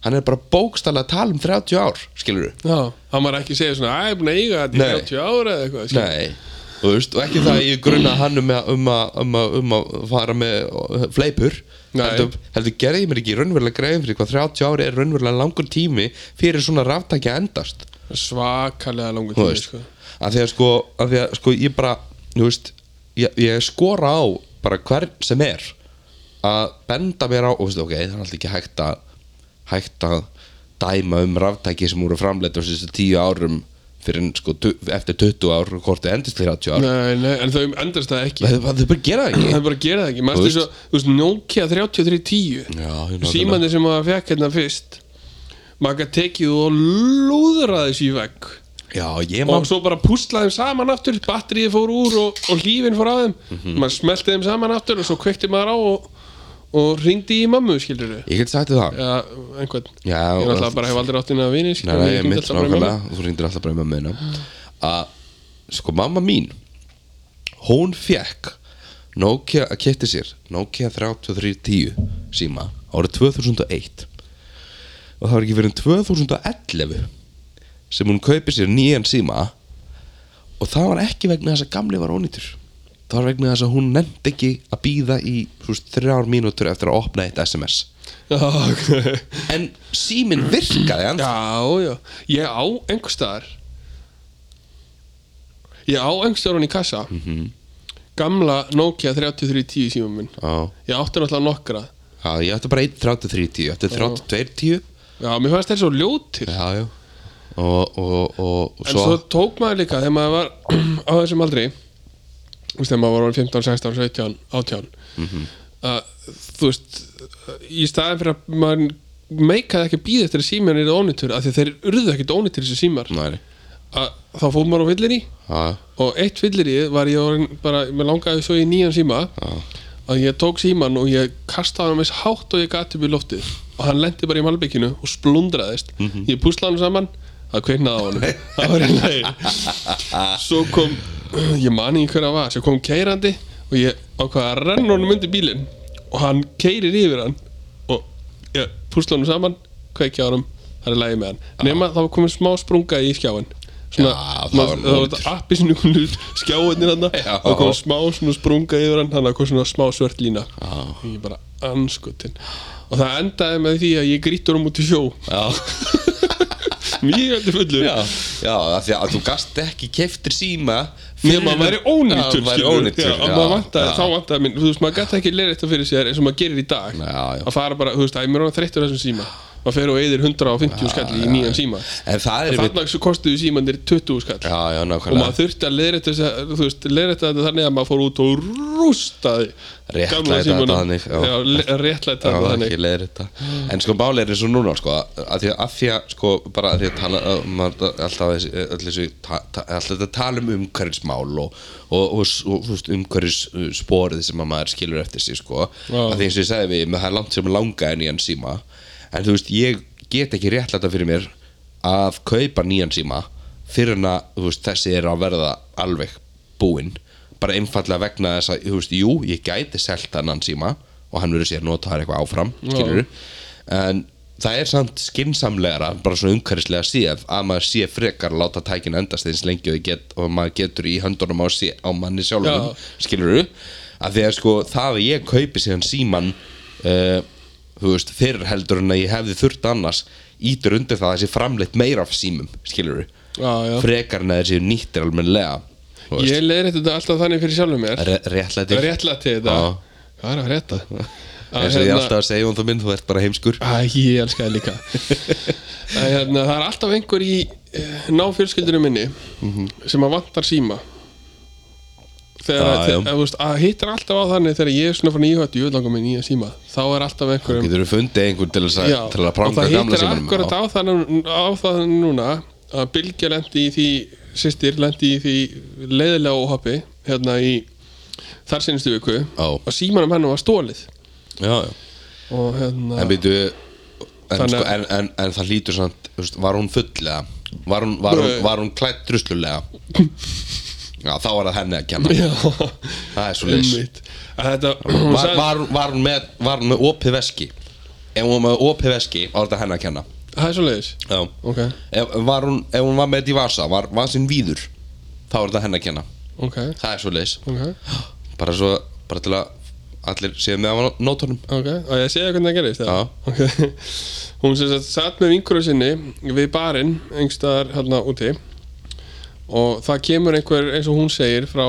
Speaker 2: hann er bara bókstallega að tala um 30 ár skilur
Speaker 1: Já, hann var ekki að segja svona Æ, ég er búin að eiga þetta
Speaker 2: Nei.
Speaker 1: í 30 ára eða eitthvað skilur.
Speaker 2: Nei Þú veist, og ekki það að ég grunna hann um að, um að, um að, um að fara með uh, fleipur
Speaker 1: Nei.
Speaker 2: heldur, heldur gerði ég mér ekki raunverulega greiðin fyrir hvað 30 ári er raunverulega langur tími fyrir svona ráftæki að endast
Speaker 1: Svakalega langur
Speaker 2: þú
Speaker 1: tími
Speaker 2: veist
Speaker 1: sko.
Speaker 2: að því að sko, að því að sko ég bara þú veist, ég, ég skora á bara hvern sem er að benda mér á og veistu, ok, það er alltaf ekki hægt að hægt að dæma um ráftæki sem voru framleitt á þessu tíu árum fyrir sko, tu- eftir 20 ár og hvort þau endist til 30 ár
Speaker 1: Nei, nei, en þau endast það ekki
Speaker 2: þau þau bara gera það
Speaker 1: Það
Speaker 2: ekki
Speaker 1: er bara að gera það ekki Mastu
Speaker 2: Þú
Speaker 1: svo, þú veist, Nokia 3310
Speaker 2: Já, ég nákvæmlega.
Speaker 1: Símandi sem maður fekk hérna fyrst Maður gæti tekið og lúðraði þessu í vegg
Speaker 2: já, ég
Speaker 1: Og
Speaker 2: man
Speaker 1: svo bara púslaði þeim saman aftur Batterið fór úr og, og lífin fór af þeim
Speaker 2: Mhm.
Speaker 1: Maður smelti þeim saman aftur Og svo kveikti maður á og, og ringdi í mammu, skilur þau
Speaker 2: ég get sagt þér það
Speaker 1: Já, einhvern
Speaker 2: Já,
Speaker 1: Ég
Speaker 2: og-
Speaker 1: náttúrulega bara hef aldrei átt inn að vini
Speaker 2: Nei,
Speaker 1: skilurðu,
Speaker 2: nei,
Speaker 1: ég
Speaker 2: ég
Speaker 1: hringi
Speaker 2: mitt
Speaker 1: alltaf bara í
Speaker 2: nákvæmlega og þú ringdir alltaf bara í mamma meina að sko mamma mín hún fekk Nokia að kætti sér Nokia 3310 síma árið 2001 og það var ekki fyrir 2011 sem hún kaupi sér nýjan síma og það var ekki vegna þess að gamli var ónýtur það var vegna þess að hún nefndi ekki að býða í þú veist, þrjár mínútur eftir að opna eitt SMS
Speaker 1: mammu. Já, ok
Speaker 2: en síminn virkaði hann
Speaker 1: Já, já, ég á einhverstaðar Ég á einhverstaðar hann í kassa
Speaker 2: Mhm.
Speaker 1: Gamla Nokia 3310 símum minn
Speaker 2: Já.
Speaker 1: Ég átti náttúrulega nokkra
Speaker 2: Já, ég ætti bara 1.33.10, ég ætti 32.10
Speaker 1: Já, mér fannst þeir svo ljótir
Speaker 2: Já, já Og, og, og, og
Speaker 1: En svo tók maður líka þegar maður var á þessum aldri Þú veist, þegar maður var orðinn 15, 16, 17, 18 mm Þú veist, í staðin fyrir að maður meikaði ekki að býða eftir að síminn er ónýtur af því þeir urðu ekkert ónýtur þessu símar
Speaker 2: Næri
Speaker 1: að þá fór maður á villinni
Speaker 2: Já,
Speaker 1: og eitt fylliríð var ég orðin bara, mér langaði svo í nýjan síma að ég tók síman og ég kastaði hann eins hátt og ég gati upp í loftið og hann lendi bara í malbygginu og splundraðist
Speaker 2: Mhm.
Speaker 1: ég púslaði hann saman það kveiknaði á hann það var í leið svo kom, ég mani í hverja var svo kom keirandi og ég ákvaði að renna honum undir bílinn og hann keirir yfir hann og ég púsla honum saman kveikja á honum, það er lægi með hann nema þá var komin smá sprunga í skjáin svona,
Speaker 2: Já, það var
Speaker 1: maður- það var
Speaker 2: mótur.
Speaker 1: þetta appi sinni hún skjáinir hann
Speaker 2: Já.
Speaker 1: og kom smá svona sprunga yfir hann þannig að kom svona smá svört lína og ég bara anskutin og það endaði með því að ég grítur hann út í sjó
Speaker 2: já,
Speaker 1: mjög öllu fullur
Speaker 2: já, já af því að þú gast ekki keftir síma
Speaker 1: Nefn að maður væri ónýttur
Speaker 2: Já, væri
Speaker 1: skilurðu.
Speaker 2: ónýttur
Speaker 1: já, já, vantaði,
Speaker 2: já.
Speaker 1: Þá vantaði minn, þú veist, maður gæti ekki leir eitthvað fyrir sér eins og maður gerir í dag
Speaker 2: Já, já.
Speaker 1: Að fara bara, þú veist, æ, mér er hann þreyttur á þessum síma Maður fer og eyðir 150 skall í nýjan síma
Speaker 2: En það er
Speaker 1: Þannig að kostuðu símandir 20 skall
Speaker 2: Já, já,
Speaker 1: Og maður
Speaker 2: nákvæmlega
Speaker 1: þurfti að leir eitthvað, þú veist, leir eitthvað þannig að maður fór út og rústaði
Speaker 2: Réttlæta
Speaker 1: gamla
Speaker 2: þetta
Speaker 1: símanum.
Speaker 2: þannig, já.
Speaker 1: Já, le- réttlæta
Speaker 2: Já,
Speaker 1: þetta þannig
Speaker 2: ekki leiðir þetta En sko máli er eins og núna sko að því að, af því að sko bara að því að tala að maður er alltaf þessi, öll þessi ta, ta, alltaf þetta tala um umhverfismál og, og, og, s- og þú veist, umhverfissporið sem að maður skilur eftir sig sko
Speaker 1: Já.
Speaker 2: að því eins og ég sagði við, með það er langt sem langa en nýjan síma en þú veist, ég get ekki réttlæta fyrir mér að kaupa nýjan síma fyrir en að þú veist, þessi er að verða alveg búinn bara einfallega vegna þess að þú veist, jú, ég gæti selt annan síma og hann verður sér notaðar eitthvað áfram skilur en það er samt skinsamlegra bara svona umhverfislega síð að maður sé frekar að láta tækina endast eins lengi og, þau get, og maður getur í höndunum á, sé, á manni sjálfum
Speaker 1: Já.
Speaker 2: skilur að því að sko það að ég kaupi síðan síman uh, þú veist, fyrr heldur en að ég hefði þurft annars ítur undir það að þessi framleitt meira af símum skilur
Speaker 1: Já, já.
Speaker 2: frekar en að þessi nýttir almenlega þú veist.
Speaker 1: Ég leir þetta alltaf þannig fyrir sjálfum mér
Speaker 2: Re- réttlæti
Speaker 1: Réttlæti þetta
Speaker 2: Já.
Speaker 1: Hvað er að frétta? Að
Speaker 2: eins og ég
Speaker 1: hérna-
Speaker 2: er alltaf að segja um þú minn, þú ert bara heimskur
Speaker 1: Æ, ég elska það líka Æ, hérna, Það er alltaf einhver í náfjölskyldinu minni sem að vantar síma þegar
Speaker 2: Mhm. Já,
Speaker 1: að,
Speaker 2: já.
Speaker 1: að, að, veist, að hittir alltaf á þannig þegar ég er svona fann íhvætt í öllangum minn í að síma þá er alltaf um einhverjum
Speaker 2: getur þú fundið einhvern til þess að,
Speaker 1: Já,
Speaker 2: til að
Speaker 1: og
Speaker 2: pranga
Speaker 1: það
Speaker 2: gamla
Speaker 1: hittir
Speaker 2: símanum
Speaker 1: akkurat
Speaker 2: Já.
Speaker 1: á það, nú- á það núna að Bylgja lendi í því sýstir lendi í því leiðilega óhafi hérna í þar sinnistu viku
Speaker 2: Já.
Speaker 1: og símanum hennu var stólið
Speaker 2: já, já
Speaker 1: og hérna
Speaker 2: En býtu En,
Speaker 1: Þannig
Speaker 2: sko,
Speaker 1: að-
Speaker 2: en, en, en það lítur samt þú veist, Var hún fulllega Var hún, var hún,
Speaker 1: Nei.
Speaker 2: var hún klætt druslulega Já, þá var það henni að kenna
Speaker 1: Já,
Speaker 2: Það er svo leys
Speaker 1: einmitt Að þetta, hún
Speaker 2: var,
Speaker 1: sagði-
Speaker 2: var, var, hún með, var hún með opið veski Ef hún var með opið veski Var þetta henni að kenna
Speaker 1: Það er svo leiðis
Speaker 2: Já
Speaker 1: Ok,
Speaker 2: Ef, var hún, ef hún var með þetta í vasa Var vasinn víður Þá var þetta henni að kenna
Speaker 1: ok,
Speaker 2: Það er svo leys
Speaker 1: ok
Speaker 2: Bara svo Bara til að Allir séu með á nótunum
Speaker 1: Ok, og ég segja hvernig það gerist eða?
Speaker 2: Já.
Speaker 1: Ok Hún sem sagt satt með vinkurinn sinni við barinn einhverstaðar hérna úti og það kemur einhver eins og hún segir frá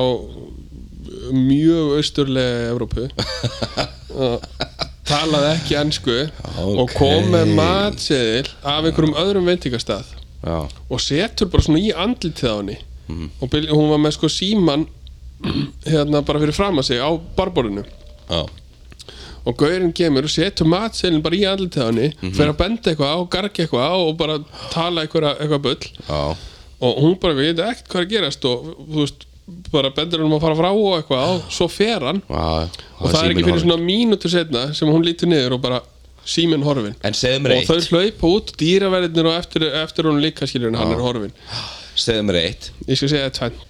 Speaker 1: mjög austurlega Evrópu og talaði ekki ennsku og
Speaker 2: Ok.
Speaker 1: kom með matseðil af einhverjum öðrum veitingastað
Speaker 2: já,
Speaker 1: og setur bara svona í andlitið á henni
Speaker 2: Mm.
Speaker 1: og Bill- hún var með sko síman hérna bara fyrir fram að sig á barborinu
Speaker 2: já,
Speaker 1: og gaurinn kemur og setur matseðilin bara í andlitið á henni
Speaker 2: Mhm.
Speaker 1: fyrir að benda eitthvað á, garga eitthvað á og bara tala eitthvað, eitthvað bull
Speaker 2: já
Speaker 1: og hún bara veit ekkert hvað er að gerast og þú veist, bara bendur hann um að fara frá og eitthvað og svo fer hann
Speaker 2: Já,
Speaker 1: og það er ekki
Speaker 2: síminn
Speaker 1: fyrir
Speaker 2: horfinn.
Speaker 1: svona mínútu setna sem hún lítur niður og bara síminn horfin
Speaker 2: En segðu mér
Speaker 1: og
Speaker 2: eitt,
Speaker 1: þau hlaupa út dýraverðinir og eftir, eftir hún líka skilur en hann er horfin
Speaker 2: segðu mér eitt
Speaker 1: ég skal segja tvenn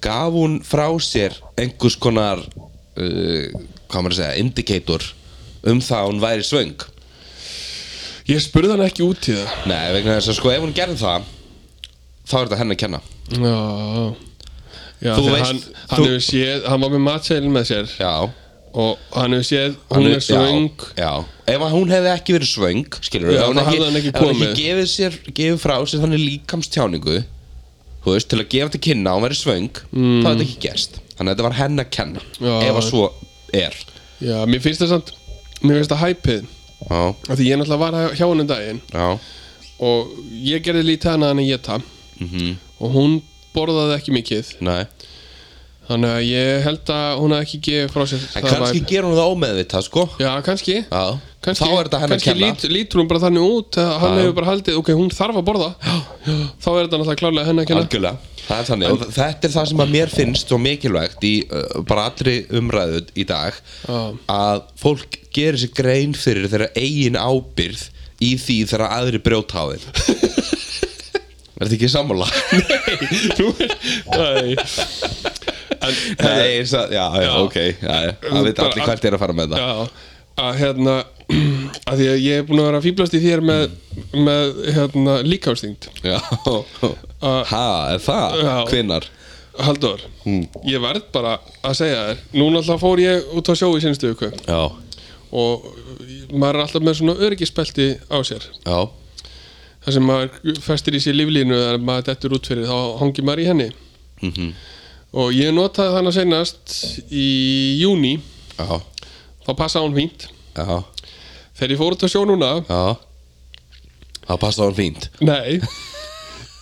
Speaker 2: Gaf hún frá sér einhvers konar uh, hvað maður að segja, indicator um það að hún væri svöng
Speaker 1: ég spurði hann ekki út í það
Speaker 2: Nei, vegna þess að sko ef hún gerði það þá er þetta henni að kenna
Speaker 1: já, já
Speaker 2: Þú
Speaker 1: því
Speaker 2: veist-
Speaker 1: hann,
Speaker 2: þú-
Speaker 1: hann, hefur séð, hann var með matseilin með sér
Speaker 2: Já
Speaker 1: og hann hefur séð hún er svo ung
Speaker 2: já, já. Ef að hún hefði ekki verið svöng skilur við,
Speaker 1: Já,
Speaker 2: ef hún
Speaker 1: þá hafði hann ekki
Speaker 2: ef hún
Speaker 1: komið.
Speaker 2: ekki gefið, sér, gefið frá sér þannig líkamstjáningu þú veist, til að gefa til kynna að hún verið svöng mm. það hefði ekki gerst þannig að þetta var henn að kenna
Speaker 1: Já.
Speaker 2: ef að svo er
Speaker 1: já, mér finnst það samt mér finnst það hæpið
Speaker 2: Já,
Speaker 1: af því ég náttúrulega var hjá hann um daginn
Speaker 2: já,
Speaker 1: og ég gerði lítið hana en ég ta
Speaker 2: Mhm.
Speaker 1: og hún borðaði ekki mikið
Speaker 2: nei
Speaker 1: þannig að ég held að hún hafði ekki gefið frá sér
Speaker 2: En
Speaker 1: það
Speaker 2: kannski
Speaker 1: væp.
Speaker 2: gerur hún það ómeðvitað sko
Speaker 1: já, kannski,
Speaker 2: Já,
Speaker 1: kannski
Speaker 2: þá er þetta henn að
Speaker 1: kannski
Speaker 2: kenna
Speaker 1: lít, lítur hún bara þannig út að hann hefur bara haldið, ok, hún þarf að borða já, þá er þetta náttúrulega klárlega henni að kenna
Speaker 2: Algjörlega, það er þannig og þetta er það sem að mér finnst svo mikilvægt í uh, bara allri umræðu í dag
Speaker 1: Já.
Speaker 2: að fólk gerir sér grein fyrir þeirra eigin ábyrð í því þeirra aðri brjóta á þeim Er þetta ekki sammála?
Speaker 1: Nú er- Nei. en,
Speaker 2: Nei, eins að, já, já, ok já, já. Það veit
Speaker 1: Bara
Speaker 2: allir hvert er að fara með það
Speaker 1: já, að hérna að því að ég er búin að vera að fýblast í þér með, með hérna, líkástingt
Speaker 2: Já,
Speaker 1: Uh,
Speaker 2: ha, er það?
Speaker 1: já.
Speaker 2: Hvinnar?
Speaker 1: Haldur, ég verð bara að segja þér Nú náttúrulega fór ég út að sjó í sinnstu ykkur
Speaker 2: Já,
Speaker 1: og maður er alltaf með svona öryggispelti á sér
Speaker 2: já,
Speaker 1: þar sem maður festir í sér líflínu eða maður dettur út fyrir þá hangi maður í henni
Speaker 2: Mhm.
Speaker 1: og ég notaði þannig senast í júni
Speaker 2: já,
Speaker 1: þá passaði hún fínt
Speaker 2: já,
Speaker 1: þegar ég fór út að sjó núna
Speaker 2: já Það passa hún fínt
Speaker 1: nei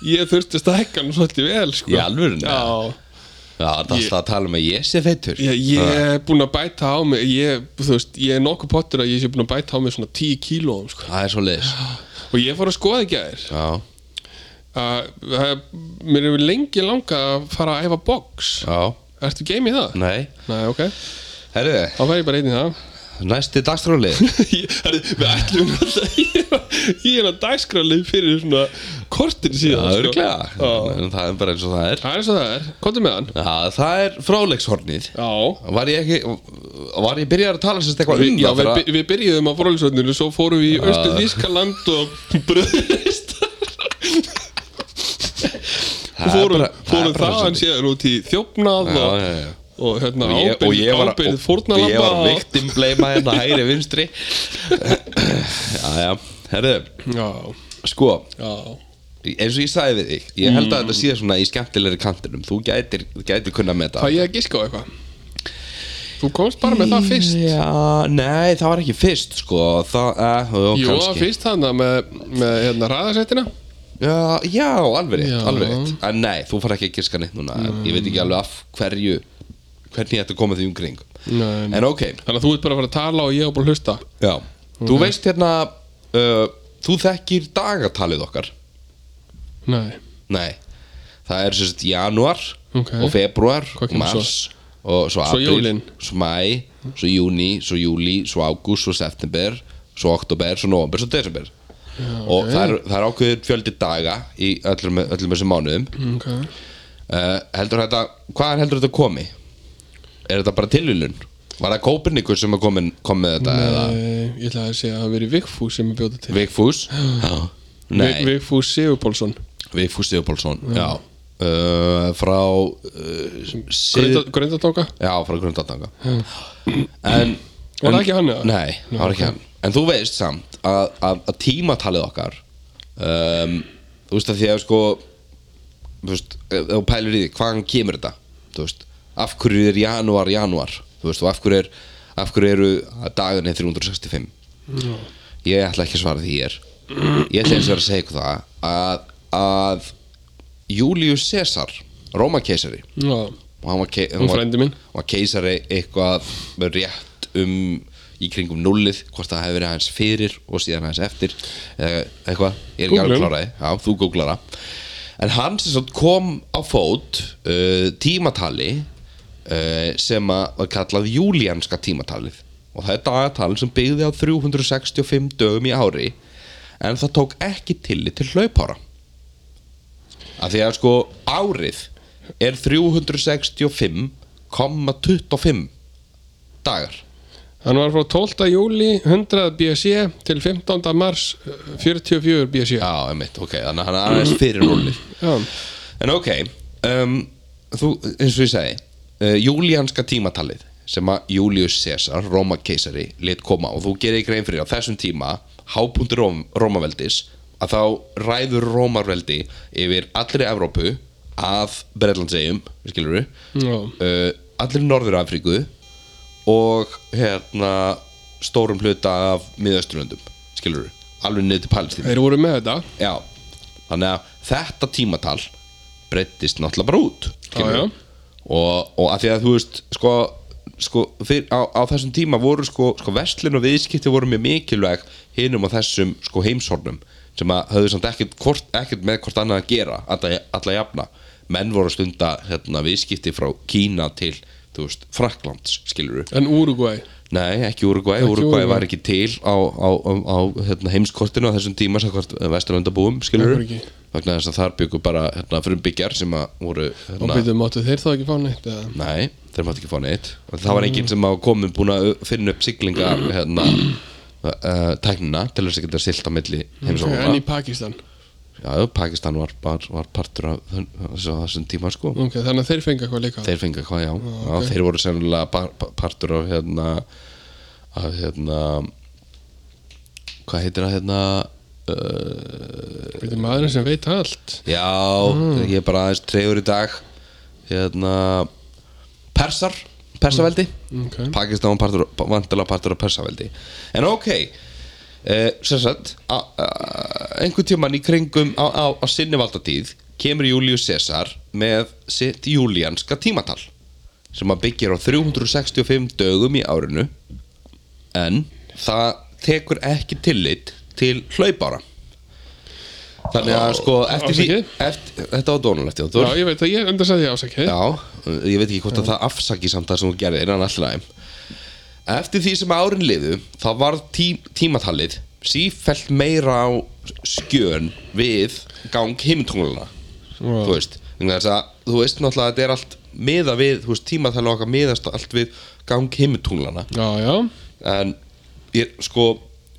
Speaker 1: ég þurfti stækkan svolítið vel sko.
Speaker 2: Í alvörunni?
Speaker 1: já
Speaker 2: Já, það er alltaf að tala um að ég sé feitur
Speaker 1: Ég, ég
Speaker 2: Ah.
Speaker 1: er búinn að bæta á mig ég, þú veist, ég er nokkuð pottur að ég sé búinn að bæta á mig svona 10 kílóum sko.
Speaker 2: Það er svo leiðis
Speaker 1: og ég fór að skoða ekki að þér
Speaker 2: Já,
Speaker 1: að það- mér hefur lengi langa að fara að æfa box
Speaker 2: já,
Speaker 1: Ertu game í það?
Speaker 2: nei
Speaker 1: Nei, ok
Speaker 2: Herðu,
Speaker 1: Þá fer ég bara einn í það
Speaker 2: næsti dagstrálið
Speaker 1: Ég- herri, Við ætlum alltaf Ég er- ég er að dagskrálið fyrir svona kortin síðan
Speaker 2: Það
Speaker 1: sko.
Speaker 2: er örglega
Speaker 1: Já.
Speaker 2: Það er bara eins og það er
Speaker 1: Það er eins og það er Komdu með hann
Speaker 2: Já, það er fráleikshornið
Speaker 1: Já
Speaker 2: Var ég ekki, var ég byrjar að tala sérst eitthvað
Speaker 1: Við,
Speaker 2: um
Speaker 1: já,
Speaker 2: það
Speaker 1: við,
Speaker 2: þegar að-
Speaker 1: by- við byrjuðum á fórhaldisvöldinu Svo fórum við í
Speaker 2: Ah.
Speaker 1: Östu Þískaland og Bröðist
Speaker 2: Það er
Speaker 1: Fórum,
Speaker 2: bara- það er
Speaker 1: fórum
Speaker 2: bara
Speaker 1: þaðan
Speaker 2: svolítið.
Speaker 1: síðan út í þjófnað
Speaker 2: Já,
Speaker 1: og,
Speaker 2: já, já.
Speaker 1: og hérna
Speaker 2: Og ég- og ég
Speaker 1: ábyrð,
Speaker 2: var-
Speaker 1: ábyrð
Speaker 2: og Ég var
Speaker 1: fórnalamba
Speaker 2: victim blame hérna hægri vinstri Já, já, herðu
Speaker 1: Já,
Speaker 2: Sko,
Speaker 1: já
Speaker 2: eins og ég sagði við þig Ég held að
Speaker 1: Mm.
Speaker 2: þetta sé svona í skemmtilegri kantinum Þú gætir, gætir kunna með þetta
Speaker 1: Fæ ég að gíska á eitthvað? Þú komst bara með það fyrst
Speaker 2: Já, nei, það var ekki fyrst sko það, eh, jú,
Speaker 1: Jú,
Speaker 2: kannski.
Speaker 1: fyrst hann með, með hérna, ræðasettina
Speaker 2: Já, já, alveg rétt,
Speaker 1: Já.
Speaker 2: alveg rétt En nei, þú far ekki að giska neitt núna en Ég veit ekki alveg af hverju Hvernig þetta komið því umkring
Speaker 1: Nei, nei.
Speaker 2: En ok,
Speaker 1: Þannig að þú ert bara að fara að tala og ég er bara að hlusta
Speaker 2: já Þú veist hérna uh, Þú þekkir dagatalið okkar
Speaker 1: Nei,
Speaker 2: Nei, það er sérst janúar
Speaker 1: Ok.
Speaker 2: Og februar
Speaker 1: Hvað
Speaker 2: og
Speaker 1: kemur
Speaker 2: mars Og svo
Speaker 1: Svo
Speaker 2: april
Speaker 1: jólin.
Speaker 2: Svo mæ, svo júni, svo júli Svo ágúst, svo september Svo oktober, svo november, svo desember Og það er, það er ákveður fjöldi daga Í öllum, öllum þessum mánuðum
Speaker 1: ok
Speaker 2: uh, Heldur þetta, hvaðan heldur þetta komi? Er þetta bara tilvílun? Var það Kópernikus sem kom, kom með þetta? Eða
Speaker 1: Nei, Ég ætla að segja að það veri Vigfús sem er bjóta til
Speaker 2: Vigfús? Nei,
Speaker 1: Vi- Vigfús Sigurpálsson
Speaker 2: Vigfús Sigurpálsson Já, Uh, frá uh, Sið-
Speaker 1: Gröndatóka
Speaker 2: Já, frá Grundatanga En
Speaker 1: Var það ekki hann eða?
Speaker 2: Nei, það var ekki hann En þú veist samt að, að, að tímatalið okkar um, Þú veist að því að sko Þú veist, ef ef þú pælir í því Hvaðan kemur þetta? Þú veist, af hverju er janúar, janúar Þú veist, og af hverju er af hverju eru dagarnir 365
Speaker 1: Já.
Speaker 2: ég ætla ekki að svara því hér ég ætla eins og að segja ykkur það að, að Július Caesar, Rómakeisari
Speaker 1: Já,
Speaker 2: og hann var, ke hann
Speaker 1: hún
Speaker 2: var,
Speaker 1: frændi minn
Speaker 2: hann var keisari eitthvað með rétt um í kringum nullið, hvort það hefði verið hans fyrir og síðan hans eftir eða eitthvað, ég er ekki alveg
Speaker 1: Googlum.
Speaker 2: kláraði já, þú googlar það en hann sem sagt kom á fót uh, tímatali uh, sem að var kallað júlíanska tímatalið og það er dagatalið sem byggði á 365 dögum í ári en það tók ekki tillit til hlaupára að því að sko árið er 365,25 dagar
Speaker 1: Hann var frá 12. júli 100 BSE til 15. mars 44 BSE
Speaker 2: já, emitt, ok, þannig að hann er aðeins fyrir núlið
Speaker 1: Já,
Speaker 2: en ok um, þú, eins og ég segi uh, júlíanska tímatalið sem að Július Caesar, Róma keisari lit koma og þú gerir grein fyrir á þessum tíma hápundur Róm, Rómaveldis að þá ræður Rómaveldi yfir allri Evrópu að Bretlandseyjum, skilur við
Speaker 1: já,
Speaker 2: uh, allir Norður Afríku og hérna stórum hluta af miðausturlöndum, skilur alveg niður til Palestínu
Speaker 1: þeir voru með þetta
Speaker 2: Já, þannig að þetta tímatal breyttist náttúrulega bara út skilurðu.
Speaker 1: já.
Speaker 2: Og, og að því að þú veist sko, sko fyrr, á, á þessum tíma voru sko, sko verslin og viðskipti voru mjög mikilvæg hinum á þessum sko heimshornum sem að höfðu samt ekkert, hvort, ekkert með hvort annað að gera alla, alla jafna menn voru að stunda hérna, viðskipti frá Kína til þú veist, Fraklands skilur
Speaker 1: En Uruguay
Speaker 2: Nei, ekki Uruguay, Uruguay
Speaker 1: Úrugvæ.
Speaker 2: var ekki til á, á, á, á hérna, heimskortinu á þessum tíma sakvart vesturlandabúum,
Speaker 1: Af
Speaker 2: skilur
Speaker 1: hverju ekki?
Speaker 2: vegna þess að þar byggu bara hérna, frumbyggjar sem að voru
Speaker 1: Og
Speaker 2: hérna,
Speaker 1: byrjuðu máttu þeir þá ekki fá neitt eða?
Speaker 2: Nei, þeir mátt ekki fá neitt og það var enginn sem á komin búin að finna upp siglingar hérna, uh, tæknina til þess að geta silt á milli
Speaker 1: En
Speaker 2: heimsóknuna
Speaker 1: í Pakistan
Speaker 2: Já, Pakistan var, var, var partur af þess- þessum tíma sko
Speaker 1: Ok, þannig að þeir fengi eitthvað líka
Speaker 2: Þeir fengu eitthvað, já, já Þeir voru sennilega par, par, partur af hérna af hérna hvað heitir það hérna uh,
Speaker 1: Þetta er maðurinn sem veit allt
Speaker 2: já, ég er bara aðeins treyður í dag hérna persar, persaveldi
Speaker 1: Ok,
Speaker 2: Pakistan var partur, vantilega partur af persaveldi en ok uh, sem sagt a- a- einhvern tíman í kringum á, á, á sinni valdatíð kemur Július Caesar með sitt júlíanska tímatal sem að byggir á 365 dögum í árinu en það tekur ekki tillit til hlaupára þannig að sko eftir því
Speaker 1: Afsakið.
Speaker 2: eftir, þetta var dónulegt já, þú
Speaker 1: já ég veit að ég undan sagði ég ásækið
Speaker 2: Já, ég veit ekki hvort að það afsaki samt það sem þú gerði innan allir aðeim Eftir því sem árin liðu þá varð tí tímatalið sífellt meira á skjön við gang himtungluna
Speaker 1: Já.
Speaker 2: þú veist, vegna þess að þú veist náttúrulega að þetta er allt miða við, þú veist, tímatalið okkar miðast allt við gang himtunglana
Speaker 1: Já, já,
Speaker 2: en ég, sko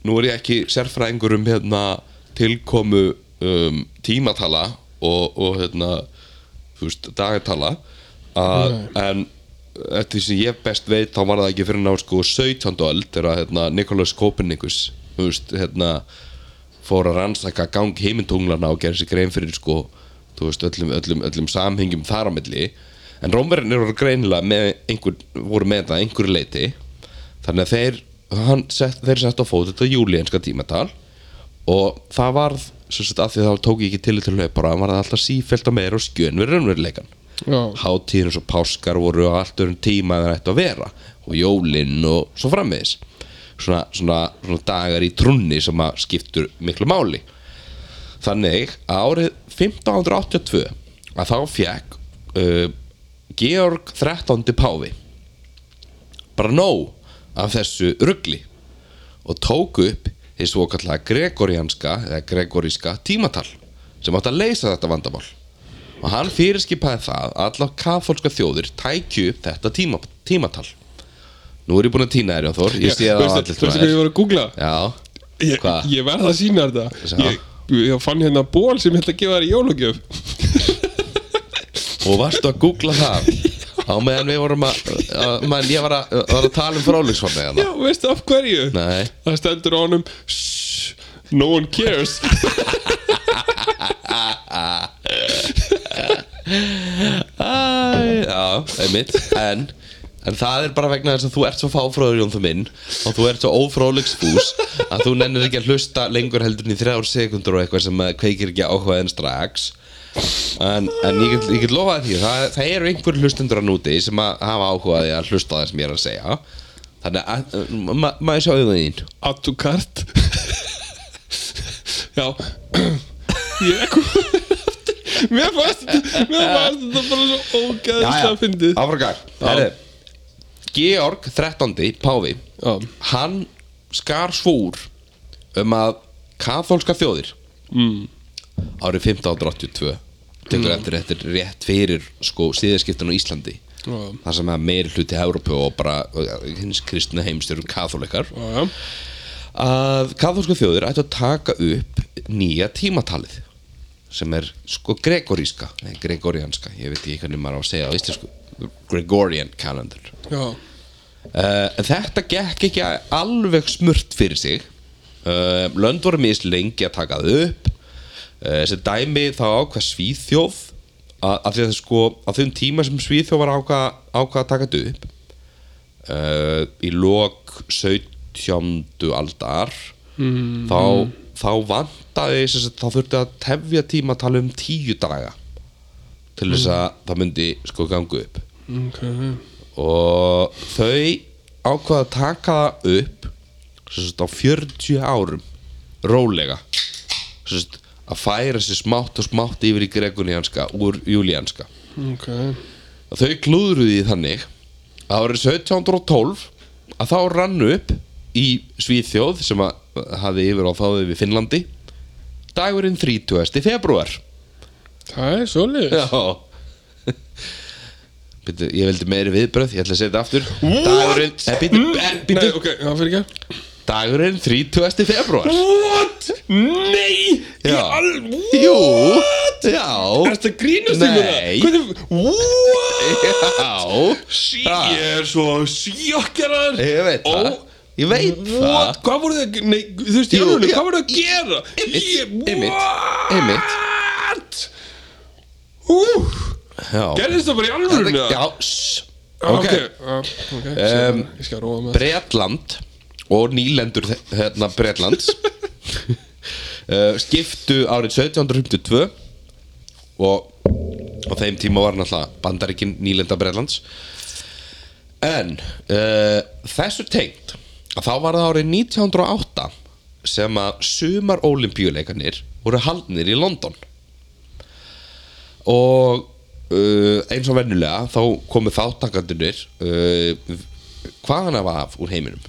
Speaker 2: nú er ég ekki sérfræðingur um hérna, tilkomu um, tímatala og, og hérna, þú veist, dagatala að, en eftir því sem ég best veit þá var það ekki fyrir ná sko 17. öld þegar hérna, Nikolaus Kopernikus þú veist, hérna fór að rannsaka gang heimintunglana og gera sér grein fyrir sko, þú veist, öllum, öllum, öllum samhengjum þar á milli en rómverðin eru greinilega með einhver, voru með það að einhverju leiti þannig að þeir hann sett, þeir sett á fót þetta júlíenska tímatal og það varð sem sagt að því þá tók ég ekki tillit til hlaupara það varð alltaf sífelt að meira og skjön við raunveruleikan
Speaker 1: já
Speaker 2: hátíðin og páskar voru á allt öðrum tíma en það ætti að vera og jólinn og svo framvegis svona, svona, svona dagar í trunni sem að skiptur miklu máli þannig að árið 1582 að þá fekk uh, Georg 13. Páfi bara nóg af þessu ruggli og tók upp því svo kallega gregorianska eða gregoríska tímatal sem átt að leysa þetta vandamál og hann fyrirskipaði það að allar katholska þjóðir tækju upp þetta tíma, tímatal nú er ég búin að týna þér Jóþór ég sé það á
Speaker 1: Veistu
Speaker 2: allir sko,
Speaker 1: veistu hvað ég var að googla?
Speaker 2: já,
Speaker 1: Ég,
Speaker 2: Hvað?
Speaker 1: ég verð að sína þér
Speaker 2: Sjá.
Speaker 1: þetta ég, ég fann hérna ból sem ég ætla að gefa þér í jólugjöf
Speaker 2: og varstu að googla það á meðan við vorum að, að meðan ég var að, var að tala um fráleiksforni
Speaker 1: Já, veistu af hverju?
Speaker 2: Nei.
Speaker 1: Það stendur á honum "Shh, No one cares
Speaker 2: Æ, já, einmitt En En það er bara vegna þess að þú ert svo fáfróður Jón þú minn og þú ert svo ófróðlegsfús að þú nennir ekki að hlusta lengur heldur en í þrjár sekundur og eitthvað sem eh, kveikir ekki áhugaðin strax En, en ég get, ég get lofað því það, það eru einhverjum hlustendur að núti sem að hafa áhugaði að hlusta á það sem ég er að segja Þannig að eh, ma- ma- maður sjá auðvitað þín
Speaker 1: Add to cart Já Ég er komið Mér fannst þetta Mér fannst þetta bara svo ógæðislega fyndið
Speaker 2: áfragar Herri, Georg 13. Páfi
Speaker 1: Já,
Speaker 2: hann skar svúr um að kathólska þjóðir
Speaker 1: mm,
Speaker 2: árið 1582 tekur eftir þetta er rétt fyrir sko, síðaskiptun á Íslandi
Speaker 1: já,
Speaker 2: þar sem að meiri hluti Európu og bara uh, hins kristna heimstjörn katholikar
Speaker 1: já, já,
Speaker 2: að kathólsku þjóðir ættu að taka upp nýja tímatalið sem er sko gregoríska nei, gregorianska, ég veit ekki hvernig maður á að segja á íslensku, Gregorian calendar
Speaker 1: já.
Speaker 2: Uh, en þetta gekk ekki alveg smurt fyrir sig uh, Lönd voru mislengi að taka þau upp uh, sem dæmi þá ákvað Svíþjóð að, að því að sko á þeim tíma sem Svíþjóð var ákvað, ákvað að taka þau upp uh, í lok 17. aldar mm, þá, þá vantaði sem sagt, þá þurfti að tefja tíma að tala um tíu daga til þess að það myndi sko gangu upp
Speaker 1: Ok
Speaker 2: og þau ákvaða að taka það upp sem sagt á 40 árum rólega sem sagt að færa sér smátt og smátt yfir í gregunianska úr júlíanska
Speaker 1: Ok
Speaker 2: og þau klúðruði því þannig að árið 1712 að þá rann upp í Svíþjóð sem að hafði yfir á þáðið við Finnlandi dagurinn 30. februar
Speaker 1: Það er svolítið
Speaker 2: Já Býtu, ég veldi meiri viðbröð, ég ætla að segja þetta aftur Dagurinn, eh, býtu, eh,
Speaker 1: Mm. Hm? Nei,
Speaker 2: býtu
Speaker 1: ok, það fyrir ekki
Speaker 2: Dagurinn 30. februar
Speaker 1: What? Nei
Speaker 2: Já.
Speaker 1: alveg
Speaker 2: Jú, já
Speaker 1: Ertu að grínast í mér?
Speaker 2: Nei.
Speaker 1: Hvernig, what?
Speaker 2: Já,
Speaker 1: Sí,
Speaker 2: Ah.
Speaker 1: ég er svo sjokkjaraður
Speaker 2: ég veit það
Speaker 1: Ó,
Speaker 2: Ég veit
Speaker 1: What?
Speaker 2: það
Speaker 1: Hvað voru þið, nei, þú veist,
Speaker 2: Jú,
Speaker 1: ég alveg,
Speaker 2: já.
Speaker 1: hvað voru þið að gera?
Speaker 2: Einmitt,
Speaker 1: Ég-
Speaker 2: einmitt,
Speaker 1: what?
Speaker 2: einmitt.
Speaker 1: Ú,
Speaker 2: Já,
Speaker 1: gerðist það bara í alvörunni?
Speaker 2: já
Speaker 1: eða?
Speaker 2: s-
Speaker 1: Ah, Ok,
Speaker 2: Ok,
Speaker 1: ah, ok, um,
Speaker 2: Em,
Speaker 1: ég skal róa með
Speaker 2: Bretland og nýlendur þe- hérna Bretlands uh, skiptu árið 1752 og á þeim tíma var náttúrulega bandaríkin nýlenda Bretlands en uh, þessu tengt að þá var það árið 1908 sem að sumar olimpíuleikanir voru haldnir í London og uh, eins og vennulega þá komu þáttakandunir uh, hvaðan af af úr heiminum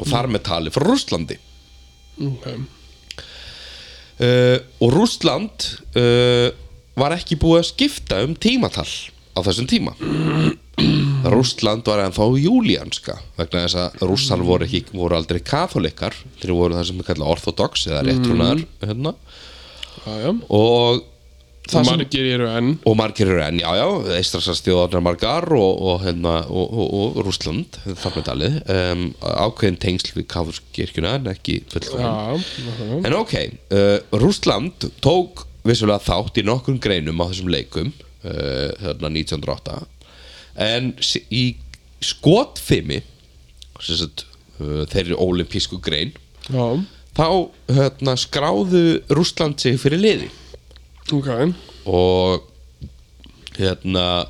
Speaker 2: og þar með tali frá Rússlandi
Speaker 1: Mm, Ok,
Speaker 2: uh, og Rússland uh, var ekki búið að skipta um tímatal á þessum tíma Rússland var ennþá júlíanska vegna þess að rússar voru, ekki, voru aldrei katholikar þeir voru það sem er kallað orthodox eða réttrunar hérna.
Speaker 1: já, Ah, já
Speaker 2: og
Speaker 1: Það
Speaker 2: það sem
Speaker 1: margir eru enn
Speaker 2: og margir eru enn, já, já, Eistrasastjóðarnar margar og, og, hérna, og, og, og Rúsland, þar með talið um, ákveðin tengsl við Kafurskirkjuna en ekki fullkomum
Speaker 1: Já, já,
Speaker 2: En ok, uh, Rúsland tók vissulega þátt í nokkrum greinum á þessum leikum uh, þarna 1908 en s- í skotfimi sem sagt, uh, þeirri olimpísku grein
Speaker 1: já,
Speaker 2: þá hérna, skráðu Rúsland sig fyrir liði
Speaker 1: ok
Speaker 2: og hérna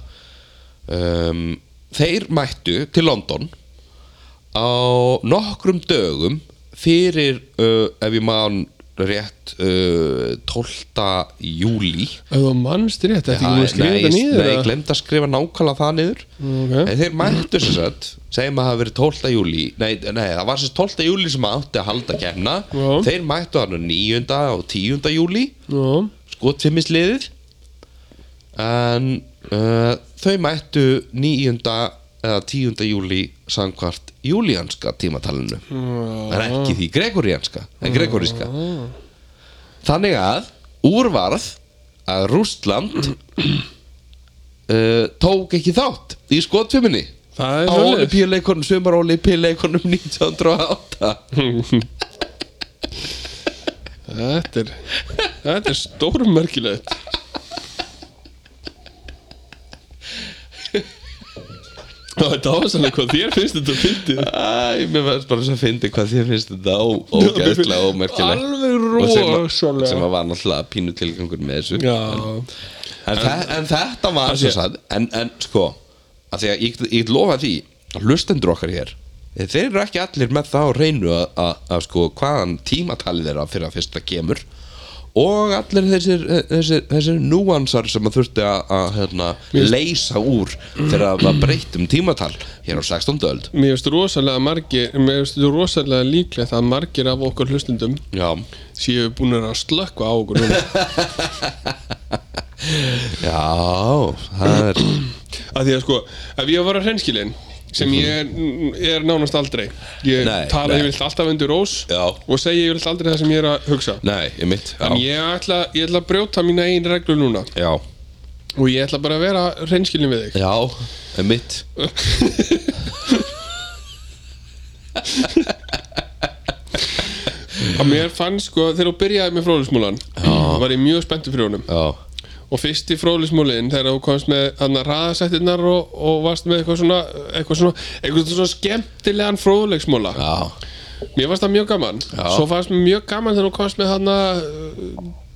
Speaker 2: um, þeir mættu til London á nokkrum dögum fyrir uh, ef ég man rétt uh, 12. júli
Speaker 1: Ef þú mannst rétt, þetta ekki múið að skrifa þetta
Speaker 2: nei,
Speaker 1: nýður
Speaker 2: nei, glemt að skrifa nákvæmlega það niður
Speaker 1: Ok.
Speaker 2: En þeir mættu sem sagt segjum að það hafi verið 12. júli nei, nei, það var sem sagt 12. júli sem átti að halda kemna
Speaker 1: Já.
Speaker 2: þeir mættu hann 9. og 10. júli
Speaker 1: Já,
Speaker 2: skotfimmisliðið en uh, þau mættu 9. eða 10. júli samkvart júlíanska tímatalinu
Speaker 1: já,
Speaker 2: en ekki því gregorianska
Speaker 1: Mm.
Speaker 2: en gregoríska þannig að úrvarð að Rústland uh, tók ekki þátt í skotfimminni
Speaker 1: það er
Speaker 2: á
Speaker 1: svolítið
Speaker 2: olimpíuleikunum, sumar olimpíuleikunum 1908
Speaker 1: Þetta er, þetta er stórmerkilegt þetta áhersanlega hvað þér finnst þetta fyndið
Speaker 2: Æ, mér finnst bara svo að fyndi hvað þér finnst þetta ó, ógæðslega ómerkilega
Speaker 1: Alveg
Speaker 2: Og sem að- sem
Speaker 1: rosalega
Speaker 2: að var náttúrulega pínu tilgangur með þessu
Speaker 1: Já,
Speaker 2: en, en, en þetta var
Speaker 1: Það
Speaker 2: svo
Speaker 1: sé-
Speaker 2: sann en, en sko, að því að ég, get- ég get lofa því að hlustendur okkar hér eh, þeir eru ekki allir með það á reynu að, að, að sko, hvaðan tímatalið þeirra fyrir að fyrsta kemur og allir þessir, eh, þessir, þessir núansar sem að þurfti að, að hérna, leysa úr þegar að var breytt um tímatal hér á 16. öld
Speaker 1: mér finnst rosalega margir Mér finnst rosalega líklegt að margir af okkur hlustundum
Speaker 2: Já,
Speaker 1: séu búin að slökkva á okkur núna
Speaker 2: já það er
Speaker 1: að því að sko, ef ég var að hreinskilin sem ég er, er nánast aldrei ég
Speaker 2: Nei,
Speaker 1: tala
Speaker 2: nei.
Speaker 1: yfirleitt alltaf undir rós
Speaker 2: Já.
Speaker 1: og segja yfirleitt aldrei það sem ég er að hugsa
Speaker 2: Nei, ég mitt
Speaker 1: en
Speaker 2: Já,
Speaker 1: ég ætla, ég ætla að brjóta mína einn reglu núna
Speaker 2: já,
Speaker 1: og ég ætla bara að vera hreinskilin við þig
Speaker 2: já ég mitt
Speaker 1: að mér fannst sko, þegar þú byrjaði með fróðlismúlan var ég mjög spenntur fyrir honum
Speaker 2: Já,
Speaker 1: og fyrst í fróðlismúlin þegar þú komst með hann að raðasættirnar og, og varst með eitthvað svona eitthvað svona, eitthvað svona skemmtilegan fróðlegsmúla
Speaker 2: já,
Speaker 1: Mér fannst það mjög gaman
Speaker 2: Já.
Speaker 1: Svo fannst mér mjög gaman þegar hún komst með hana uh,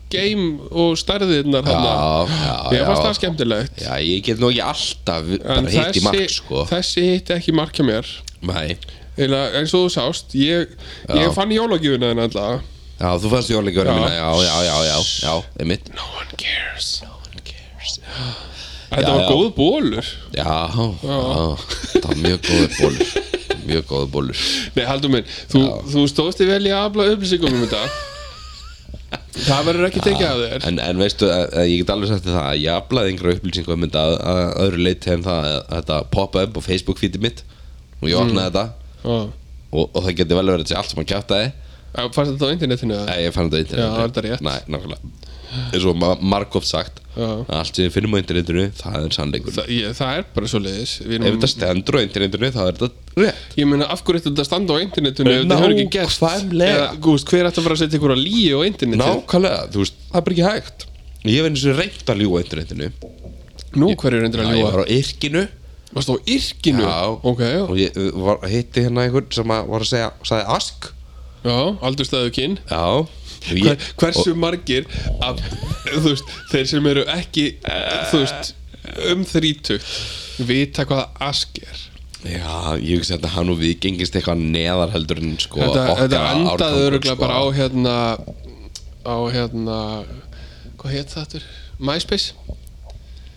Speaker 1: game og stærðirnar hana
Speaker 2: já, já,
Speaker 1: Hérna, Mér fannst
Speaker 2: já.
Speaker 1: það skemmtilegt
Speaker 2: Já, ég get nú ekki alltaf
Speaker 1: En
Speaker 2: bara hitt í mark, sko
Speaker 1: þessi hitti ekki mark hjá mér
Speaker 2: Nei,
Speaker 1: Eila, eins og þú sást Ég, ég fann jólagjöfuna þennan alltaf
Speaker 2: já, þú fannst jólækjörn
Speaker 1: Já.
Speaker 2: mína Já, já, já, já, já, ég mitt
Speaker 1: No one cares
Speaker 2: No one cares
Speaker 1: Þetta
Speaker 2: Já,
Speaker 1: var
Speaker 2: já.
Speaker 1: góð bólur
Speaker 2: Já, já, það var mjög góður bólur Mjög góður bólur
Speaker 1: Nei, haldum minn, þú, þú stóðst í vel í að afla upplýsingum um þetta Það verður ekki tekið af þér
Speaker 2: En, en veistu, að, að ég get alveg sagt þér það að ég aflaði einhverja upplýsingu um þetta að, að öðru leyti en það að þetta poppa upp á Facebook feedið mitt og ég
Speaker 1: Mm.
Speaker 2: opnaði þetta
Speaker 1: Já.
Speaker 2: og, og það geti vel verið að sé allt sem að kjáta þið
Speaker 1: En Fannst þetta á internetinu? eða?
Speaker 2: Nei, ég fann þetta á internetinu
Speaker 1: Já, var þetta rétt?
Speaker 2: Nei, nákvæmlega Eins og ma margóft sagt
Speaker 1: Já.
Speaker 2: að Allt sem við finnum á internetinu, það er sannleikur
Speaker 1: Það, ég, það er mm. bara svo leiðis
Speaker 2: Ef þetta stendur á internetinu, þá er þetta rétt
Speaker 1: Ég meina, af hverju ætti þetta að standa á internetinu ef þetta hefur ekki gerst?
Speaker 2: Nákvæmlega.
Speaker 1: Eða, gúst, hver ætti að fara að setja ykkur að líu á internetinu?
Speaker 2: Nákvæmlega, þú veist, það er bara ekki hægt Ég hef eins og reynt að ljúga á internetinu
Speaker 1: Nú, hverju reyndir
Speaker 2: Já,
Speaker 1: að
Speaker 2: ég
Speaker 1: ljúa?
Speaker 2: var á yrkinu
Speaker 1: Varst það á yrkinu?
Speaker 2: Já,
Speaker 1: Ok,
Speaker 2: og ég uh, var, hitti hérna einhvern sem að var að segja, sagði ask
Speaker 1: já, aldur staðu kyn
Speaker 2: Já og ég-
Speaker 1: Hver, Hversu margir af, þú veist, þeir sem eru ekki, þú veist, um þrítugt vita hvað ask er?
Speaker 2: Já, ég hugsa þetta hann og við gengist eitthvað neðar heldur en sko
Speaker 1: Þetta,
Speaker 2: okkar
Speaker 1: þetta endaði
Speaker 2: árgangur,
Speaker 1: öruglega
Speaker 2: sko.
Speaker 1: bara á hérna, á hérna, hvað hétt það aftur? MySpace?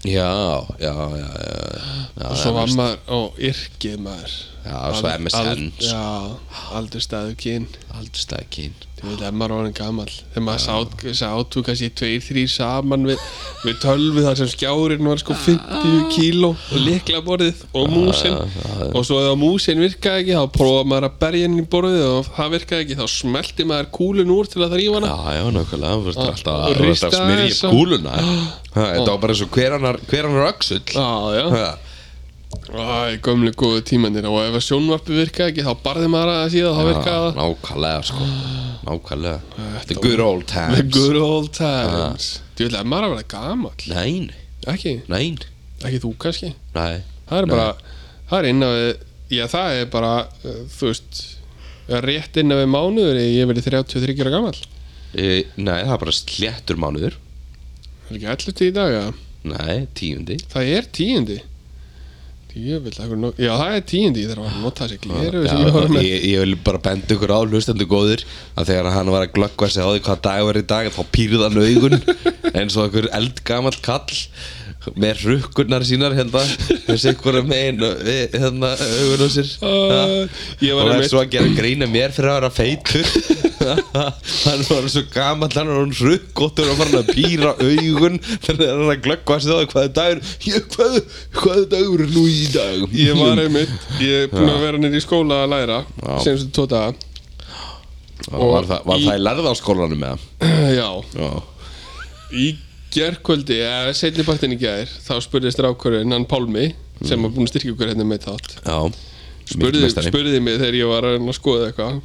Speaker 2: Já, já, já, já, já
Speaker 1: og svo var maður á yrkið maður
Speaker 2: Já, svo
Speaker 1: Ald-
Speaker 2: MSN,
Speaker 1: ald-
Speaker 2: sko.
Speaker 1: já, aldur staðu kyn
Speaker 2: Aldurstækin
Speaker 1: ég veit að maður var hann gamall þegar maður sá, sátu kannski tveir, þrýr saman við, við tölvið þar sem skjárin var sko 50 kíló og likla borðið og músin og svo ef músin virkaði ekki þá prófaði maður að berja henni í borðið og ef það virkaði ekki þá smelti maður kúlun úr til að þrýfa hana
Speaker 2: Já, já, nákvæmlega, þú veist alltaf
Speaker 1: og
Speaker 2: að þú veist að
Speaker 1: rista
Speaker 2: smyrja
Speaker 1: aðeins
Speaker 2: upp
Speaker 1: og-
Speaker 2: kúluna Ha, Þetta var bara eins og hver annar, hver annar öxull
Speaker 1: Já, já,
Speaker 2: Ha,
Speaker 1: Æ, gömlu góðu tímanir og ef að sjónvarpi virkaði ekki þá barði maður að það síðan þá
Speaker 2: já,
Speaker 1: virkaði það
Speaker 2: Nákvæmlega, sko Nákvæmlega The good old
Speaker 1: The
Speaker 2: times
Speaker 1: good old times
Speaker 2: Ah.
Speaker 1: Þú vil að maður að vera gamall
Speaker 2: Nein,
Speaker 1: Ekki,
Speaker 2: nein,
Speaker 1: ekki þú kannski
Speaker 2: nei
Speaker 1: Það er
Speaker 2: Nei.
Speaker 1: bara, það er inn á við Já, það er bara, uh, þú veist Rétt inn á við mánuður í- Ég verið 33 ára gamall Það
Speaker 2: e, Nei, það er bara sléttur mánuður
Speaker 1: er ekki allir tíð í dag, já
Speaker 2: Nei, tíundi
Speaker 1: Það er tíundi Djöfull, það er nú- Já, það er tíundi Ég þarf að nota þessi gleru
Speaker 2: Ah, Já,
Speaker 1: sem ég var með
Speaker 2: ég, ég vil bara benda ykkur á hlustendu góðir að þegar hann var að glöggva sig á því hvað dag var í dag þá pýrði hann augun eins og einhver eldgamall kall með rukkurnar sínar hérna þessi ykkur megin við, hérna augun á sér
Speaker 1: Uh, ég var
Speaker 2: og er
Speaker 1: einmitt-
Speaker 2: svo að gera grína mér fyrir að vera feitur hann var svo gamall hann var hún rukkóttur og var hann að pýra augun þannig að hann að glöggva sig á því hvað er dagur ég, hvað, hvað er dagur nú í dag
Speaker 1: Ég var einmitt, ég er búinn að vera nýr í skóla að læra
Speaker 2: Já.
Speaker 1: Senstu tvo daga
Speaker 2: Og var það, var
Speaker 1: í-
Speaker 2: það í lærðaskólanum eða?
Speaker 1: Já,
Speaker 2: Já.
Speaker 1: Í gerkvöldi, eða setni partin í gær þá spurði strákurinn, hann Pálmi sem var búinn að styrkja okkur hérna með þátt
Speaker 2: Já.
Speaker 1: spurði,
Speaker 2: Mikill meistari.
Speaker 1: spurði mig þegar ég var að reyna að skoða eitthvað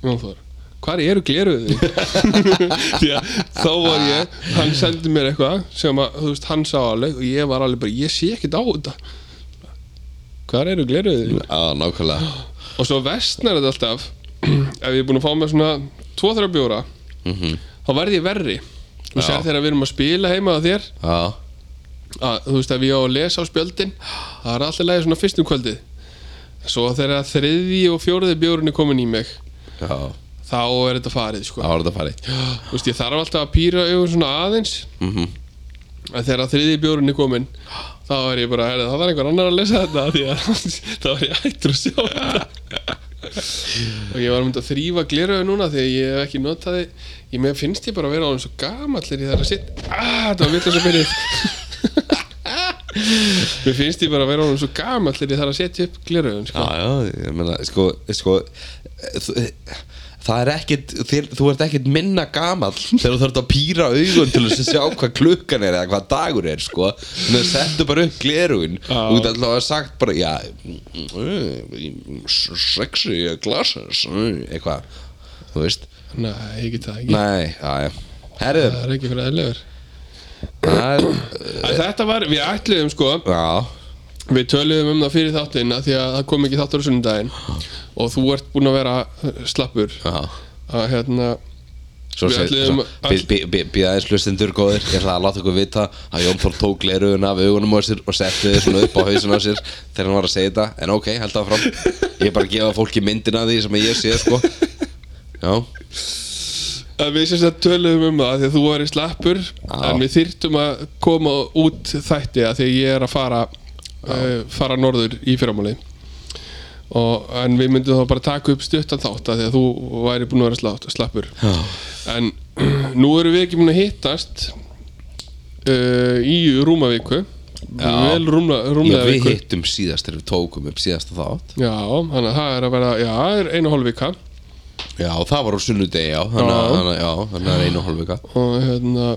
Speaker 1: Jón Þór, hvar eru gleruð því að þá var ég hann sendi mér eitthvað sem að, þú veist, hann sá alveg og ég var alveg bara, ég sé ekkert á þetta hvar eru gleruðið?
Speaker 2: Já, nákvæmlega
Speaker 1: Og svo vestnar þetta alltaf Ef ég er búin að fá mér svona 2-3 bjóra
Speaker 2: Mhm.
Speaker 1: Þá verð ég verri Þú
Speaker 2: Já.
Speaker 1: sér þegar við erum að spila heima á þér
Speaker 2: Já,
Speaker 1: að, Þú veist ef ég á að lesa á spjöldin Það er alltaf lægið svona fyrstum kvöldið Svo þegar þriði og fjóruði bjórun er komin í mig
Speaker 2: já,
Speaker 1: Þá er þetta farið sko
Speaker 2: það var þetta farið
Speaker 1: Þú veist ég þarf alltaf að pýra augun svona aðeins
Speaker 2: mm
Speaker 1: að Þegar þriði bjórun er komin Þá er ég bara, herri, það var einhver annar að lesa þetta af Því að þá er ég hættur að sjá þetta Og ég var mynd að þrýfa gleraðu núna Þegar ég hef ekki notaði Ég með finnst ég bara að vera á eins og gamallir Í þar að sitt ah, Það var vitt að svo byrjið Mér finnst ég bara að vera á eins og gamallir Í þar að setja upp gleraðun sko.
Speaker 2: Já, já, ég meina, sko, sko þú, Það er ekkit, þér, þú ert ekkit minna gamall þegar þú þarft að pýra augun til þess að sjá hvað klukkan er eða hvað dagur er, sko Þannig að settu bara upp glerugun
Speaker 1: Já.
Speaker 2: og þú ætlaðu að sagt bara, já, mm, mm, sexy glasses, mm, eitthvað, þú veist
Speaker 1: Nei, ég get það ekki
Speaker 2: Nei, já, já, herðu,
Speaker 1: Það er ekki fyrir aðeinlegur
Speaker 2: það er,
Speaker 1: Þetta var, við ætluðum sko
Speaker 2: já,
Speaker 1: Við töluðum um það fyrir þáttin af Því að það kom ekki þáttur á sunnudaginn Og þú ert búin að vera eh, slappur
Speaker 2: já
Speaker 1: að hérna
Speaker 2: Svo
Speaker 1: Við ætluðum all-
Speaker 2: býða aðeins hlustendur góðir Ég ætla að láta okkur vita að Jón Þór tók leiruguna af augunum á sér og setti þið svona upp á hausinu á sér þegar hann var að segja þetta En ok, held það fram Ég er bara að gefa fólki myndina af því sem ég sé sko Já,
Speaker 1: að við sérst að töluðum um það af því að þú væri slappur en við þyrtum að koma út þætti að því að ég er að fara uh, fara norður í fyrramáli og en við myndum þá bara taka upp stuttan þátt að því að þú væri búin að vera slátt, slappur
Speaker 2: Já.
Speaker 1: en nú erum við ekki búin að hittast uh, í rúmavíku
Speaker 2: Já.
Speaker 1: vel rúmla,
Speaker 2: ég,
Speaker 1: rúmlega
Speaker 2: við
Speaker 1: viku
Speaker 2: hittum síðast þegar við tókum upp síðasta þátt
Speaker 1: já, þannig að það er að vera já, það er einu og hálf vika
Speaker 2: Já, það var á sunnudegi, já Þannig að,
Speaker 1: Já.
Speaker 2: þannig að- já, þannig að einu og hálfvika
Speaker 1: og hérna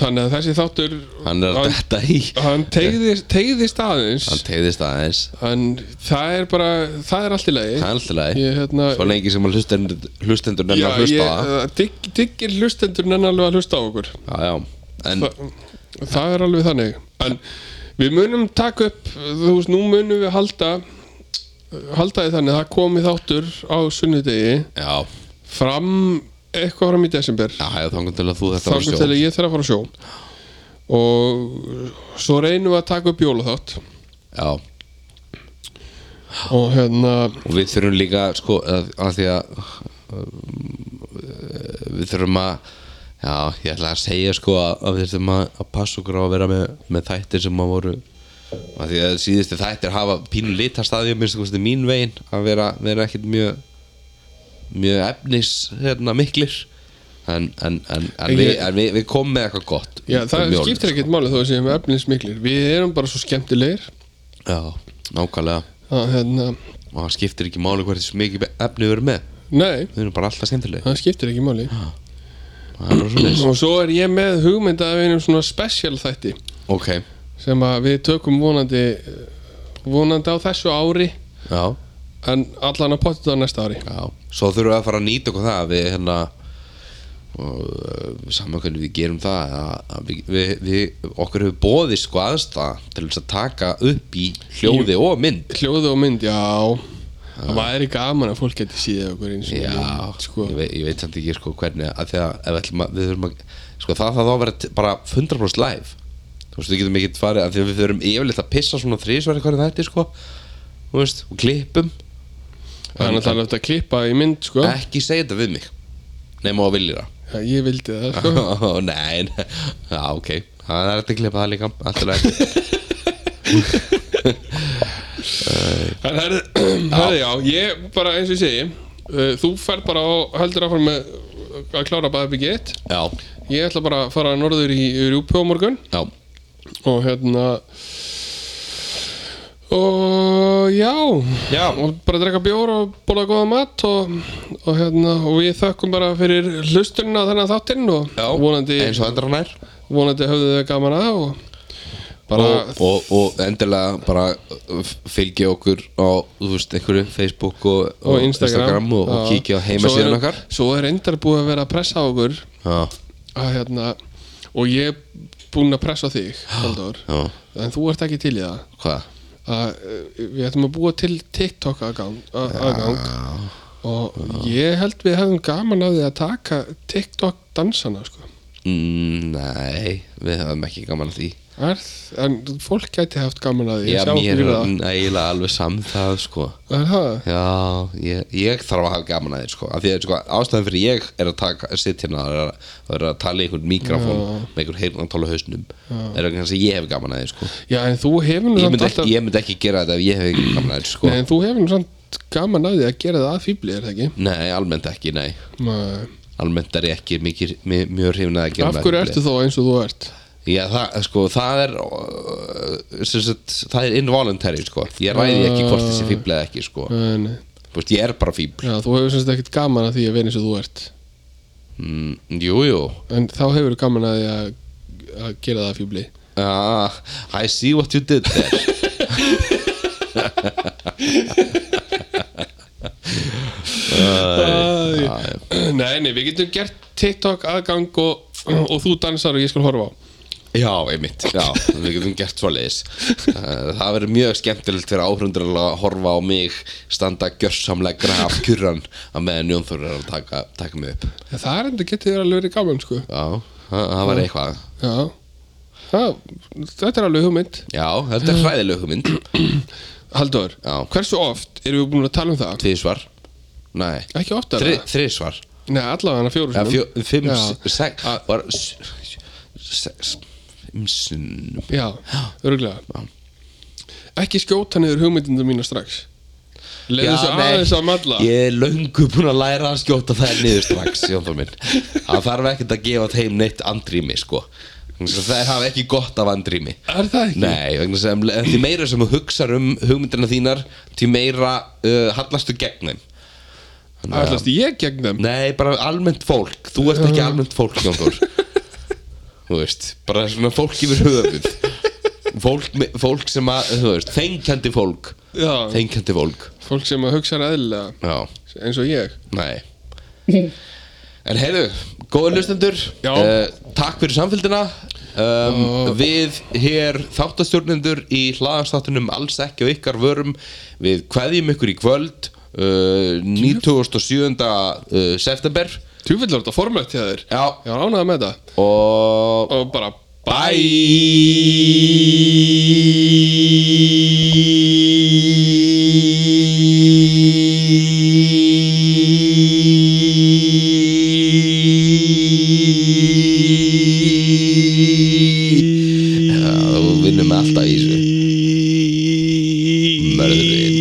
Speaker 1: þannig að þessi þáttur
Speaker 2: Hann er að
Speaker 1: hann,
Speaker 2: detta í
Speaker 1: hann tegðist, tegðist aðeins
Speaker 2: Hann tegðist aðeins
Speaker 1: en það er bara það er allt í lagi
Speaker 2: Það er alltaf leið
Speaker 1: ég, hérna,
Speaker 2: Svo lengi sem að hlustendur, hlustendur nenni
Speaker 1: já,
Speaker 2: að hlusta á það.
Speaker 1: ég, digg, diggir hlustendur nenn alveg að hlusta á okkur
Speaker 2: Já, já En,
Speaker 1: eh, Þa, það er alveg þannig en við munum taka upp þú veist, nú munum við halda halda því þannig að það komi þáttur á sunnudegi
Speaker 2: já,
Speaker 1: fram eitthvað fram í desember
Speaker 2: já, já, þangum til að þú þetta var
Speaker 1: þangum til að ég þarf að fara á sjó og svo reynum við að taka upp jólaþátt
Speaker 2: Já,
Speaker 1: og hérna
Speaker 2: og við þurfum líka sko, að, að því að um, við þurfum að já, ég ætla að segja sko að, að við þurfum að, að passa okkur á að vera með, með þættir sem að voru að því að síðustu þættir hafa pínu litastadíu minnst kosti mín vegin að vera, vera ekkit mjög mjög efnis hérna miklir en, en, en, en, við,
Speaker 1: Ég-
Speaker 2: en við, við komum með eitthvað gott
Speaker 1: já, það
Speaker 2: um jólin,
Speaker 1: skiptir ekkert máli þó að séum efnismiklir við erum bara svo skemmtilegir
Speaker 2: sko. já, nákvæmlega
Speaker 1: að hérna
Speaker 2: og það skiptir ekki máli hvert þessu mikið efni við erum með
Speaker 1: nei,
Speaker 2: við erum bara alltaf skemmtilega
Speaker 1: það skiptir ekki máli
Speaker 2: það er bara svo
Speaker 1: og svo er ég með hugmynda af einum svona special þætti
Speaker 2: ok,
Speaker 1: sem að við tökum vonandi vonandi á þessu ári
Speaker 2: já
Speaker 1: en allan að potta það næsta ári
Speaker 2: Já, svo þurfum við að fara að nýta okkur það að við hérna og saman hvernig við gerum það að, að við, við, við, okkur hefur bóðið sko aðstæða til þess að taka upp í hljóði og mynd
Speaker 1: hljóðu og mynd, já það væri gaman að fólk geti síðið okkur eins og
Speaker 2: Já,
Speaker 1: sko.
Speaker 2: ég, veit, ég veit samt ekki sko hvernig að því að ef við ætlum að, við þurfum að sko það það þá að vera t- bara 100% live þú veist við getum ekki farið að því að við þurfum yfirleitt að pissa svona þrísværi hverju þetta sko þú veist, og klippum
Speaker 1: Það er náttúrulega hægt að klippa í mynd, sko.
Speaker 2: ekki segja þetta við mig nema á viljir það
Speaker 1: Já, ég vildi það, sko.
Speaker 2: Ó, Nei, nei. já, ok Það er hægt að klippa það líka Alltaf
Speaker 1: En herði, herði, já, ég bara eins og ég segi, uh, þú fer bara og heldur áfram með uh, að klára bara BG1.
Speaker 2: Já,
Speaker 1: Ég ætla bara að fara norður í Rjúpi á morgun
Speaker 2: já,
Speaker 1: og hérna... Og já,
Speaker 2: Já.
Speaker 1: og bara drekka bjór og bóla góða mat og, og hérna, og við þökkum bara fyrir hlustunina á þennan þáttinn og
Speaker 2: já.
Speaker 1: vonandi,
Speaker 2: Eins og endur hann er
Speaker 1: vonandi höfðu þau gaman að og bara
Speaker 2: og, og, og endilega bara uh, f- fylgi okkur á þú veist, einhverju Facebook og,
Speaker 1: og Instagram,
Speaker 2: og, og
Speaker 1: Já.
Speaker 2: kíkja á
Speaker 1: Svo
Speaker 2: heimasíðan
Speaker 1: er-
Speaker 2: okkar
Speaker 1: Svo er endar búið að vera að pressa á okkur
Speaker 2: Já,
Speaker 1: að, hérna, og ég er búinn að pressa á þig Halldór,
Speaker 2: já,
Speaker 1: en þú ert ekki til í það
Speaker 2: hvað?
Speaker 1: að eh, við ætlum að búa til TikTok aðgang, að- aðgang og ég held við hefum gaman af því að taka TikTok dansana sko.
Speaker 2: Mm, Nei, við höfum ekki gaman að því
Speaker 1: er, en fólk gæti haft gaman af því
Speaker 2: Já,
Speaker 1: ég sjá
Speaker 2: mér
Speaker 1: fyrir
Speaker 2: er
Speaker 1: það.
Speaker 2: eiginlega alveg samt það sko
Speaker 1: Er það?
Speaker 2: Já, ég, ég þarf að hafa gaman að þér sko af því að sko, ástæðan fyrir ég er að taka sitt hérna og er, að- er að tala í einhvern mikrofón með einhvern heyrnantólu hausnum er að kannski ég hef gaman að þér sko
Speaker 1: Já, en þú hefur nú
Speaker 2: ég
Speaker 1: samt
Speaker 2: myndi,
Speaker 1: alltaf
Speaker 2: ekki, ég myndi ekki gera þetta ef ég hef ekki gaman að þér sko
Speaker 1: Nei, en þú hefur nú samt gaman af því að gera það að fýbli, er það ekki?
Speaker 2: Nei, almennt ekki, nei
Speaker 1: Nei.
Speaker 2: Almennt er ég ekki mikið, mi- mjög hrifin að gera
Speaker 1: Af hverju ertu þá eins og þú ert?
Speaker 2: Já, það, sko, það er uh, sem sagt, það er involuntary, sko Ég ræði ekki hvort þessi fíbl eða ekki, sko
Speaker 1: Nei, nei.
Speaker 2: Þú veist, ég er bara fíbl
Speaker 1: Já, þú hefur semst ekkert gaman að því að vera eins og þú ert
Speaker 2: mm, Jú, jú
Speaker 1: En þá hefur þú gaman að því að, að gera það að fýbli
Speaker 2: ah, I see what you did there
Speaker 1: Æ, Nei, nei, við getum gert TikTok aðgang og, og þú dansar og ég skal horfa á
Speaker 2: Já, einmitt, já, við getum gert svo leiðis Það verður mjög skemmtilegt fyrir áhrundur að horfa á mig standa gjörsamlega graf kjurran að meðan Jónþór er að taka, taka mig upp
Speaker 1: En Það er enda getið þér alveg verið gaman, sko
Speaker 2: Já, það það var eitthvað
Speaker 1: Já Það, þetta er alveg hugmynd
Speaker 2: Já, þetta er hræðileg hugmynd
Speaker 1: Halldór,
Speaker 2: Já.
Speaker 1: hversu oft erum við búin að tala um það?
Speaker 2: Tvísvar Nei,
Speaker 1: Ekki oftar
Speaker 2: Þri,
Speaker 1: Þri...
Speaker 2: þrísvar
Speaker 1: Nei, allavega hana fjóru
Speaker 2: Já, fjó, Fimm,
Speaker 1: Já.
Speaker 2: s- sex var, s- Sex Fimm sinnum
Speaker 1: Já, örgulega Ekki skjóta niður hugmyndinu mína strax Leðu þessu
Speaker 2: nei,
Speaker 1: aðeins að malla
Speaker 2: Ég er löngu búin að læra að skjóta það niður strax Jónþór minn Það þarf ekkert að gefa þeim neitt andrými sko. Það hafa ekki gott af andrými
Speaker 1: Er það ekki?
Speaker 2: Nei, vegna sem því meira sem þú hugsar um hugmyndina þínar því meira uh, hallastu gegn þeim
Speaker 1: Ætlast ég gegn þeim?
Speaker 2: Nei, bara almennt fólk Þú ert ekki almennt fólk, Jónþór Þú veist, bara svona fólk yfir höfuð Fólk, me- fólk sem að, þú veist, þengjandi fólk
Speaker 1: Já,
Speaker 2: Þengjandi fólk
Speaker 1: fólk sem að hugsa eðlilega
Speaker 2: Já,
Speaker 1: eins og ég
Speaker 2: nei En heyrðu, góðu lustendur
Speaker 1: Já.
Speaker 2: Takk fyrir samfélgina um, Við hér þáttastjórnendur í hlaðastáttunum alls ekki og ykkar vörum Við kveðjum ykkur í kvöld uh, 27. Uh, september
Speaker 1: Tjúfill var þetta formlegt hjá þér
Speaker 2: Já,
Speaker 1: Ég var ánægða með það
Speaker 2: og
Speaker 1: Og bara
Speaker 2: Já, þú vinnum alltaf í þessu Mörðurinn